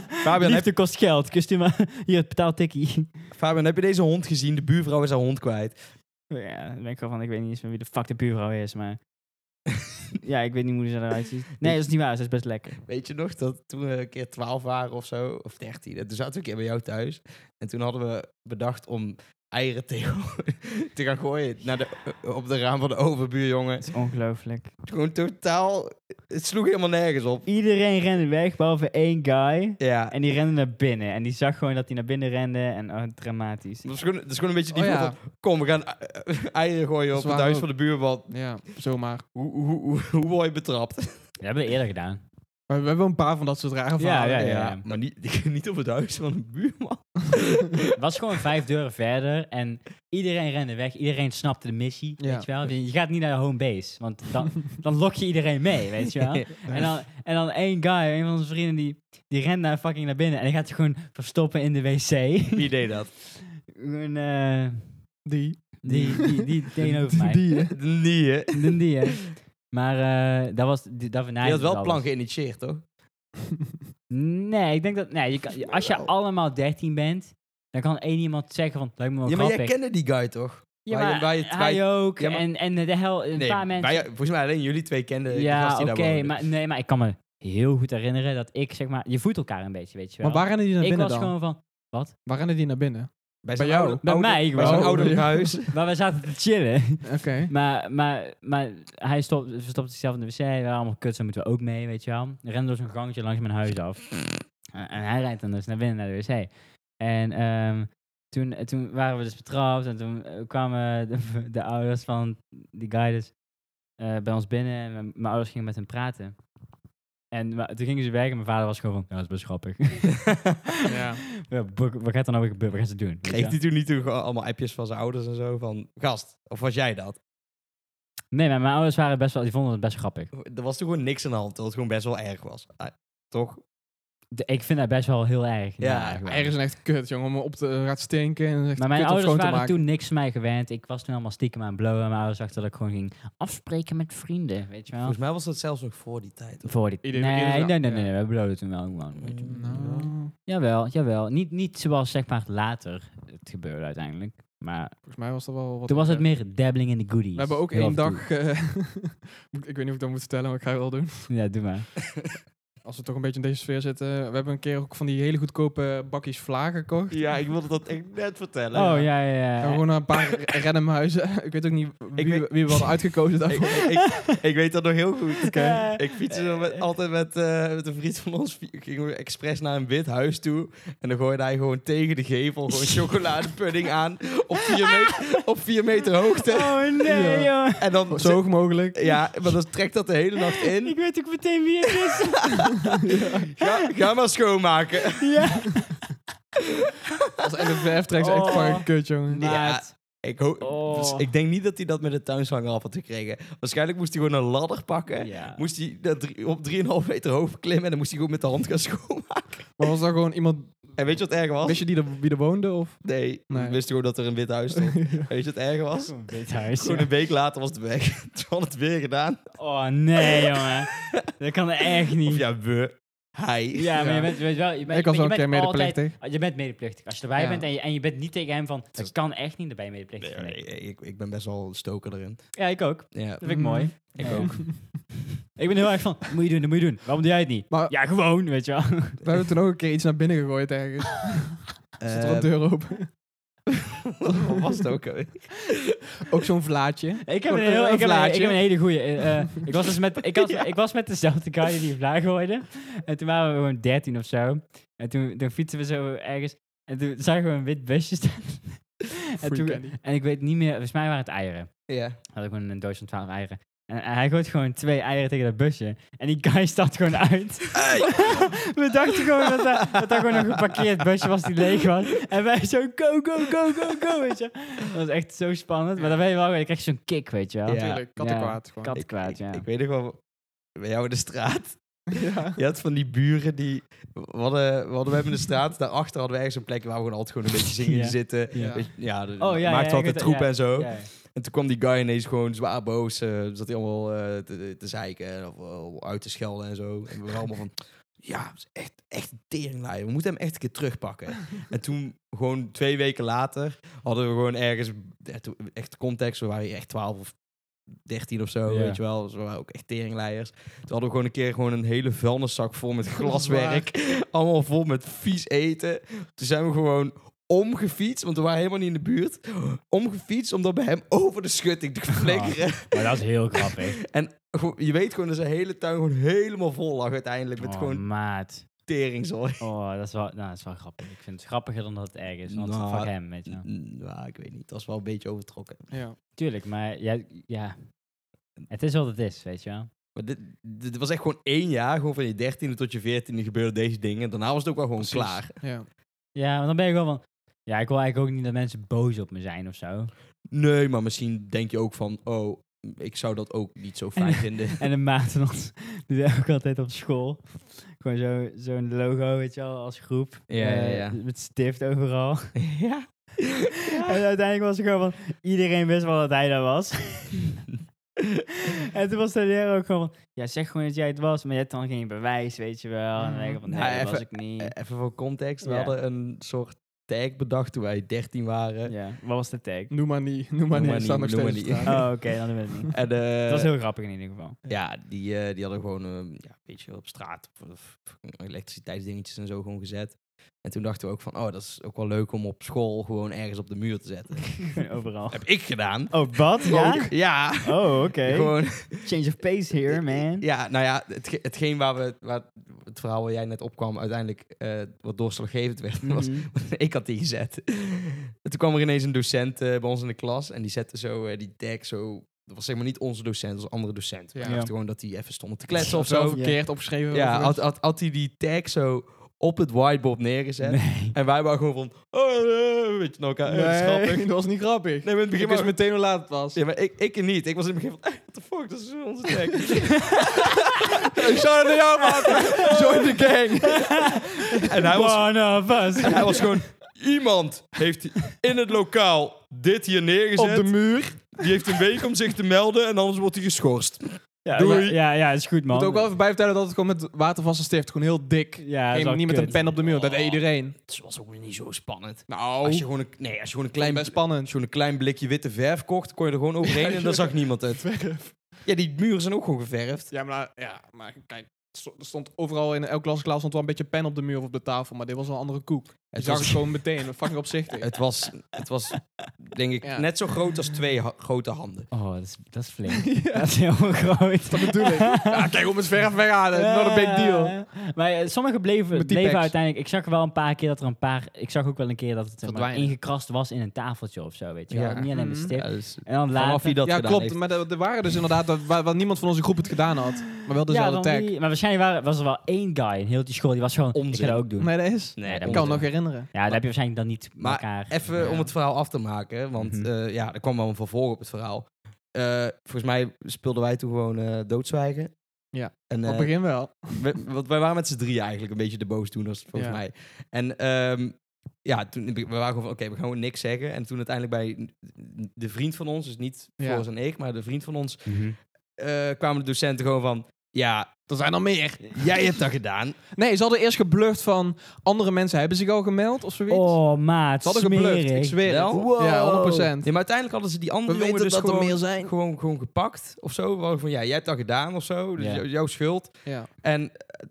S1: Fabian, heb,
S2: Liefde kost geld. Kust u maar, hier, betaal tikkie. [laughs]
S1: Fabian, heb je deze hond gezien? De buurvrouw is haar hond kwijt.
S2: Ja, dan ben ik gewoon van, ik weet niet eens meer wie de fuck de buurvrouw is,
S1: [laughs]
S2: maar... Ja, ik weet niet hoe ze eruit ziet. Nee, dat is niet waar. Ze is best lekker.
S1: Weet je nog dat toen we een keer 12 waren of zo, of 13, en toen zaten we een keer bij jou thuis. En toen hadden we bedacht om eieren te, [laughs] te gaan gooien naar de, op de raam van de overbuurjongen.
S2: Het is ongelooflijk.
S1: Gewoon totaal, het sloeg helemaal nergens op.
S2: Iedereen rende weg, behalve één guy.
S1: Ja,
S2: En die rende naar binnen. En die zag gewoon dat hij naar binnen rende. En oh, dramatisch.
S1: dat is gewoon, dat is gewoon een beetje die
S4: Oh ja.
S1: van, kom, we gaan eh, eh, eieren gooien op
S4: Dat is
S1: het
S4: waar
S1: huis
S4: ook.
S1: van de buurman.
S4: Ja, zomaar.
S1: Hoe, hoe, hoe, hoe word je betrapt?
S2: Dat hebben we eerder gedaan.
S4: Maar we hebben wel een paar van dat soort rare verhalen.
S2: Ja, ja, ja.
S1: maar niet, [laughs] niet op het huis van de buurman.
S2: Het was gewoon vijf deuren verder. En iedereen rende weg. Iedereen snapte de missie.
S4: Ja.
S2: Weet je wel? Je je gaat niet naar de home base. Want dan, dan lok je iedereen mee,
S1: [laughs]
S2: weet je wel? En dan, en dan één guy, een van onze vrienden, die, die rent naar fucking naar binnen. En die gaat zich gewoon verstoppen in de wc. [laughs]
S1: Wie deed dat?
S2: Gewoon, eh,
S4: Die.
S2: die, die, die
S1: [laughs]
S2: tegenover mij.
S4: Die. hè?
S1: Nee,
S2: [laughs]
S1: hè?
S2: Die, die, hè. Maar eh, dat was... Die, dat
S1: Je had wel
S2: dus.
S1: plan geïnitieerd, toch?
S2: Nee, ik denk dat. Nee, je kan, je- als je
S1: Wel.
S2: allemaal 13 bent, Dan kan één iemand zeggen van, lijkt me wel
S1: Ja, maar jij
S2: grappig.
S1: kende die guy toch?
S2: ja,
S1: waar je-
S2: maar
S1: waar je- waar
S2: hij
S1: je-
S2: ook.
S1: ja, maar-
S2: en, en de hel, een paar mensen.
S1: wij, volgens mij alleen jullie twee kenden die gast
S2: ja,
S1: die daar
S2: oké,
S1: woonde. dus-
S2: maar, nee, maar ik kan me heel goed herinneren dat ik, zeg maar, je voedt elkaar een beetje, weet je wel.
S4: Maar waar rennen die naar
S2: ik
S4: binnen
S2: was
S4: dan?
S2: gewoon van,
S4: Waar rennen die naar binnen?
S1: Bij,
S4: Bij
S1: zijn
S4: jou?
S1: oude-
S2: bij
S1: oude-
S2: mij
S1: Bij zijn
S2: gewoon.
S4: Oh,
S1: ouderlijk
S4: ja.
S1: huis.
S2: Maar we zaten te chillen.
S4: [laughs] Oké.
S2: Maar, maar, maar hij stopt, verstopt zichzelf in de wc. We waren allemaal kut, zo moeten we ook mee, weet je wel. We Rennen door zo'n gangetje langs mijn huis af. En, en hij rijdt dan dus naar binnen naar de wc. En ehm, toen, eh, toen waren we dus betrapt. En toen eh, kwamen de, [laughs] de ouders van die guy dus eh, bij ons binnen. En mijn, mijn ouders gingen met hem praten. En wa- toen gingen ze weg en mijn vader was gewoon van, ja, dat is best grappig.
S4: Ja.
S2: [laughs] Ja, wat wat gaat er nou weer gebeuren? Wat gaan ze doen? weet je
S1: Kreeg
S2: wel?
S1: hij toen niet toen gewoon allemaal appjes van zijn ouders en zo van... Gast, of was jij dat?
S2: Nee, maar mijn ouders waren best wel, die vonden het best grappig.
S1: Er was toen gewoon niks aan de hand, dat het gewoon best wel erg was. Ah, toch?
S2: De- ik vind dat best wel heel erg.
S1: Ja,
S2: naar gewoon.
S4: Ergens een echt kut, jongen. Om op te eh, gaat stinken en echt
S2: Maar mijn
S4: kut om
S2: ouders
S4: schoon te
S2: waren
S4: maken.
S2: toen niks van mij gewend. Ik was toen allemaal stiekem aan het blowen. Mijn ouders dachten dat ik gewoon ging afspreken met vrienden, weet je wel.
S1: Volgens mij was dat zelfs nog voor die tijd. hoor.
S2: Voor die...
S4: Ieder-
S2: nee,
S4: ieder-
S2: nee, nee, nee,
S4: ja.
S2: nee, we blowden toen wel gewoon. weet je.
S4: Nou,
S2: Jawel, jawel. Niet, niet zoals zeg maar later het gebeurde uiteindelijk. Maar
S4: volgens mij was dat wel wat...
S2: toen was het
S4: meer.
S2: meer dabbling in de goodies.
S4: We hebben ook
S2: Heel
S4: één
S2: af en toe.
S4: dag... eh, [laughs] moet- ik weet niet of ik dat moet vertellen, maar ik ga het wel doen.
S2: [laughs] Ja, doe maar.
S4: Als we toch een beetje in deze sfeer zitten. eh, We hebben een keer ook van die hele goedkope bakjes vla gekocht.
S1: Ja, ik wilde dat echt net vertellen.
S2: Oh, ja, ja,
S4: En
S2: ja.
S4: gewoon naar een paar [laughs] randomhuizen. [laughs] ik weet ook niet wie,
S1: weet-
S4: wie we hadden uitgekozen
S1: Ik,
S2: [laughs]
S4: daarvoor.
S1: ik, ik weet dat nog heel goed.
S2: Oké.
S1: Ik fietste dan met, altijd met, eh, met een vriend van ons. vi- Gingen we expres naar een wit huis toe. En dan gooide hij gewoon tegen de gevel [laughs] gewoon chocoladepudding aan. Op vier, meter, op vier meter hoogte.
S2: Oh,
S4: [laughs]
S2: nee, joh.
S1: En dan
S4: Zo hoog mogelijk.
S1: Ja, maar dan trekt dat de hele nacht
S2: Ik
S1: in.
S2: weet ook meteen wie het
S4: [laughs]
S2: is.
S1: Ga, ga maar schoonmaken.
S2: ja.
S4: Als en de verf trekt is echt
S2: Oh.
S4: fucking kut, jongen.
S1: Ja.
S2: Maat.
S1: Ik, ho-
S2: Oh.
S1: dus ik denk niet dat hij dat met de tuinslang af had gekregen. Waarschijnlijk moest hij gewoon een ladder pakken.
S2: Ja.
S1: Moest hij dat drie- op 3,5 meter hoog klimmen en dan moest hij gewoon met de hand gaan schoonmaken.
S4: Maar was dat gewoon iemand...
S1: En weet je wat erg was?
S4: Wist je die er, wie er woonde? Of?
S1: Nee,
S4: Nee.
S1: we wisten gewoon dat er een wit huis
S2: [laughs]
S1: stond. En weet je wat erg was?
S2: Dit huis.
S1: Gewoon een week later was het weg. [laughs] Toen had het weer gedaan.
S2: Oh
S4: [laughs]
S2: nee, jongen. Dat kan echt
S1: Of
S2: niet. Ja,
S1: ja, we. Hij. [laughs]
S2: maar
S4: Ja.
S2: je bent, je bent wel... Je bent,
S4: ik was
S2: je
S4: wel een
S2: bent
S4: keer
S2: altijd-
S4: medeplichtig.
S2: Je bent medeplichtig. Als je erbij
S4: Ja.
S2: bent en je, en je bent niet tegen hem van... Dat kan echt niet, dan ben je
S1: Nee,
S2: medeplichtig.
S1: nee,
S2: Nee.
S1: ik, ik ben best wel stoker erin.
S2: Ja, ik ook.
S1: Ja,
S2: Dat vind ik
S4: Mm.
S2: mooi.
S1: ik
S2: Ja.
S1: ook.
S2: [laughs] Ik ben heel erg van... Dat moet je doen, dat moet je doen. Waarom doe jij het niet?
S4: Maar-
S2: ja, gewoon,
S4: [laughs]
S2: weet je wel.
S4: We hebben toen ook een keer iets naar binnen gegooid
S2: [laughs]
S4: ergens. Zit er een
S1: Eh,
S4: deur open.
S1: [laughs] wat was het ook? alweer?
S4: Ook zo'n vlaatje.
S2: Ik heb
S4: Gewoon
S2: een,
S4: een
S2: heel, ik heb een,
S4: vlaatje.
S2: ik heb een hele goeie. eh, eh, ik, was dus met,
S4: [laughs]
S2: ik, had, ik was met dezelfde guy die die vlaag gooide. En toen waren we gewoon 13 of zo. En toen, toen fietsen we zo ergens. En toen zagen we een wit busje staan. [laughs] En,
S4: Free
S2: toen,
S4: candy.
S2: en ik weet niet meer, volgens mij waren het eieren.
S1: Ja.
S2: had ik gewoon een doos van 12 eieren. En en hij gooit gewoon twee eieren tegen dat busje. En die guy [laughs] stapt gewoon uit. [laughs] We dachten gewoon dat dat, dat dat gewoon een geparkeerd busje was die leeg was. En wij zo go, go, go, go, go, weet je. Dat was echt zo spannend. Maar dan weet je wel, je krijgt zo'n kick, weet je wel.
S1: Ja.
S4: Natuurlijk, kattenkwaad gewoon.
S2: Kat-
S1: Ik-
S2: kwaad,
S1: ik,
S2: ja.
S1: Ik weet nog wel, bij jou in de straat.
S4: [laughs] [laughs] Ja.
S1: Je had van die buren die... We hadden, we hadden we hebben in de straat, daarachter hadden we ergens een plek waar we gewoon altijd gewoon een beetje zingen
S2: Ja.
S1: zitten.
S4: Ja.
S1: Weet je, Ja, de-
S2: Oh, ja, ja,
S1: maakte
S2: ik
S1: altijd
S2: weet-
S1: troep
S2: ja,
S1: en zo.
S2: Ja.
S1: En toen kwam die guy ineens gewoon zwaar boos. eh, zat hij allemaal eh, te, te zeiken en of, eh, uit te schelden en zo. En we waren allemaal van... Ja, het is echt, echt een teringlaai. We moeten hem echt een keer terugpakken. en toen, gewoon twee weken later, hadden we gewoon ergens... ja, toen- Echt context, we waren hier echt 12 of 13 of zo,
S2: Ja.
S1: weet je wel. Dus we waren ook echt teringleiers. Toen hadden we gewoon een keer gewoon een hele vuilniszak vol met glaswerk. allemaal vol met vies eten. Toen zijn we gewoon omgefietst, want we waren helemaal niet in de buurt. Omgefietst om dat bij hem over de schutting te flikkeren. [laughs]
S2: Maar dat is heel grappig.
S1: Gewoon- Je weet gewoon dat zijn hele tuin gewoon helemaal vol lag uiteindelijk. Met
S2: Oh,
S1: gewoon
S2: maat.
S1: teringzooi.
S2: Oh, dat is, wel, nou, dat is wel grappig. Ik vind het grappiger dan dat het erg is. Want
S1: Nou,
S2: fuck hem, weet je
S1: [laughs]
S2: wel.
S1: Nou, ik weet niet. Dat was wel een beetje overtrokken.
S4: Ja.
S2: Tuurlijk, maar ja, ja. Het is wat het is, weet je wel.
S1: Maar dit, dit was echt gewoon één jaar. Gewoon van je dertiende tot je veertiende gebeurden deze dingen. Daarna was het ook wel gewoon klaar.
S4: Ja.
S2: Ja, maar dan ben ik wel van... Ja, ik wil eigenlijk ook niet dat mensen boos op me zijn of zo.
S1: Nee, maar misschien denk je ook van... Oh, ik zou dat ook niet zo fijn vinden.
S2: En een maat van [laughs] ons doet dat ook altijd op school. Gewoon zo- zo'n logo, weet je wel, als groep.
S1: Ja, ja,
S2: Eh,
S1: ja.
S2: Met stift overal.
S1: [laughs] ja.
S2: En uiteindelijk was het gewoon van... Iedereen wist wel dat hij dat was. [laughs] en toen was de leraar ook gewoon van... Ja, zeg gewoon dat jij het was, maar je hebt dan geen bewijs, weet je wel. En dan denk ik van, nee,
S1: Nou,
S2: dat was
S1: even-
S2: ik niet.
S1: Even voor context, we
S2: Ja.
S1: hadden een soort tag bedacht toen wij 13 waren.
S2: Ja, wat was
S1: [laughs]
S2: de tag?
S4: Noem maar niet, noem maar
S1: Noem
S4: niet.
S1: maar
S4: het staat nog
S1: niet,
S4: steeds
S1: noem
S4: op
S1: maar niet.
S4: straat. [laughs]
S2: Oh, oké, dan weet ik niet.
S1: En, eh,
S2: dat was heel grappig in ieder
S1: [laughs]
S2: geval.
S1: Ja, die, eh, die hadden gewoon eh, ja, een beetje op straat of- of elektriciteitsdingetjes en zo gewoon gezet. En toen dachten we ook van, oh, dat is ook wel leuk om op school gewoon ergens op de muur te
S2: [laughs]
S1: zetten.
S2: Overal.
S1: Heb ik gedaan.
S2: Oh, wat? Ja?
S1: Ja.
S2: Oh,
S1: [laughs]
S2: oké.
S1: Gewoon,
S2: Change of
S1: [laughs]
S2: pace here, man.
S1: ja, nou ja, hetge- hetgeen waar we, waar het verhaal waar jij net opkwam, uiteindelijk eh, wat doorslaggevend
S2: [laughs]
S1: werd, was
S2: Mhm.
S1: [laughs] ik had die gezet. En toen kwam er ineens een docent eh, bij ons in de klas en die zette zo eh, die tag zo. Dat was zeg maar niet onze docent, dat was een andere docent.
S4: Ja.
S1: Maar ik dacht gewoon dat die even stonden te kletsen
S4: Of
S1: of
S4: zo
S1: zo.
S4: verkeerd opgeschreven.
S1: Ja,
S4: of
S1: had,
S4: [laughs] iets.
S1: had, had hij die tag zo op het whiteboard neergezet.
S2: Nee.
S1: En wij waren gewoon van, oh, eh, weet je nog, eh, dat is grappig.
S4: Nee, [laughs] dat was niet grappig.
S1: Nee, maar in het begin
S4: ik
S1: was
S4: wist meteen hoe laat het was.
S1: Ja, maar ik, ik niet. Ik was in het begin van, eh, what the fuck, dat is onze tag.
S4: [laughs]
S1: [laughs]
S4: Ik zou het naar jou maken. [laughs] Join the gang.
S1: en Nou, hij was,
S2: One of us.
S1: en hij was gewoon, iemand heeft in het lokaal dit hier neergezet.
S4: Op de muur.
S1: Die heeft een week om zich te melden en anders wordt hij geschorst.
S2: Ja,
S1: Doei.
S2: Ja, ja, ja, is goed,
S4: Ik
S2: man.
S4: moet ook wel even bij vertellen dat het gewoon met watervaste stift. Gewoon heel dik.
S2: Ja,
S4: Geen-
S2: is wel
S4: niet met
S2: kut.
S4: een pen op de muur. Dat deed iedereen.
S1: Het was ook niet zo spannend.
S4: Nou, [laughs]
S1: Als je gewoon een, nee, als je gewoon een klein,
S4: best
S1: als
S4: spannend.
S1: je gewoon een klein blikje witte verf kocht, kon je er gewoon overheen en dan zag niemand het. Ja, die muren zijn ook gewoon geverfd.
S4: Ja, maar, ja, maar kijk. sto- Er stond overal in elk klasklaar stond wel een beetje pen op de muur of op de tafel, maar dit was wel een andere koek. Je
S1: Het
S4: zag
S1: was,
S4: het gewoon meteen, dat fucking [laughs] opzichtig.
S1: het was, het was denk ik,
S4: Ja.
S1: net zo groot als twee ha- grote handen.
S2: Oh, dat is, dat is flink. [laughs] Dat is heel groot. Dat
S4: bedoel [laughs] ik. Ja, kijk, om het verf weghalen, eh, not a big deal.
S2: [laughs] Maar eh, sommige bleven,
S4: Met die
S2: bleven
S4: packs.
S2: uiteindelijk... Ik zag wel een paar keer dat er een paar... Ik zag ook wel een keer dat het zeg maar,
S1: Verdwijnen.
S2: ingekrast was in een tafeltje of zo, weet je wel.
S1: Ja.
S2: Niet alleen met
S4: Mhm.
S2: stip.
S1: dus
S2: En dan
S1: vanaf
S2: later...
S1: wie dat
S4: Ja,
S1: gedaan
S4: klopt,
S1: heeft.
S4: maar er er waren dus inderdaad, dat- waar, waar niemand van onze groep het gedaan had, maar wel
S2: ja,
S4: dezelfde
S2: dan
S4: tag.
S2: die- maar waarschijnlijk waren, was er wel één guy in heel die school. Die was gewoon, ik
S1: Onzin.
S2: ga dat ook doen.
S4: Nee, dat is.
S1: Nee,
S2: Ja,
S1: dat
S4: ik
S1: moet
S4: kan me
S1: er.
S4: nog herinneren.
S2: Ja, dat heb je waarschijnlijk dan niet met
S1: Maar
S2: elkaar.
S1: Even
S4: Ja.
S1: om het verhaal af te maken, want
S2: Mhm.
S1: eh, ja, er kwam wel een vervolg op het verhaal. Eh, volgens mij speelden wij toen gewoon eh, doodzwijgen.
S4: Ja.
S1: En,
S4: Op
S1: eh,
S4: het begin wel.
S1: We- want wij waren met z'n drie eigenlijk een beetje de boosdoeners, volgens
S4: Ja.
S1: mij. En ehm, ja, toen, we waren gewoon van, oké, we gaan gewoon niks zeggen. En toen uiteindelijk bij de vriend van ons, dus niet
S4: Ja.
S1: Floris en ik, maar de vriend van ons,
S2: Mhm.
S1: eh, kwamen de docenten gewoon van, ja,
S4: Er zijn er meer.
S1: jij hebt dat gedaan.
S4: Nee, ze hadden eerst gebluft van andere mensen hebben zich al gemeld of zoiets.
S2: Oh, maat,
S4: ze hadden gebluft, ik
S2: smerig.
S4: zweer het.
S1: Wel?
S4: Ja, 100%.
S1: Nee, maar uiteindelijk hadden ze die andere
S4: We weten
S1: jongen dus
S4: dat er
S1: gewoon,
S4: meer
S1: zijn. Gewoon, gewoon gepakt of zo. We waren Van, ja, jij hebt dat gedaan of zo, dus
S2: Ja.
S1: jou- jouw schuld.
S4: Ja.
S1: En... eh,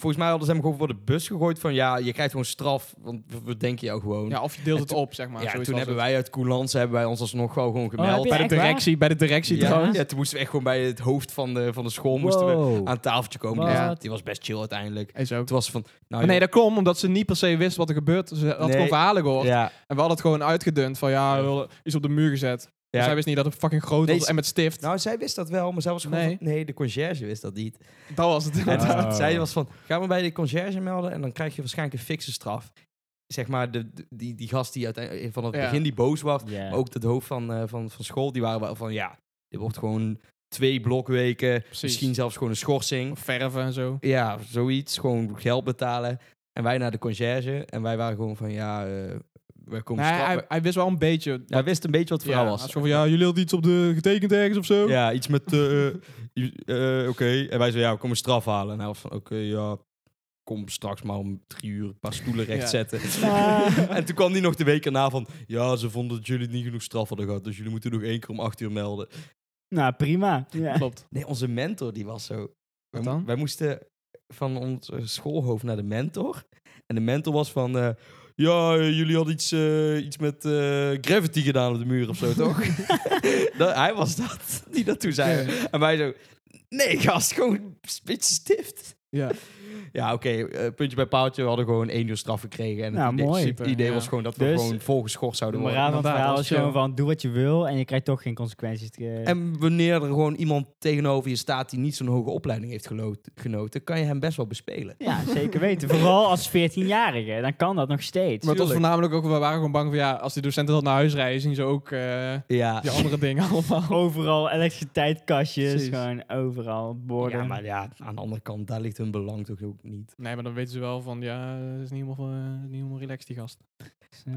S1: Volgens mij hadden ze hem gewoon voor de bus gegooid van ja, je krijgt gewoon straf, want we- we denken jou gewoon.
S4: ja, of je deelt het op, zeg maar.
S1: ja,
S4: zoiets
S1: toen
S4: was
S1: hebben
S4: het.
S1: wij uit Coulance hebben wij ons alsnog gewoon, gewoon
S2: Oh, heb
S1: gemeld.
S2: je
S1: Bij
S4: Bij
S2: Echt
S4: de directie, bij de directie
S1: ja.
S4: trouwens.
S1: Ja, toen moesten we echt gewoon bij het hoofd van de, van de school moesten we
S2: Wow.
S1: aan het tafeltje komen.
S2: Wat?
S1: Ja, die was best chill uiteindelijk.
S4: Is ook.
S1: Het was van, nou
S4: Maar nee,
S1: joh,
S4: dat kwam omdat ze niet per se wist wat er gebeurt. Ze had
S1: Nee.
S4: gewoon verhalen gehoord.
S1: ja, Nou,
S4: En we hadden het gewoon uitgedund van ja, we willen iets op de muur gezet. Dus
S1: ja.
S4: zij wist niet dat het fucking groot
S1: Nee,
S4: was
S1: ze-
S4: en met stift.
S1: nou, zij wist dat wel, maar zij was gewoon
S4: Nee.
S1: nee, van, nee de conciërge wist dat niet.
S4: dat
S1: [laughs]
S4: was het.
S1: En
S4: inderdaad.
S2: Ah.
S1: zij was van, ga maar bij de conciërge melden en dan krijg je waarschijnlijk een fikse straf. Zeg maar, de, de- die, die gast die uiteindelijk eh, van het
S4: Ja.
S1: begin die boos was,
S2: Ja.
S1: maar ook het hoofd van, eh, van, van school, die waren wel van, ja, dit wordt gewoon twee blokweken, misschien zelfs gewoon een schorsing.
S4: Of verven en zo.
S1: Ja, zoiets. Gewoon geld betalen. En wij naar de conciërge. En wij waren gewoon van, ja, eh wij komen
S4: Nee,
S1: straf-
S4: Nou hij, hij wist wel een beetje.
S1: Hij wist een beetje wat het verhaal was.
S4: Zo van ja, jullie hadden iets op de getekend ergens of zo.
S1: Ja, iets met, eh, eh, i- eh, oké. En wij zeiden, ja, we komen straf halen. En hij was van, oké, ja, kom straks maar om drie uur een paar stoelen recht
S4: Ja.
S1: zetten. [laughs] en toen kwam die nog de week erna van, ja, ze vonden dat jullie niet genoeg straf hadden gehad. Dus jullie moeten nog één keer om acht uur melden.
S2: [laughs] Nou, prima.
S4: [laughs]
S2: Ja.
S4: Klopt.
S1: Nee, onze mentor die was zo. Wij,
S4: dan?
S1: wij moesten van ons eh, schoolhoofd naar de mentor. En de mentor was van. eh, ja, eh, jullie hadden iets, eh, iets met eh, gravity gedaan op de muur of zo, toch? [laughs] dat, hij was dat, [laughs] die dat toen zei. En wij zo, nee gast, gewoon een beetje stift.
S4: Ja.
S1: Ja, oké, eh, puntje bij paaltje, we hadden gewoon één uur straf gekregen. En
S2: Nou,
S1: het idee,
S2: mooi.
S1: het idee
S4: Ja.
S1: was gewoon dat we
S2: Dus-
S1: gewoon volgeschort
S2: De
S1: zouden worden.
S2: moraal van het
S4: Inderdaad,
S2: verhaal
S4: dat
S2: is
S4: is
S2: gewoon
S4: chill.
S2: van, doe wat je wil en je krijgt toch geen consequenties. Eh, te-
S1: En wanneer er gewoon iemand tegenover je staat die niet zo'n hoge opleiding heeft gelo- genoten, kan je hem best wel bespelen.
S2: Ja, zeker weten. Vooral als 14-jarige, dan kan dat nog steeds.
S4: Maar het was
S1: Tuurlijk.
S4: voornamelijk ook, we waren gewoon bang van ja, als die docenten dat naar huis rijden, zien ze ook eh,
S1: Ja,
S4: die andere [laughs] dingen allemaal.
S2: Overal elektriciteitskastjes,
S4: Precies.
S2: gewoon overal borden.
S1: ja, maar ja, aan de andere kant, daar ligt hun belang toch ook niet.
S4: Nee, maar dan weten ze wel van ja, dat is niet helemaal, eh, niet helemaal relaxed die gast.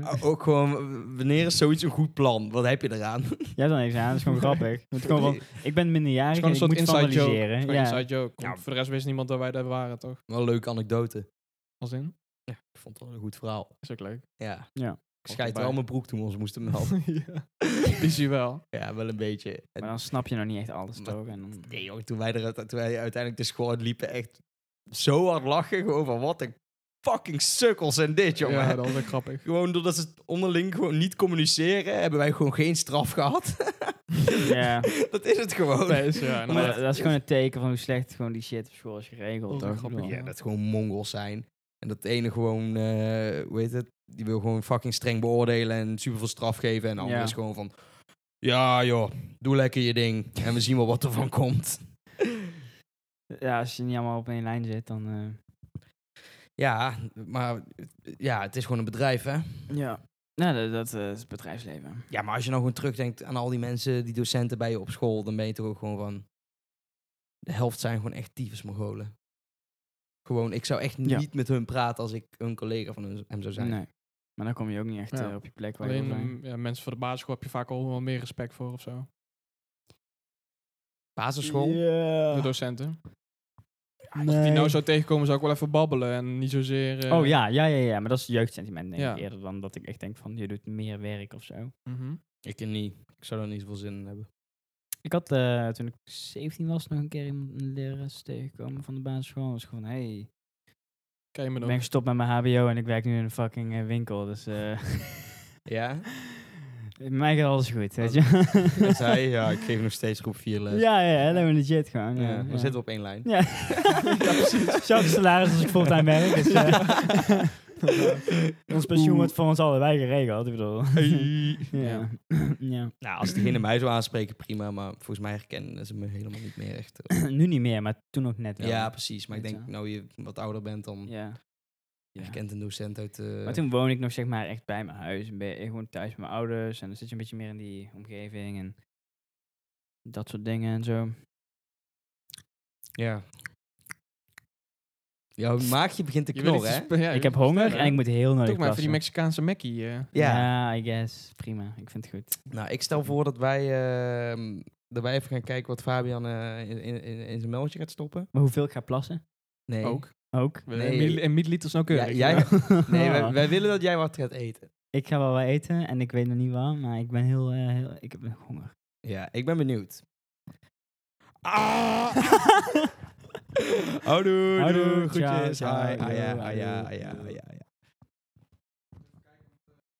S4: Oh.
S1: Ook gewoon, w- wanneer is zoiets een goed plan? Wat heb je eraan?
S2: Jij dan niks aan, dat
S4: [laughs]
S2: is gewoon
S1: [laughs]
S2: grappig. Het is gewoon van, ik ben minderjarig
S4: Het
S2: en
S4: is
S2: ik
S4: gewoon
S2: moet
S4: een soort inside joke.
S2: vandaliseren.
S4: Gewoon
S2: Ja.
S4: inside joke.
S1: Ja.
S4: Voor de rest wist niemand dat wij daar waren, toch?
S1: Wel leuke anekdote.
S4: Als in?
S1: Ja, ik vond het wel een goed verhaal.
S4: Is ook leuk.
S1: Ja.
S2: Ja.
S1: Ik scheid wel
S4: erbij.
S1: mijn broek toen we ons moesten
S2: [laughs]
S1: melden.
S4: ja. Visueel.
S1: ja, wel een beetje. En-
S2: Maar dan snap je nog niet echt alles,
S1: Maar-
S2: toch? En dan...
S4: [laughs]
S1: nee, joh, toen wij, er, toen wij uiteindelijk de squad liepen, echt zo hard lachen. Gewoon van wat een fucking sukkels en dit, [laughs] jongen.
S4: Ja, dat was ook grappig. [laughs]
S1: Gewoon doordat ze het onderling gewoon niet communiceren, hebben wij gewoon geen straf gehad. [laughs]
S2: Ja.
S1: dat is het gewoon.
S4: Nee, is, ja,
S2: Maar
S4: inderdaad.
S2: dat is gewoon een teken van hoe slecht gewoon die shit op school is geregeld,
S4: Oh,
S2: toch?
S4: grappig.
S2: Ik bedoel,
S1: Ja, dat gewoon mongols zijn. En dat de ene gewoon, eh, hoe heet het, die wil gewoon fucking streng beoordelen en super veel straf geven. En de andere
S2: Ja.
S1: is gewoon van, ja joh, doe lekker je ding en we zien wel wat er van
S4: [laughs]
S1: komt.
S2: Ja, als je niet allemaal op één lijn zit, dan... eh,
S1: Ja, maar ja, het is gewoon een bedrijf hè.
S2: Ja. Nou, dat, dat eh, is het bedrijfsleven.
S1: Ja, maar als je nou gewoon terugdenkt aan al die mensen, die docenten bij je op school, dan ben je toch ook gewoon van, de helft zijn gewoon echt tyfus Mongolen. Gewoon, ik zou echt
S2: Ja.
S1: niet met hun praten als ik een collega van hun- hem zou zijn.
S2: Nee. Maar dan kom je ook niet echt
S4: Ja.
S2: eh, op je plek waar je
S4: Alleen
S2: wil zijn.
S4: mm, ja, mensen van de basisschool heb je vaak al wel meer respect voor of zo.
S1: Basisschool?
S4: De docenten. Als ik die nou zou tegenkomen, zou ik wel even babbelen en niet zozeer... eh,
S2: Oh ja, ja, ja, ja, maar dat is jeugdsentiment denk
S4: Ja.
S2: ik eerder dan dat ik echt denk van je doet meer werk of zo.
S4: mhm.
S1: Ik niet. Ik zou daar niet zoveel zin in hebben.
S2: Ik had eh, toen ik 17 was nog een keer iemand een lerares tegengekomen van de basisschool. was gewoon, hey,
S4: Ken je me
S2: ik
S4: nog?
S2: ben
S4: [laughs]
S2: gestopt met mijn HBO en ik werk nu in een fucking eh, winkel. Dus eh
S1: Ja?
S2: met mij gaat alles goed, weet je. [laughs]
S1: En zij, Oh, ja, ik geef nog steeds groep 4 les.
S2: ja, ja, helemaal legit gewoon.
S1: Ja,
S2: Ja,
S1: we
S2: ja.
S1: zitten op één lijn. [laughs]
S2: Ja. [laughs] Zelfde salaris als ik fulltime werk.
S1: [laughs]
S2: Dus, eh, ons pensioen wordt voor ons allebei geregeld. Ik bedoel. [laughs] ja. [laughs] ja.
S1: Nou, als diegene mij zou aanspreken, prima. Maar volgens mij herkennen ze me helemaal niet meer echt.
S2: [clears throat] nu niet meer, maar toen ook net wel.
S1: Ja, precies. Maar ik
S2: Weet
S1: denk,
S2: je.
S1: nou je wat ouder bent, dan
S2: Ja.
S1: je
S2: Ja.
S1: herkent een docent uit... eh,
S2: Maar toen woon ik nog zeg maar echt bij mijn huis. En ben ik gewoon thuis met mijn ouders. En dan zit je een beetje meer in die omgeving. En dat soort dingen en zo.
S1: Ja. Jouw maagje begint te
S4: Je wil
S1: knorren,
S4: iets
S1: hè?
S4: spe- ja, je
S2: ik heb
S4: wil iets
S2: honger en
S4: vertellen.
S2: ik moet heel nodig
S4: Doe maar even die
S2: plassen.
S4: Mexicaanse Mackie. eh.
S1: Ja.
S2: ja, I guess. Prima. Ik vind het goed.
S1: Nou, ik stel voor dat wij, eh, dat wij even gaan kijken wat Fabian eh, in, in, in- in zijn melkje gaat stoppen.
S2: Maar hoeveel ik ga plassen?
S1: Nee.
S4: Ook.
S2: Ook.
S4: We-
S1: Nee.
S4: mil- En milliliters
S2: nou
S4: nauwkeurig.
S1: Ja, jij, [laughs]
S2: [laughs]
S4: [laughs]
S1: nee, wij, wij willen dat jij wat gaat eten.
S2: Ik ga wel wat eten en ik weet nog niet waar, maar ik ben heel, eh, heel ik heb honger.
S1: Ja, ik ben benieuwd. [laughs] Ah! Houdoe,
S2: Houdoe,
S1: doe,
S2: ciao,
S1: groetjes.
S2: ciao,
S1: Hi, ah ja,
S2: yo,
S1: ah ja, ah
S2: houdoe.
S1: ja, ah ja, ah ja.